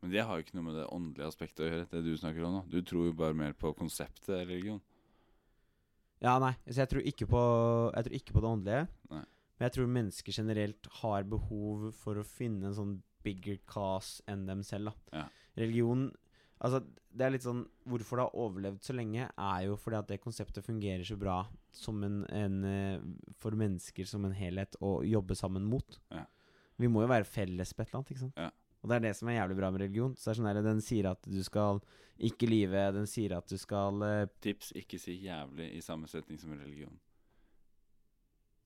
Speaker 2: Men det har jo ikke noe med det åndelige aspektet å gjøre, det du snakker om nå. Du tror jo bare mer på konseptet religion.
Speaker 1: Ja, nei. Så jeg tror ikke på, jeg tror ikke på det åndelige.
Speaker 2: Nei.
Speaker 1: Men jeg tror mennesker generelt har behov for å finne en sånn bigger cause enn dem selv. da.
Speaker 2: Ja.
Speaker 1: Religion Altså, det er litt sånn Hvorfor det har overlevd så lenge, er jo fordi at det konseptet fungerer så bra som en, en eh, for mennesker som en helhet å jobbe sammen mot.
Speaker 2: Ja.
Speaker 1: Vi må jo være felles på et eller annet, ikke sant?
Speaker 2: Ja.
Speaker 1: Og det er det som er jævlig bra med religion. Så det er sånn der, Den sier at du skal ikke lyve, den sier at du skal eh,
Speaker 2: Tips ikke si jævlig i samme setning som religion.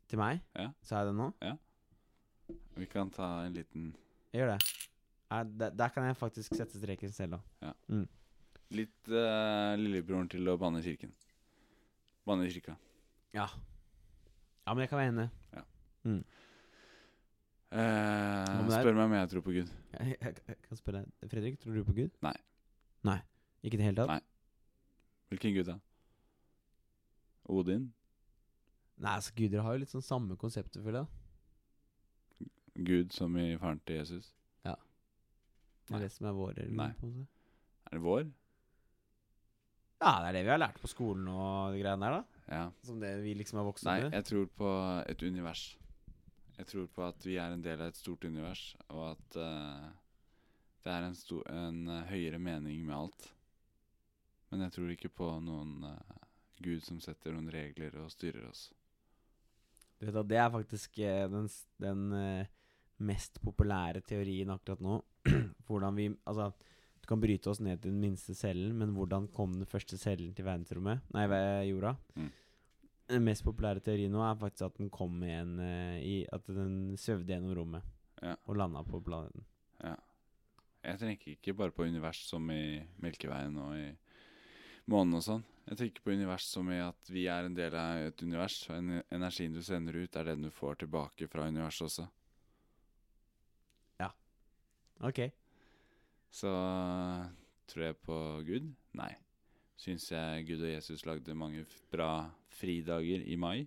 Speaker 1: Til meg?
Speaker 2: Ja.
Speaker 1: Sa jeg det nå?
Speaker 2: Vi kan ta en liten
Speaker 1: Jeg gjør det. Nei, der, der kan jeg faktisk sette streken selv, da.
Speaker 2: Litt eh, lillebroren til å banne i kirken. Banne i kirka.
Speaker 1: Ja, men jeg kan være enig.
Speaker 2: Ja. Eh,
Speaker 1: med deg?
Speaker 2: spør meg om jeg tror på Gud.
Speaker 1: Jeg, jeg, jeg kan spørre deg. Fredrik, tror du på Gud?
Speaker 2: Nei.
Speaker 1: Nei, Ikke i det hele tatt?
Speaker 2: Nei. Hvilken gud da? Odin?
Speaker 1: Nei, altså guder har jo litt sånn samme konsept, selvfølgelig. da.
Speaker 2: Gud som i faren til Jesus?
Speaker 1: Det
Speaker 2: Nei.
Speaker 1: er det som er vår religion.
Speaker 2: Nei.
Speaker 1: på en måte.
Speaker 2: Er det vår?
Speaker 1: Ja, det er det vi har lært på skolen og de greiene der, da.
Speaker 2: Ja.
Speaker 1: Som det vi liksom har vokst
Speaker 2: Nei,
Speaker 1: opp med.
Speaker 2: jeg tror på et univers. Jeg tror på at vi er en del av et stort univers, og at eh, det er en, sto en eh, høyere mening med alt. Men jeg tror ikke på noen eh, gud som setter noen regler og styrer oss.
Speaker 1: Du vet at det er faktisk eh, den, s- den eh, mest populære teorien akkurat nå. hvordan vi Altså, du kan bryte oss ned til den minste cellen, men hvordan kom den første cellen til verdensrommet? Nei, ve- jorda.
Speaker 2: Mm.
Speaker 1: Den mest populære teorien nå er faktisk at den kom med en eh, i, At den svevde gjennom rommet
Speaker 2: Ja.
Speaker 1: og landa på planeten.
Speaker 2: Ja. Jeg tenker ikke bare på univers som i Melkeveien og i månen og sånn. Jeg tenker på univers som i at vi er en del av et univers, og en energien du sender ut, er den du får tilbake fra universet også.
Speaker 1: Ok.
Speaker 2: Så eh, tror jeg på Gud? Nei. Syns jeg Gud og Jesus lagde mange f- bra fridager i mai?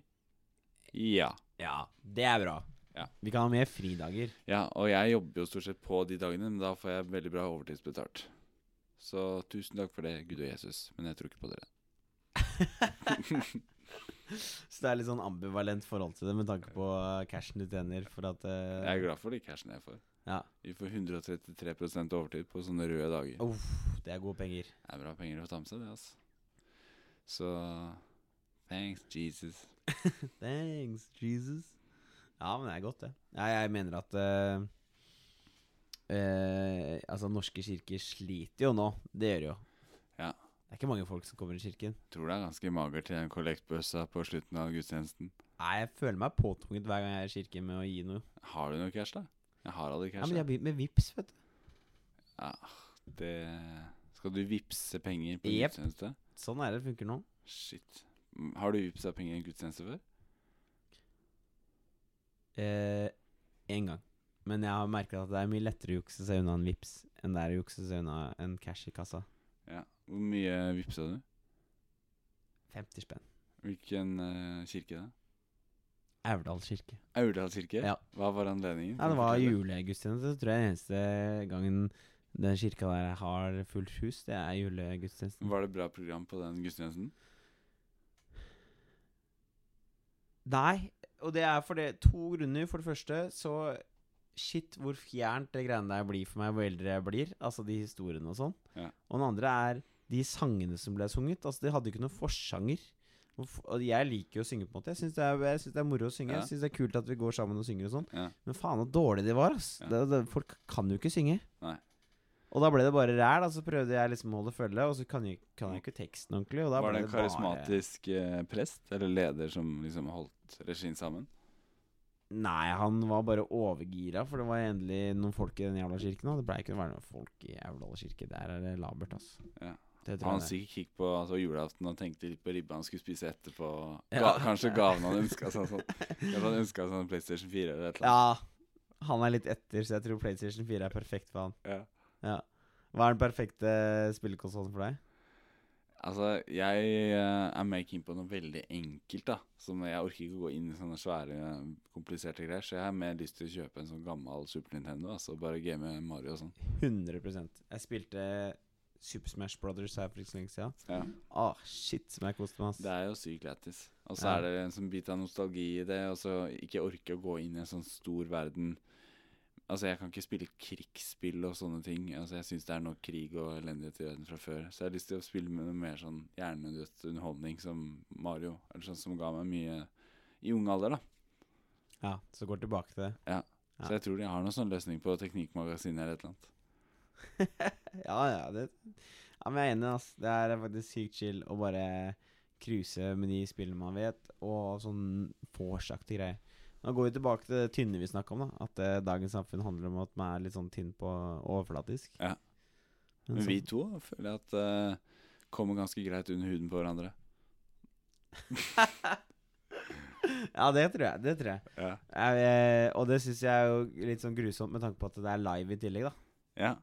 Speaker 2: Ja.
Speaker 1: Ja, det er bra.
Speaker 2: Ja.
Speaker 1: Vi kan ha mer fridager.
Speaker 2: Ja, og jeg jobber jo stort sett på de dagene, men da får jeg veldig bra overtidsbetalt. Så tusen takk for det, Gud og Jesus, men jeg tror ikke på dere.
Speaker 1: Så det er litt sånn ambivalent forhold til det med tanke på eh, cashen du tjener for at eh,
Speaker 2: Jeg er glad for de cashene jeg får.
Speaker 1: Ja.
Speaker 2: Vi får 133 overtid på sånne røde dager.
Speaker 1: Uff, det er gode penger.
Speaker 2: Det er bra penger å ta med seg, det, altså. Så thanks, Jesus.
Speaker 1: Thanks, Jesus. Ja, men det er godt, det. Ja, jeg mener at eh, eh, Altså, norske kirker sliter jo nå. Det gjør de jo.
Speaker 2: Ja.
Speaker 1: Det er ikke mange folk som kommer i kirken.
Speaker 2: Tror det er ganske magert i den kollektbøssa på slutten av gudstjenesten.
Speaker 1: Nei, jeg føler meg påtvunget hver gang jeg er i kirken med å gi noe.
Speaker 2: Har du noe cash, da? Jeg har aldri
Speaker 1: Ja,
Speaker 2: cash.
Speaker 1: men jeg
Speaker 2: Ja,
Speaker 1: har begynt med vips, vet du.
Speaker 2: det... Skal du vippse penger på
Speaker 1: Jep.
Speaker 2: gudstjeneste?
Speaker 1: Sånn er det det funker nå.
Speaker 2: Shit. Mm, Har du vippsa penger i en gudstjeneste før?
Speaker 1: Eh, en gang. Men jeg har merka at det er mye lettere å jukse seg unna en vips enn det er å jukse seg unna en cash i kassa.
Speaker 2: Ja. Hvor mye vippsa du?
Speaker 1: 50 spenn.
Speaker 2: Hvilken eh, kirke da?
Speaker 1: Aurdal kirke.
Speaker 2: Aurdal kirke?
Speaker 1: Ja.
Speaker 2: Hva var anledningen?
Speaker 1: Ja, det var
Speaker 2: Mm. Fortell
Speaker 1: julegudstjeneste. Det tror jeg eneste gangen den kirka der har fullt hus, det er julegudstjenesten.
Speaker 2: Var det bra program på den gudstjenesten?
Speaker 1: Nei, og det er for det to grunner. For det første, så Shit, hvor fjernt det greiene der blir for meg hvor eldre jeg blir. Altså de historiene og sånn.
Speaker 2: Ja.
Speaker 1: Og den andre er de sangene som ble sunget. Altså De hadde jo ikke noen forsanger. Og f- Og jeg liker jo å synge, på en måte. Jeg syns det, er- jeg synes det er moro å synge.
Speaker 2: Ja.
Speaker 1: Jeg syns det er kult at vi går sammen og synger og sånn.
Speaker 2: Ja.
Speaker 1: Men faen så dårlig de var, ass.
Speaker 2: Ja.
Speaker 1: Det, det, folk kan jo ikke synge.
Speaker 2: Nei.
Speaker 1: Og da ble det bare ræl, da. Så prøvde jeg liksom å holde følge, og så kan jeg, kan jeg ikke teksten ordentlig. Og da
Speaker 2: Var
Speaker 1: ble
Speaker 2: det en karismatisk eh, prest eller leder som liksom holdt regien sammen?
Speaker 1: Bare, nei, han var bare overgira, for det var endelig noen folk i den jævla kirken. Og det blei ikke å være noen folk i Aurdal kirke. Der er det labert, ass.
Speaker 2: Ja.
Speaker 1: Det tror
Speaker 2: Han
Speaker 1: jeg det.
Speaker 2: sikkert gikk på altså, julaften og tenkte litt på ribba han skulle spise etterpå. Ga,
Speaker 1: Ja.
Speaker 2: Kanskje gaven han ønska seg sånn. Kanskje han ønsket seg en PlayStation 4 eller et eller annet.
Speaker 1: Ja. Han er litt etter, så jeg tror PlayStation 4 er perfekt for han.
Speaker 2: Ja.
Speaker 1: Ja. Hva er den perfekte spillekonsollen for deg?
Speaker 2: Altså, jeg eh, er mer keen på noe veldig enkelt, da. Som jeg orker ikke å gå inn i sånne svære, kompliserte greier. Så jeg har mer lyst til å kjøpe en sånn gammel Super Nintendo, altså. og Bare game Mario og sånn.
Speaker 1: 100 Jeg spilte Super Smash Brothers her for ikke så lenge siden.
Speaker 2: Ja.
Speaker 1: Ah, shit, som jeg koste meg, ass.
Speaker 2: Det er jo sykt lættis. Og så
Speaker 1: Ja.
Speaker 2: er det en sånn bit av nostalgi i det, og så ikke orke å gå inn i en sånn stor verden. Altså, jeg kan ikke spille krigsspill og sånne ting. Altså, Jeg syns det er nok krig og elendighet i verden fra før. Så jeg har lyst til å spille med noe mer sånn hjernedødt underholdning som Mario. Eller sånn som ga meg mye i ung alder, da.
Speaker 1: Ja, så går tilbake til det. Ja.
Speaker 2: Så jeg tror de har noen sånn løsning på Teknikkmagasinet eller et eller annet.
Speaker 1: ja, ja, det Ja, men jeg er enig, ass. Det er faktisk sykt chill å bare cruise med de spillene man vet, og sånn vorsaktige greier. Nå går vi tilbake til det tynne vi snakka om, da. At eh, dagens samfunn handler om at man er litt sånn tynn på overflatisk.
Speaker 2: Ja.
Speaker 1: Men sånn.
Speaker 2: Men
Speaker 1: så-
Speaker 2: vi to føler jeg at eh, kommer ganske greit under huden på hverandre.
Speaker 1: sånn, Ja, det tror jeg. Det tror jeg.
Speaker 2: Ja.
Speaker 1: Eh, og det syns jeg er jo litt sånn grusomt, med tanke på at det er live i tillegg, da.
Speaker 2: Ja.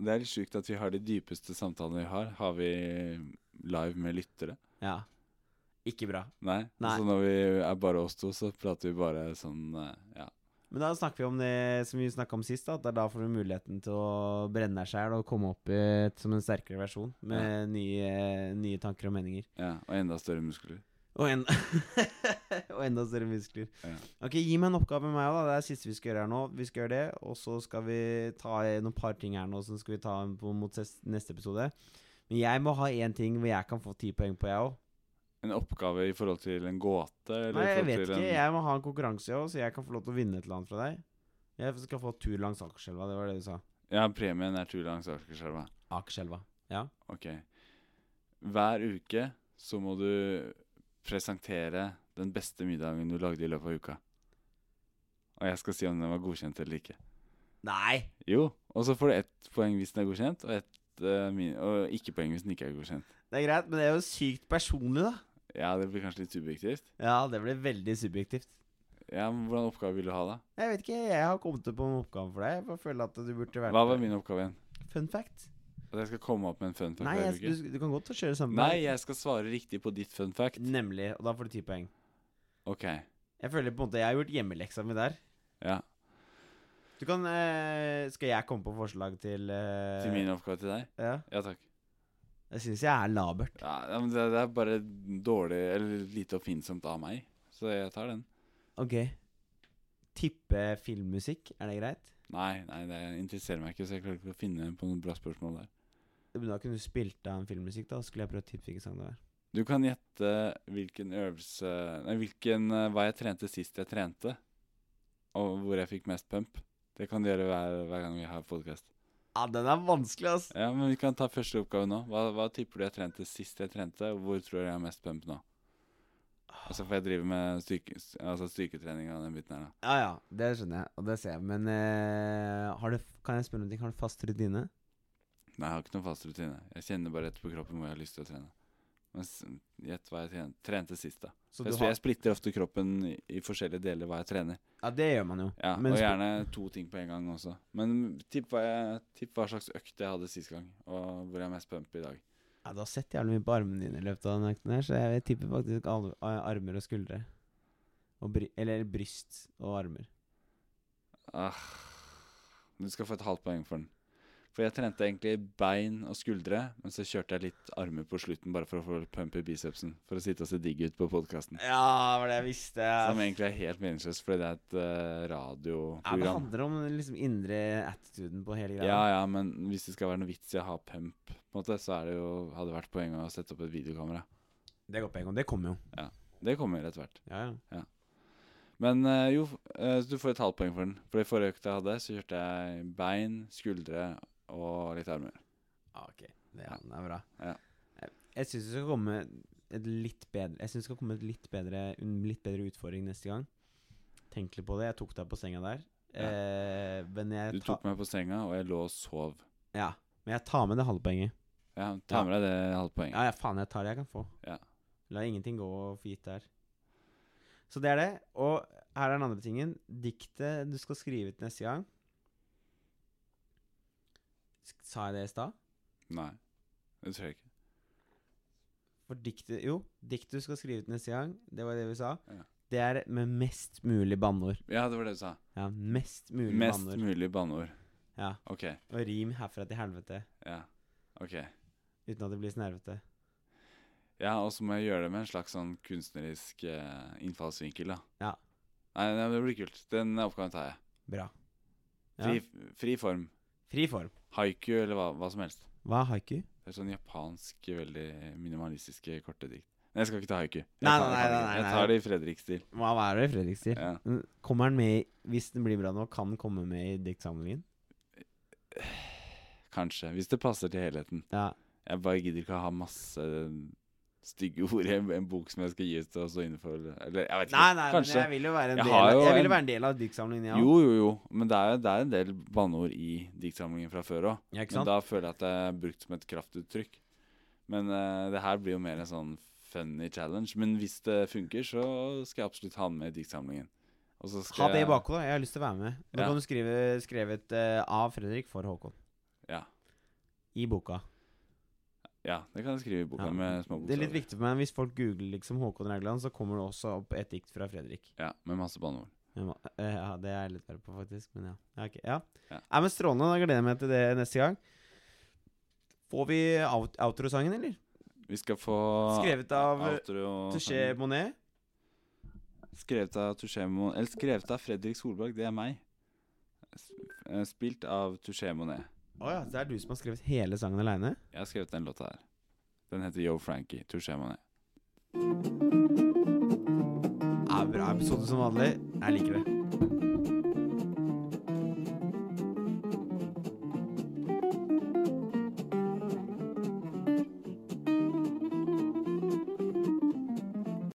Speaker 2: Det er litt sjukt at vi har de dypeste samtalene vi har. Har vi live med lyttere?
Speaker 1: Ja. Ikke bra.
Speaker 2: Nei.
Speaker 1: Nei.
Speaker 2: Så når vi er bare oss to, så prater vi bare sånn eh, Ja.
Speaker 1: Men da snakker vi om det som vi snakka om sist, da, at det er da får du muligheten til å brenne deg sjæl og komme opp i, et- som en sterkere versjon med nye, nye tanker og meninger.
Speaker 2: ja. Og enda større muskler.
Speaker 1: Og, en og enda større muskler.
Speaker 2: Ja.
Speaker 1: Ok, Gi meg en oppgave med meg òg, da. Det er det siste vi skal gjøre her nå. Vi skal gjøre det, og så skal vi ta noen par ting her nå som skal vi ta på, mot ses- neste episode. Men jeg må ha én ting hvor jeg kan få ti poeng på, jeg òg.
Speaker 2: En oppgave i forhold til en gåte? Eller
Speaker 1: Nei,
Speaker 2: i
Speaker 1: jeg
Speaker 2: forhold
Speaker 1: vet
Speaker 2: til
Speaker 1: ikke.
Speaker 2: En...
Speaker 1: Jeg må ha en konkurranse òg, så jeg kan få lov til å vinne et eller annet fra deg. Jeg skal få tur langs Akerselva. Det var det du sa.
Speaker 2: Ja, premien er tur langs Akerselva.
Speaker 1: Akerselva.
Speaker 2: Ok. Hver uke så må du presentere den beste middagen du lagde i løpet av uka. Og jeg skal si om den var godkjent eller ikke.
Speaker 1: Nei!
Speaker 2: Jo, og så får du ett poeng hvis den er godkjent, og, ett, eh, min og ikke poeng hvis den ikke er godkjent.
Speaker 1: Det er greit, men det er jo sykt personlig, da.
Speaker 2: Ja, det blir kanskje litt subjektivt.
Speaker 1: Ja, det blir veldig subjektivt.
Speaker 2: Ja, men Hvordan oppgave vil du ha, da?
Speaker 1: Jeg vet ikke, jeg har kommet opp på en oppgave for deg. Jeg bare føler at du burde vært
Speaker 2: Hva var min oppgave igjen?
Speaker 1: Fun fact.
Speaker 2: At jeg skal komme opp med en fun fact?
Speaker 1: Nei,
Speaker 2: hver
Speaker 1: jeg,
Speaker 2: uke?
Speaker 1: du, du kan godt kjøre samme
Speaker 2: Nei, jeg skal svare riktig på ditt fun fact.
Speaker 1: Nemlig. Og da får du ti poeng.
Speaker 2: Ok,
Speaker 1: Jeg føler på en måte jeg har gjort hjemmeleksa mi der.
Speaker 2: ja.
Speaker 1: Du kan eh, Skal jeg komme på forslag til eh,
Speaker 2: Til min oppgave til deg?
Speaker 1: Ja.
Speaker 2: Ja takk.
Speaker 1: Jeg syns jeg er labert.
Speaker 2: Ja, ja, men det, det er bare dårlig eller lite oppfinnsomt av meg, så jeg tar den.
Speaker 1: Ok. Tippe filmmusikk, er det greit?
Speaker 2: Nei, nei, det interesserer meg ikke, så jeg klarer ikke å finne på noen bra spørsmål der.
Speaker 1: Men Da kunne du spilt av en filmmusikk, da, og så skulle jeg prøvd å tippe hvilken sang det var.
Speaker 2: Du kan gjette hvilken øvelse Nei, hvilken, eh, hva jeg trente sist jeg trente, og hvor jeg fikk mest pump. Det kan du gjøre hver, hver gang vi har podkast.
Speaker 1: Ja, den er vanskelig, ass.
Speaker 2: Ja, men vi kan ta første oppgave nå. Hva, hva tipper du jeg trente sist jeg trente, og hvor tror du jeg har mest pump nå? Og så får jeg drive med styrke, altså styrketrening av den biten her, da.
Speaker 1: Ja, ja, det skjønner jeg, og det ser jeg. Men eh, har du, kan jeg spørre om ting? Har du fast rutine?
Speaker 2: Nei, jeg har ikke noen fast rutine. Jeg kjenner bare etter på kroppen hvor jeg har lyst til å trene. Men s- gjett hva jeg tren- trente sist, da.
Speaker 1: Så
Speaker 2: jeg,
Speaker 1: du
Speaker 2: sp-
Speaker 1: har,
Speaker 2: jeg splitter ofte kroppen i, i forskjellige deler hva jeg trener.
Speaker 1: ja, det gjør man jo.
Speaker 2: Ja,
Speaker 1: Men
Speaker 2: og
Speaker 1: sp-
Speaker 2: gjerne to ting på en gang også. Men tipp hva, jeg, tipp hva slags økt jeg hadde sist gang, og hvor jeg er mest pump i dag.
Speaker 1: Ja, du har sett jævlig mye på armene dine i løpet av den økten her, så jeg tipper faktisk al- a- armer og skuldre. Og bry eller bryst og armer.
Speaker 2: Ah, du skal få et halvt poeng for den. For jeg trente egentlig bein og skuldre, men så kjørte jeg litt armer på slutten bare for å få pump i bicepsen. For å sitte og se digg ut på podkasten.
Speaker 1: Ja, det var det jeg visste.
Speaker 2: Som egentlig er helt meningsløst, fordi det er et eh,
Speaker 1: Ja, det
Speaker 2: radioprogram.
Speaker 1: handler om liksom indre attituden på hele greia.
Speaker 2: Ja, ja, men hvis det skal være noe vits i å ha pump, på en måte, så er det jo, hadde det vært poenget å sette opp et videokamera.
Speaker 1: Det går på en gang. Det kommer jo.
Speaker 2: Det kommer etter hvert.
Speaker 1: Ja, ja.
Speaker 2: Men eh, jo, eh, så du får et halvt poeng for den. For i forrige økt jeg hadde, så kjørte jeg bein, skuldre og litt armer.
Speaker 1: Ah, ok. Det, ja, det er bra.
Speaker 2: Ja.
Speaker 1: Jeg- Jeg syns det skal komme et litt bedre Jeg synes det skal komme et litt bedre, en litt bedre utfordring neste gang. Tenk litt på det. Jeg tok deg på senga der.
Speaker 2: Ja.
Speaker 1: Eh, men,
Speaker 2: Du
Speaker 1: jeg ta,
Speaker 2: tok meg på senga, og jeg lå og sov.
Speaker 1: ja. men jeg tar med det halve poenget.
Speaker 2: Ja, ta med deg det halve poenget.
Speaker 1: Ja, ja, faen, jeg tar det jeg kan få.
Speaker 2: Ja.
Speaker 1: La ingenting gå for gitt der. Så det er det. Og her er den andre tingen. Diktet du skal skrive ut neste gang Sk- Sa jeg det i stad?
Speaker 2: Nei, det tror jeg ikke.
Speaker 1: For diktet Jo, diktet du skal skrive ut neste gang, det var det vi sa.
Speaker 2: Ja.
Speaker 1: Det er med mest mulig banneord.
Speaker 2: Ja, det var det du sa.
Speaker 1: Ja, mest mulig
Speaker 2: Mest
Speaker 1: banneord.
Speaker 2: mulig banneord.
Speaker 1: Ja,
Speaker 2: Ok,
Speaker 1: og rim herfra til helvete.
Speaker 2: ja. Ok.
Speaker 1: Uten at det blir snervete.
Speaker 2: Ja, og så må jeg gjøre det med en slags sånn kunstnerisk eh, innfallsvinkel, da.
Speaker 1: Ja.
Speaker 2: Nei, nei, det blir kult. Den oppgaven tar jeg.
Speaker 1: Bra. Ja.
Speaker 2: Fri, fri form.
Speaker 1: Fri form.
Speaker 2: Haiku eller hva, hva som helst.
Speaker 1: Hva er haiku?
Speaker 2: Det er sånn japansk, veldig minimalistiske, korte dikt. Nei, jeg skal ikke ta haiku. Jeg
Speaker 1: Nei,
Speaker 2: tar-
Speaker 1: nei, nei,
Speaker 2: jeg tar det-
Speaker 1: nei, nei.
Speaker 2: Jeg tar det i Fredrik-stil.
Speaker 1: Hva hva er det Fredrik sier?
Speaker 2: Ja.
Speaker 1: Men Kommer han med, i- hvis den blir bra nå, kan den komme med i diktsamlingen?
Speaker 2: Kanskje. Hvis det passer til helheten.
Speaker 1: Ja.
Speaker 2: Jeg bare gidder ikke å ha masse stygge ord i en, en bok som jeg skal gi ut, og så innenfor Eller jeg vet ikke.
Speaker 1: Nei, nei,
Speaker 2: Kanskje.
Speaker 1: men jeg vil jo være en,
Speaker 2: Jeg
Speaker 1: del,
Speaker 2: har
Speaker 1: av-
Speaker 2: jo
Speaker 1: jeg vil
Speaker 2: en-
Speaker 1: jo være en del av diktsamlingen, ja.
Speaker 2: Jo, jo, jo. Men det er, jo- det er en del banneord i diktsamlingen fra før òg.
Speaker 1: Ja, ikke
Speaker 2: Men
Speaker 1: sant?
Speaker 2: da føler jeg at det er brukt som et kraftuttrykk. Men eh, det her blir jo mer en sånn funny challenge. Men hvis det funker, så skal jeg absolutt ha den med i diktsamlingen. Og så skal
Speaker 1: Ha det i
Speaker 2: jeg-
Speaker 1: bakhodet. Jeg har lyst til å være med. Nå
Speaker 2: Ja.
Speaker 1: kan du skrive skrevet eh, av Fredrik for Håkon.
Speaker 2: Ja.
Speaker 1: I boka.
Speaker 2: Ja, det kan jeg skrive i boka
Speaker 1: Ja.
Speaker 2: med små
Speaker 1: Det er litt
Speaker 2: bokstaver.
Speaker 1: viktig for meg hvis folk googler liksom Håkon Raugland, så kommer det også opp et dikt fra Fredrik.
Speaker 2: Ja, med masse banneord.
Speaker 1: Men hva- eh, Ja, det er jeg litt verre på, faktisk. Men ja. Ja, ok, ja.
Speaker 2: Ja.
Speaker 1: Nei, men Strålende. Da gleder jeg meg til det neste gang. Får vi out outrosangen, eller?
Speaker 2: Vi skal få
Speaker 1: Skrevet av, eh,
Speaker 2: outro-
Speaker 1: Touché Monet.
Speaker 2: Skrevet av Touchemon Eller skrevet av Fredrik Solberg, det er meg. S- eh, Spilt av Touchemonet.
Speaker 1: Å ja, det er du som har skrevet hele sangen aleine?
Speaker 2: Jeg har skrevet den låta her. Den heter Yo Frankie. Touchemonet.
Speaker 1: Ja, bra episode som vanlig. Jeg liker det.